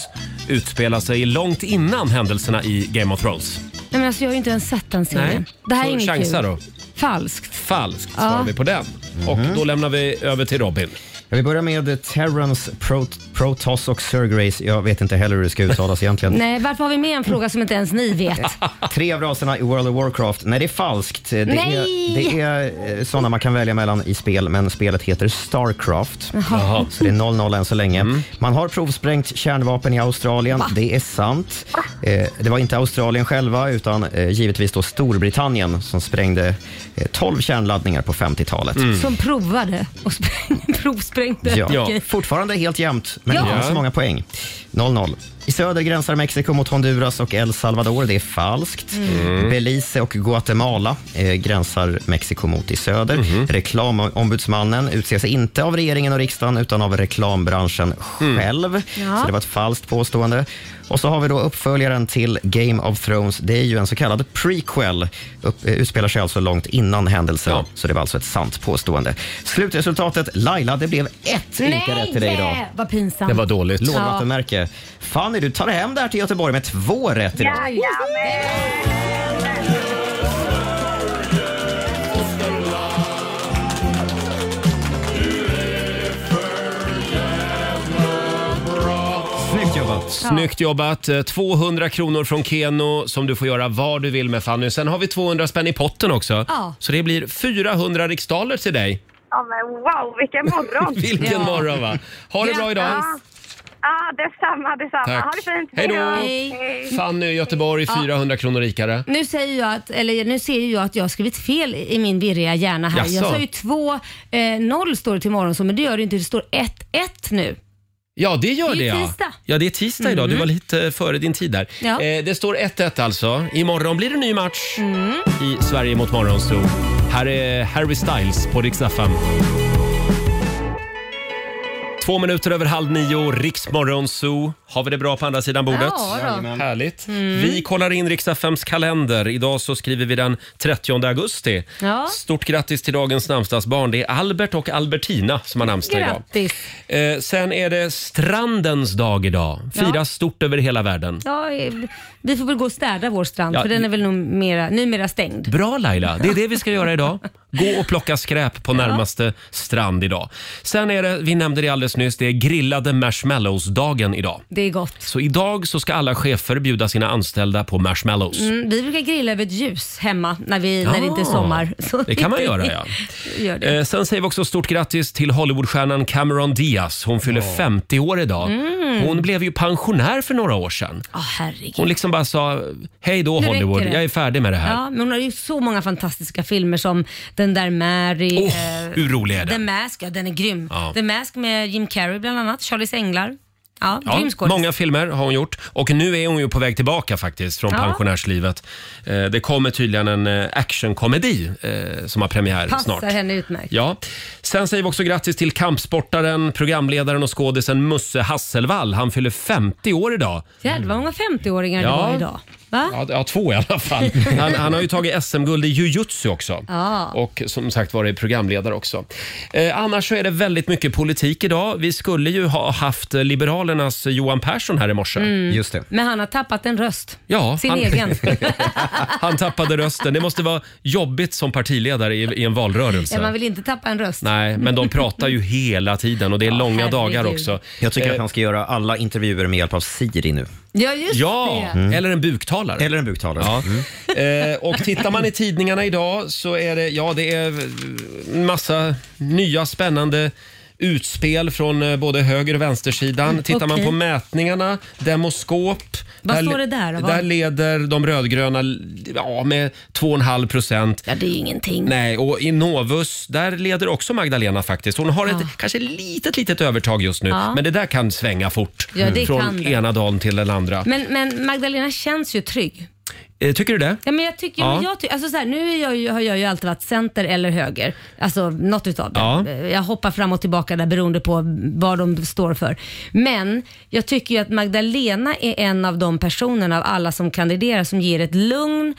[SPEAKER 1] utspelar sig långt innan händelserna i Game of Thrones.
[SPEAKER 2] Nej, men alltså, jag har ju inte ens sett den serien.
[SPEAKER 1] Nej.
[SPEAKER 2] Det här
[SPEAKER 1] Så
[SPEAKER 2] är inget
[SPEAKER 1] chansa
[SPEAKER 2] kul.
[SPEAKER 1] då.
[SPEAKER 2] Falskt.
[SPEAKER 1] Falskt
[SPEAKER 2] Ja.
[SPEAKER 1] svarar vi på den. Och då lämnar vi över till Robin.
[SPEAKER 5] Ja, vi börjar med Terrans, Pro, Protoss och Sir Grace. Jag vet inte heller hur det ska uttalas egentligen.
[SPEAKER 2] Nej, varför har vi med en fråga som inte ens ni vet?
[SPEAKER 5] Tre av raserna i World of Warcraft. Nej, det är falskt. Det
[SPEAKER 2] Nej!
[SPEAKER 5] är, det är eh, sådana man kan välja mellan i spel, men spelet heter Starcraft.
[SPEAKER 2] Jaha. Jaha.
[SPEAKER 5] Så det är 0-0 än så länge. Man har provsprängt kärnvapen i Australien. Det är sant. Eh, Det var inte Australien själva, utan eh, givetvis då Storbritannien som sprängde eh, 12 kärnladdningar på 50-talet.
[SPEAKER 1] Mm.
[SPEAKER 2] Som provade och spräng, provsprängde.
[SPEAKER 5] Ja.
[SPEAKER 2] Okej.
[SPEAKER 5] Fortfarande helt jämnt, men
[SPEAKER 2] Ja.
[SPEAKER 5] inte med
[SPEAKER 2] Ja.
[SPEAKER 5] så många poäng. 0-0. I söder gränsar Mexiko mot Honduras och El Salvador. Det är falskt.
[SPEAKER 12] Mm.
[SPEAKER 5] Belize och Guatemala eh, gränsar Mexiko mot i söder.
[SPEAKER 12] Mhm.
[SPEAKER 5] Reklamombudsmannen utses inte av regeringen och riksdagen utan av reklambranschen själv.
[SPEAKER 12] Mm. Ja.
[SPEAKER 5] Så det var ett falskt påstående. Och så har vi då uppföljaren till Game of Thrones. Det är ju en så kallad prequel. Upp, eh, utspelar sig alltså långt innan händelserna. Så det var alltså ett sant påstående. Slutresultatet, Laila, det blev ett lika rätt till dig idag.
[SPEAKER 2] Nej, vad pinsamt.
[SPEAKER 5] Lågvattenmärke. Fanny, du tar hem det här till Göteborg med två rätt idag.
[SPEAKER 2] Ja.
[SPEAKER 5] Snyggt jobbat.
[SPEAKER 1] Snyggt jobbat. Eh, 200 kronor från Keno som du får göra vad du vill med Fanny. Sen har vi 200 spänn i potten också.
[SPEAKER 16] Ja.
[SPEAKER 1] Så det blir 400 riksdaler till dig.
[SPEAKER 16] Ja, men wow, vilken morgon!
[SPEAKER 1] Vilken
[SPEAKER 16] ja.
[SPEAKER 1] morgon va? Ha det bra idag.
[SPEAKER 16] Ja, ja detsamma, detsamma. Ha det fint.
[SPEAKER 1] Hej då.
[SPEAKER 2] Hej.
[SPEAKER 1] Fanny i Göteborg,
[SPEAKER 2] Ja.
[SPEAKER 1] 400 kronor rikare.
[SPEAKER 2] Nu säger jag att, eller nu ser ju jag att jag har skrivit fel i min virriga hjärna här. Jag
[SPEAKER 1] Jaså?
[SPEAKER 2] sa ju 2-0 står det till morgon så, men det gör det inte. Det står 1-1 nu.
[SPEAKER 1] Ja, det gör
[SPEAKER 2] Det
[SPEAKER 1] det.
[SPEAKER 2] är ju
[SPEAKER 1] ja.
[SPEAKER 2] tisdag.
[SPEAKER 1] Ja, det är tisdag idag. Du
[SPEAKER 2] Mm.
[SPEAKER 1] var lite före din tid där.
[SPEAKER 2] Ja.
[SPEAKER 1] Eh, det står 1-1 alltså. Imorgon blir det ny match
[SPEAKER 2] Mm.
[SPEAKER 1] i Sverige mot Morgonzoo. Här är Harry Styles på Rix FM. Två minuter över halv nio, Riksmorgonzoo. Har vi det bra på andra sidan bordet?
[SPEAKER 12] Ja, då. Jajamän.
[SPEAKER 1] Härligt.
[SPEAKER 12] Mm.
[SPEAKER 1] Vi kollar in Rix FMs kalender. Idag så skriver vi den 30 augusti.
[SPEAKER 2] Ja.
[SPEAKER 1] Stort grattis till dagens namnsdagsbarn. Det är Albert och Albertina som har namnsdag idag.
[SPEAKER 2] Grattis.
[SPEAKER 1] Eh, sen är det strandens dag idag. Firas
[SPEAKER 2] Ja.
[SPEAKER 1] stort över hela världen.
[SPEAKER 2] Ja, eh, vi får väl gå och städa vår strand
[SPEAKER 1] Ja,
[SPEAKER 2] för den
[SPEAKER 1] det-
[SPEAKER 2] är väl numera, numera stängd.
[SPEAKER 1] Bra Laila, det är det vi ska göra idag. Gå och plocka skräp på närmaste strand idag. Sen är det, vi nämnde det alldeles nyss, det är grillade marshmallows-dagen idag.
[SPEAKER 2] Det är gott.
[SPEAKER 1] Så idag så ska alla chefer bjuda sina anställda på marshmallows.
[SPEAKER 2] Mm, vi brukar grilla över ett ljus hemma när, vi, när det inte är
[SPEAKER 1] Ah,
[SPEAKER 2] sommar. Så
[SPEAKER 1] det kan man göra, ja.
[SPEAKER 2] Gör det.
[SPEAKER 1] Eh, sen säger vi också stort grattis till Hollywoodstjärnan Cameron Diaz. Hon fyller 50 år idag.
[SPEAKER 2] Mm.
[SPEAKER 1] Hon blev ju pensionär för några år sedan.
[SPEAKER 2] Åh, herregud.
[SPEAKER 1] Hon liksom bara sa, hej då
[SPEAKER 2] Nu räcker
[SPEAKER 1] Hollywood,
[SPEAKER 2] det."
[SPEAKER 1] jag är färdig med det här.
[SPEAKER 2] Ja, men hon har ju så många fantastiska filmer som den där Mary. eh,
[SPEAKER 1] Åh, hur rolig är
[SPEAKER 2] The
[SPEAKER 1] den?
[SPEAKER 2] Mask, ja den är grym.
[SPEAKER 1] Ja.
[SPEAKER 2] The Mask med Jim Carrey bland annat, Charlies Änglar. Ja,
[SPEAKER 1] Ja,
[SPEAKER 2] grym skådis.
[SPEAKER 1] många filmer har hon gjort och nu är hon ju på väg tillbaka faktiskt från
[SPEAKER 2] Ja.
[SPEAKER 1] pensionärslivet. Eh, Det kommer tydligen en eh, actionkomedi eh, som har premiär
[SPEAKER 2] Passar
[SPEAKER 1] snart.
[SPEAKER 2] henne utmärkt.
[SPEAKER 1] Ja. Sen säger vi också grattis till kampsportaren, programledaren och skådisen Musse Hasselvall. Han fyller 50 år idag.
[SPEAKER 2] Jävlar vad många 50-åringar
[SPEAKER 1] Ja.
[SPEAKER 2] det var idag. Va?
[SPEAKER 1] Ja, ja, två i alla fall. Han, han har ju tagit SM-guld i jujutsu också.
[SPEAKER 2] Ja.
[SPEAKER 1] Och som sagt var är programledare också. Eh, annars så är det väldigt mycket politik idag. Vi skulle ju ha haft Liberalernas Johan Persson här i morse.
[SPEAKER 2] Mm. Just Men han har tappat en röst.
[SPEAKER 1] Ja,
[SPEAKER 2] Sin
[SPEAKER 1] han-
[SPEAKER 2] egen.
[SPEAKER 1] Han tappade rösten. Det måste vara jobbigt som partiledare i, i en
[SPEAKER 2] Ja, man
[SPEAKER 1] valrörelse.
[SPEAKER 2] vill inte tappa en röst.
[SPEAKER 1] Nej, men de pratar ju hela tiden och det är långa
[SPEAKER 2] herregud.
[SPEAKER 1] dagar också.
[SPEAKER 5] Jag tycker att
[SPEAKER 1] Eh,
[SPEAKER 5] han ska göra alla intervjuer med hjälp av Siri nu.
[SPEAKER 2] Ja, just
[SPEAKER 1] Ja,
[SPEAKER 2] det. Mm.
[SPEAKER 1] eller en buktalare.
[SPEAKER 5] Eller en buktalare. Mm.
[SPEAKER 1] Ja. Eh, och tittar man i tidningarna idag så är det, ja, det är en massa nya spännande utspel från eh, både höger och vänstersidan. Tittar man
[SPEAKER 2] okej.
[SPEAKER 1] på mätningarna, Demoskop.
[SPEAKER 2] Vad står det där då? Vad-
[SPEAKER 1] Där leder de rödgröna ja, med 2,5 procent.
[SPEAKER 2] Ja, det är ju ingenting.
[SPEAKER 1] Nej, och i Novus, där leder också Magdalena faktiskt. Hon har ett kanske litet, litet övertag just nu,
[SPEAKER 2] Ja.
[SPEAKER 1] men det där kan svänga fort.
[SPEAKER 2] Ja, det
[SPEAKER 1] Från
[SPEAKER 2] kan det.
[SPEAKER 1] ena dagen till den andra.
[SPEAKER 2] Men, men Magdalena känns ju trygg.
[SPEAKER 1] eh, tycker du det?
[SPEAKER 2] Ja, men jag tycker, ja. men
[SPEAKER 1] Ja.
[SPEAKER 2] jag tycker alltså så här, nu är jag, ju- har jag ju alltid varit center eller höger. Alltså något utav det.
[SPEAKER 1] Ja.
[SPEAKER 2] Jag hoppar fram och tillbaka där beroende på vad de står för. Men jag tycker ju att Magdalena är en av de personerna av alla som kandiderar som ger ett lugn,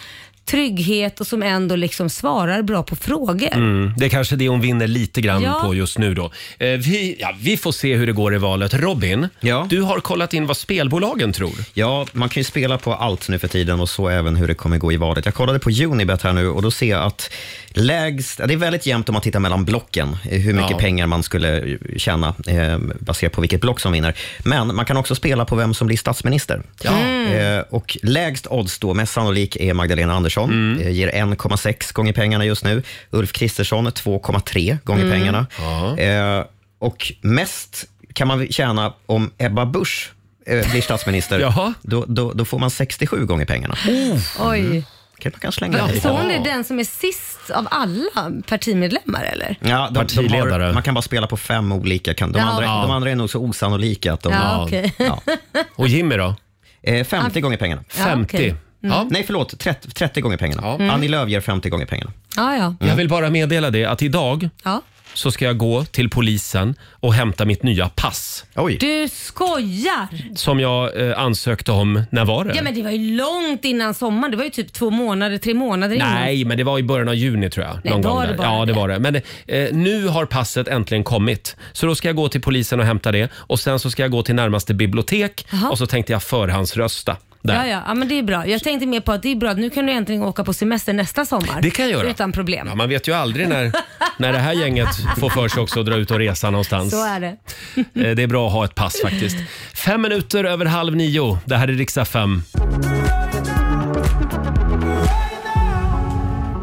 [SPEAKER 2] trygghet och som ändå liksom svarar bra på frågor.
[SPEAKER 1] Mm, det är kanske det hon vinner lite grann
[SPEAKER 2] Ja.
[SPEAKER 1] på just nu då. Eh, vi, ja, vi får se hur det går i valet. Robin, du har kollat in vad spelbolagen tror.
[SPEAKER 5] Ja, man kan ju spela på allt nu för tiden och så även hur det kommer gå i valet. Jag kollade på Unibet här nu och då ser jag att lägst, ja, det är väldigt jämnt om man tittar mellan blocken, eh, hur mycket
[SPEAKER 13] Ja.
[SPEAKER 5] pengar man skulle tjäna eh, baserat på vilket block som vinner. Men man kan också spela på vem som blir statsminister.
[SPEAKER 13] Ja. Mm.
[SPEAKER 5] Eh, och lägst odds då, mest sannolik, är Magdalena Andersson.
[SPEAKER 13] Mm.
[SPEAKER 5] Eh, ger 1,6 gånger pengarna just nu. Ulf Kristersson 2,3 gånger
[SPEAKER 13] Mm.
[SPEAKER 5] pengarna. Eh, och mest kan man tjäna om Ebba Busch eh, blir statsminister, då, då, då får man 67 gånger pengarna.
[SPEAKER 2] Mm.
[SPEAKER 1] Mm.
[SPEAKER 2] Oj.
[SPEAKER 5] Kan man kan slänga
[SPEAKER 2] Så hon är den som är sist av alla partimedlemmar eller?
[SPEAKER 5] Ja, de, de
[SPEAKER 1] Partiledare.
[SPEAKER 5] har, man kan bara spela på fem olika. Kan, de,
[SPEAKER 2] Ja,
[SPEAKER 5] andra,
[SPEAKER 2] okej.
[SPEAKER 5] de andra är nog så osannolika att de...
[SPEAKER 2] Ja, okej.
[SPEAKER 1] Och Jimmy då?
[SPEAKER 5] Eh, 50 gånger pengarna.
[SPEAKER 2] Ja, 50. okej. Mm. Ja.
[SPEAKER 5] Nej, förlåt. 30, 30 gånger pengarna.
[SPEAKER 2] Mm.
[SPEAKER 5] Annie Lööf ger 50 gånger pengarna.
[SPEAKER 2] Ja, ja.
[SPEAKER 1] Jag vill bara meddela det att idag
[SPEAKER 2] ja.
[SPEAKER 1] så ska jag gå till polisen och hämta mitt nya pass.
[SPEAKER 2] Du skojar!
[SPEAKER 1] Som jag eh, ansökte om, när var det?
[SPEAKER 2] Ja men det var ju långt innan sommaren. Det var ju typ två månader, tre månader innan.
[SPEAKER 1] Nej, men det var i början av juni tror jag.
[SPEAKER 2] Nej,
[SPEAKER 1] någon
[SPEAKER 2] var
[SPEAKER 1] gång
[SPEAKER 2] det
[SPEAKER 1] där.
[SPEAKER 2] bara
[SPEAKER 1] ja, det var det. Men eh, nu har passet äntligen kommit. Så då ska jag gå till polisen och hämta det och sen så ska jag gå till närmaste bibliotek
[SPEAKER 2] Jaha.
[SPEAKER 1] och så tänkte jag förhandsrösta. Där.
[SPEAKER 2] Ja, ja, ja, men det är bra. Jag tänkte mer på att det är bra att nu kan du äntligen åka på semester nästa sommar.
[SPEAKER 1] Det kan jag göra.
[SPEAKER 2] Utan problem.
[SPEAKER 1] Ja, man vet ju aldrig när, när det här gänget får för sig också att dra ut och resa någonstans.
[SPEAKER 2] Så är det.
[SPEAKER 1] Eh, Det är bra att ha ett pass faktiskt. Fem minuter över halv nio. Det här är riksdag 5.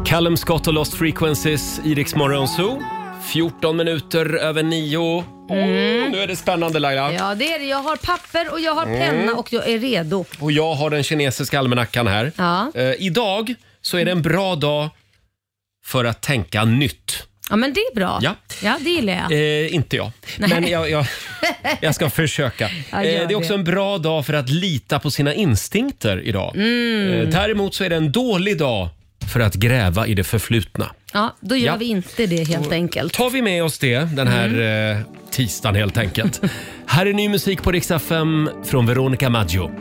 [SPEAKER 1] Callum Scott och Lost Frequencies i Rix Morgon Zoo. 14 minuter över nio. Åh, nu är det spännande Laila.
[SPEAKER 2] Mm. Ja, det är det. Jag har papper och jag har
[SPEAKER 1] Mm.
[SPEAKER 2] penna och jag är redo.
[SPEAKER 1] Och jag har den kinesiska almanackan här.
[SPEAKER 2] Ja.
[SPEAKER 1] Eh, idag så är det en bra dag för att tänka nytt.
[SPEAKER 2] Ja, men det är bra.
[SPEAKER 1] Ja.
[SPEAKER 2] ja det gillar jag.
[SPEAKER 1] Eh, inte jag,
[SPEAKER 2] Nej.
[SPEAKER 1] men jag, jag, jag ska försöka.
[SPEAKER 2] Ja,
[SPEAKER 1] eh, det
[SPEAKER 2] gör
[SPEAKER 1] är också
[SPEAKER 2] det.
[SPEAKER 1] en bra dag för att lita på sina instinkter idag.
[SPEAKER 2] Mm.
[SPEAKER 1] Eh, däremot så är det en dålig dag för att gräva i det förflutna.
[SPEAKER 2] Ja, då gör
[SPEAKER 1] Ja.
[SPEAKER 2] vi inte det helt enkelt.
[SPEAKER 1] tar vi med oss det den här
[SPEAKER 2] Mm.
[SPEAKER 1] eh, tisdagen helt enkelt. här är ny musik på riksdag 5 från Veronica Maggio.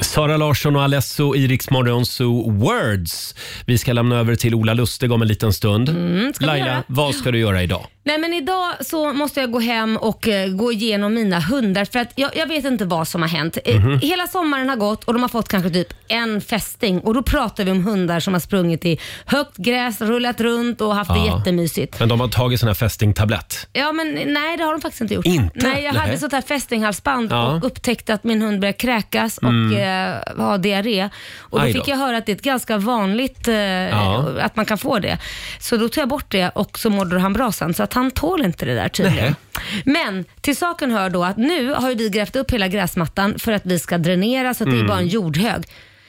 [SPEAKER 1] Sara Larsson och Alesso i Rix Morgon Zoo Words. Vi ska lämna över till Ola Lustig om en liten stund.
[SPEAKER 2] Mm, ska vi
[SPEAKER 1] Laila,
[SPEAKER 2] göra?
[SPEAKER 1] vad ska du göra idag?
[SPEAKER 2] Nej men idag så måste jag gå hem och eh, gå igenom mina hundar för att jag, jag vet inte vad som har hänt. Eh,
[SPEAKER 1] Mhm.
[SPEAKER 2] Hela sommaren har gått och de har fått kanske typ en fästing och då pratar vi om hundar som har sprungit i högt gräs, rullat runt och haft det
[SPEAKER 1] Ja.
[SPEAKER 2] jättemysigt.
[SPEAKER 1] Men de har tagit sån här fästingtablett.
[SPEAKER 2] Ja men nej det har de faktiskt inte gjort.
[SPEAKER 1] Inte?
[SPEAKER 2] Nej jag hade
[SPEAKER 1] Nej.
[SPEAKER 2] sånt här fästinghalsband
[SPEAKER 1] Ja.
[SPEAKER 2] och upptäckte att min hund började kräkas och
[SPEAKER 1] Mm.
[SPEAKER 2] eh, ha diarré. Och då
[SPEAKER 1] Aj då.
[SPEAKER 2] fick jag höra att det är ett ganska vanligt eh,
[SPEAKER 1] Ja.
[SPEAKER 2] att man kan få det. Så då tog jag bort det och så mådde han bra sen så att han tål inte det där tydligen.
[SPEAKER 1] Nej.
[SPEAKER 2] Men till saken hör då att nu har ju vi grävt upp hela gräsmattan för att vi ska dränera så att det är
[SPEAKER 13] Mm.
[SPEAKER 2] bara en jordhög.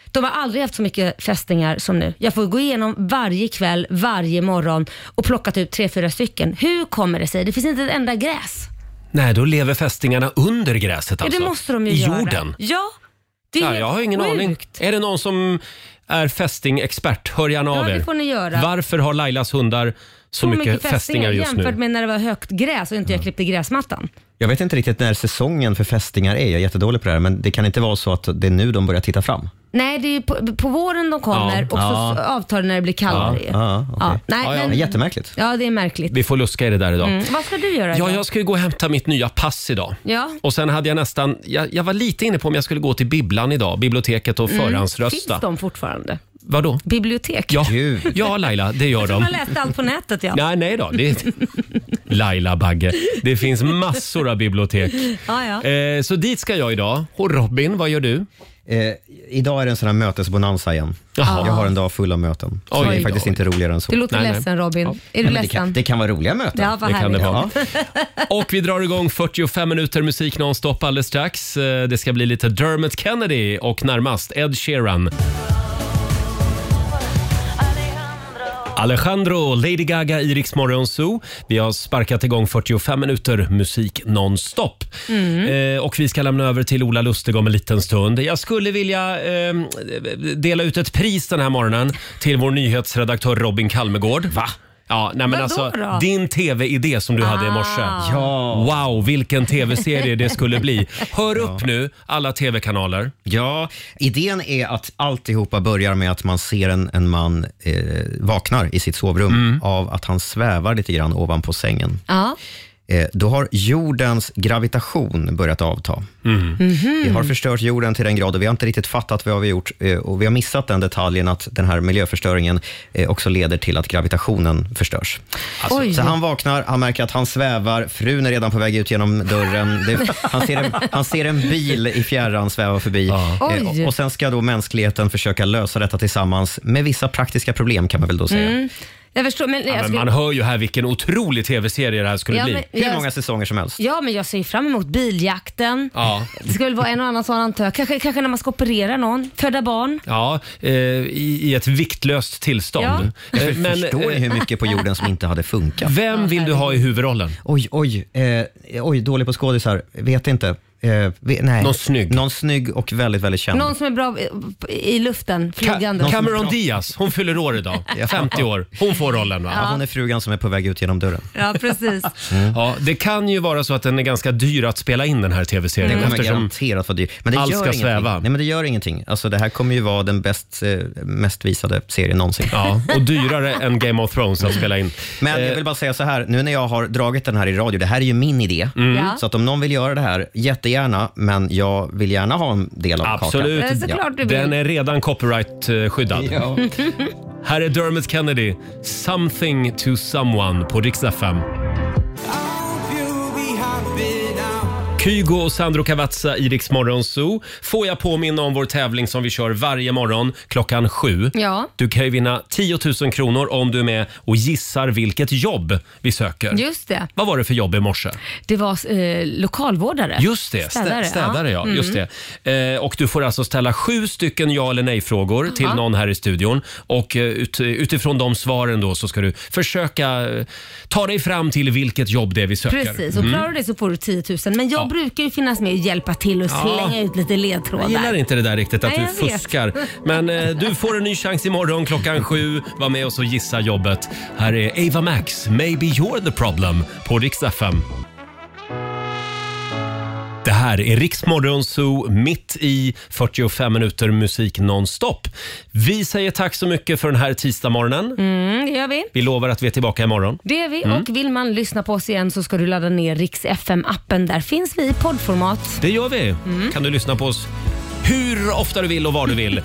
[SPEAKER 2] De har aldrig haft så mycket fästingar som nu. Jag får gå igenom varje kväll, varje morgon och plocka typ tre, fyra stycken. Hur kommer det sig? Det finns inte ett enda gräs.
[SPEAKER 1] Nej, då lever fästingarna under gräset
[SPEAKER 2] Ja,
[SPEAKER 1] alltså.
[SPEAKER 2] det måste de ju
[SPEAKER 1] I
[SPEAKER 2] göra.
[SPEAKER 1] jorden.
[SPEAKER 2] Ja, det är
[SPEAKER 1] Ja,
[SPEAKER 2] helt
[SPEAKER 1] jag har ingen
[SPEAKER 2] sjukt.
[SPEAKER 1] aning. Är det någon som är fästingexpert? Hör gärna
[SPEAKER 2] Ja,
[SPEAKER 1] av er.
[SPEAKER 2] det får ni göra.
[SPEAKER 1] Varför har Lailas hundar så, mycket, fästingar just
[SPEAKER 2] jämfört
[SPEAKER 1] nu? Mm.
[SPEAKER 2] med när det var högt gräs och inte jag klippte gräsmattan.
[SPEAKER 5] Jag vet inte riktigt när säsongen för fästingar är. Jag är jättedålig på det här, men det kan inte vara så att det är nu de börjar titta fram.
[SPEAKER 2] Nej, det är ju på, på våren de kommer
[SPEAKER 5] Ja.
[SPEAKER 2] och så
[SPEAKER 5] Ja.
[SPEAKER 2] avtar det när det blir kallare. ju.
[SPEAKER 5] Ah, ja,
[SPEAKER 2] Ja, nej,
[SPEAKER 1] Ja, ja.
[SPEAKER 2] Men,
[SPEAKER 5] Jättemärkligt.
[SPEAKER 2] ja, det är märkligt.
[SPEAKER 1] Vi får luska i det där idag.
[SPEAKER 2] Mm. Vad ska du göra
[SPEAKER 1] Ja,
[SPEAKER 2] idag?
[SPEAKER 1] jag ska ju gå och hämta mitt nya pass idag.
[SPEAKER 2] Ja.
[SPEAKER 1] Och sen hade jag nästan, jag, jag var lite inne på om jag skulle gå till bibblan idag, biblioteket och förhandsrösta.
[SPEAKER 2] Mm. Finns de fortfarande?
[SPEAKER 1] Vadå?
[SPEAKER 2] Bibliotek?
[SPEAKER 1] Ja. ja, Laila, det gör
[SPEAKER 2] Alltså, Man
[SPEAKER 1] de.
[SPEAKER 2] har läst allt på nätet ja.
[SPEAKER 1] Nej, nej då. Det... Laila Bagge, det finns massor av bibliotek.
[SPEAKER 2] Ja, ja.
[SPEAKER 1] Eh, så dit ska jag idag. Och Robin, vad gör du?
[SPEAKER 5] Eh, idag är det en sån här mötesbonanza igen.
[SPEAKER 2] Jaha.
[SPEAKER 5] Jag har en dag full av möten. Så
[SPEAKER 2] Oj
[SPEAKER 5] det är
[SPEAKER 2] då.
[SPEAKER 5] faktiskt inte roligare än så.
[SPEAKER 2] Du låter ledsen Robin. Är du
[SPEAKER 5] Nej, men det,
[SPEAKER 2] ledsen?
[SPEAKER 5] kan, det kan vara roliga möten.
[SPEAKER 2] Ja, vad Det kan det härligt. vara.
[SPEAKER 1] Och vi drar igång 45 minuter musik nonstop alldeles strax. Eh, Det ska bli lite Dermot Kennedy och närmast Ed Sheeran. Alejandro, Lady Gaga, i Rix Morgon Zoo. Vi har sparkat igång 45 minuter musik nonstop.
[SPEAKER 5] Mm.
[SPEAKER 1] Eh, och vi ska lämna över till Ola Lustig om en liten stund. Jag skulle vilja eh, dela ut ett pris den här morgonen till vår nyhetsredaktör Robin Kalmegård. Va? Ja, nej men
[SPEAKER 5] Vadå
[SPEAKER 1] alltså,
[SPEAKER 5] då?
[SPEAKER 1] din tv-idé som du hade i morse.
[SPEAKER 2] Ah.
[SPEAKER 1] Ja. Wow, vilken tv-serie det skulle bli. Hör upp nu, alla tv-kanaler.
[SPEAKER 5] Ja, idén är att alltihopa börjar med att man ser en, en man eh, vaknar i sitt sovrum av att han svävar lite grann ovanpå sängen.
[SPEAKER 2] Ja.
[SPEAKER 5] Eh, då har jordens gravitation börjat avta. Vi
[SPEAKER 2] Mhm.
[SPEAKER 5] har förstört jorden till den grad och vi har inte riktigt fattat vad vi har gjort. eh, Och vi har missat den detaljen att den här miljöförstöringen eh, också leder till att gravitationen förstörs.
[SPEAKER 12] Oj.
[SPEAKER 5] så han vaknar, han märker att han svävar, frun är redan på väg ut genom dörren. Det, han, ser en, han ser en bil i fjärran sväva förbi. Eh,
[SPEAKER 2] Oj.
[SPEAKER 5] och- Och sen ska då mänskligheten försöka lösa detta tillsammans med vissa praktiska problem kan man väl då säga.
[SPEAKER 2] Mm. Jag förstår. Men, jag
[SPEAKER 5] men
[SPEAKER 2] skulle-
[SPEAKER 5] man
[SPEAKER 1] Man hör ju här vilken otrolig tv-serie det här skulle
[SPEAKER 2] Ja,
[SPEAKER 1] bli.
[SPEAKER 2] men Hur jag- många
[SPEAKER 5] säsonger som helst.
[SPEAKER 2] Ja, men jag ser ju fram emot biljakten.
[SPEAKER 1] Ja.
[SPEAKER 2] Det ska väl vara en och annan sån antar jag. Kanske, kanske när man ska operera någon, föda barn.
[SPEAKER 1] Ja, eh, i, i ett viktlöst tillstånd.
[SPEAKER 5] Ja.
[SPEAKER 1] Eh,
[SPEAKER 5] Förstår ni hur mycket på jorden som inte hade funkat?
[SPEAKER 1] Vem vill du ha i huvudrollen?
[SPEAKER 5] Oj, oj, eh, oj, dålig på skådisar. Vet inte. Eh, vi, nej.
[SPEAKER 1] Någon snygg.
[SPEAKER 5] Någon snygg och väldigt, väldigt känd.
[SPEAKER 2] Någon som är bra i, i luften, flygande.
[SPEAKER 1] Cameron Diaz, hon fyller år idag. 50 år. Hon får rollen va?
[SPEAKER 2] Ja, hon
[SPEAKER 5] är frugan som är på väg ut genom dörren.
[SPEAKER 2] Ja, precis.
[SPEAKER 1] Ja, det kan ju vara så att den är ganska dyr att spela in den här tv-serien.
[SPEAKER 5] Den kommer
[SPEAKER 1] Eftersom
[SPEAKER 5] garanterat vara dyr. Men det
[SPEAKER 1] allt
[SPEAKER 5] gör
[SPEAKER 1] ska
[SPEAKER 5] ingenting.
[SPEAKER 1] sväva.
[SPEAKER 5] Nej, men det gör ingenting. Alltså, det här kommer ju vara den bäst, eh, mest visade serien någonsin.
[SPEAKER 1] Ja, eh, och dyrare än Game of Thrones att spela in.
[SPEAKER 5] Men jag vill bara säga så här, nu när jag har dragit den här i radio, det här är ju min idé.
[SPEAKER 1] Mm.
[SPEAKER 2] Ja.
[SPEAKER 5] Mm. Så att om någon vill göra det här, jättegärna, men jag vill gärna ha en del av
[SPEAKER 1] Absolut.
[SPEAKER 2] Eh,
[SPEAKER 5] kakan.
[SPEAKER 1] Den är redan copyright-skyddad.
[SPEAKER 5] Ja.
[SPEAKER 1] Här är Dermot Kennedy, “Something to someone” på Rix FM. Kygo och Sandro Cavazza i Rix Morgon Zoo. Får jag påminna om vår tävling som vi kör varje morgon klockan sju.
[SPEAKER 2] Ja.
[SPEAKER 1] Du kan ju vinna 10 000 kronor om du är med och gissar vilket jobb vi söker.
[SPEAKER 2] Just det.
[SPEAKER 1] Vad var det för jobb i morse?
[SPEAKER 2] Det var eh, lokalvårdare.
[SPEAKER 1] Just det, städare, städare ja.
[SPEAKER 2] Mm.
[SPEAKER 1] Just det. Eh, och du får alltså ställa sju stycken ja eller nej-frågor till
[SPEAKER 2] Jaha.
[SPEAKER 1] någon här i studion. Och eh, ut, utifrån de svaren då så ska du försöka eh, ta dig fram till vilket jobb det är vi söker.
[SPEAKER 2] Precis, och klarar du det så får du 10 000. Men jag brukar ju finnas med och hjälpa till och
[SPEAKER 1] Ja.
[SPEAKER 2] slänga ut lite
[SPEAKER 1] Jag
[SPEAKER 2] ledtrådar.
[SPEAKER 1] gillar inte det där riktigt att
[SPEAKER 2] Nej,
[SPEAKER 1] du
[SPEAKER 2] jag vet.
[SPEAKER 1] fuskar. Men eh, du får en ny chans imorgon klockan sju. Var med oss och gissa jobbet. Här är Ava Max, “Maybe you're the problem” på Rix FM. Det här är Riksmorgon Zoo mitt i 45 minuter musik nonstop. Vi säger tack så mycket för den här tisdagsmorgonen.
[SPEAKER 2] Mm, det gör vi.
[SPEAKER 1] Vi lovar att vi är tillbaka imorgon.
[SPEAKER 2] Det är vi
[SPEAKER 1] Mm.
[SPEAKER 2] och vill man lyssna på oss igen så ska du ladda ner Rix FM-appen. Där finns vi i poddformat.
[SPEAKER 1] Det gör vi. Kan du lyssna på oss hur ofta du vill och var du vill. eh,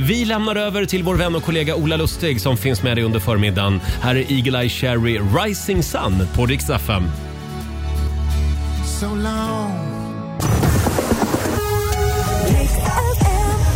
[SPEAKER 1] vi lämnar över till vår vän och kollega Ola Lustig som finns med dig under förmiddagen. Här är Eagle-Eye Cherry Rising Sun på Rix FM.
[SPEAKER 12] So long.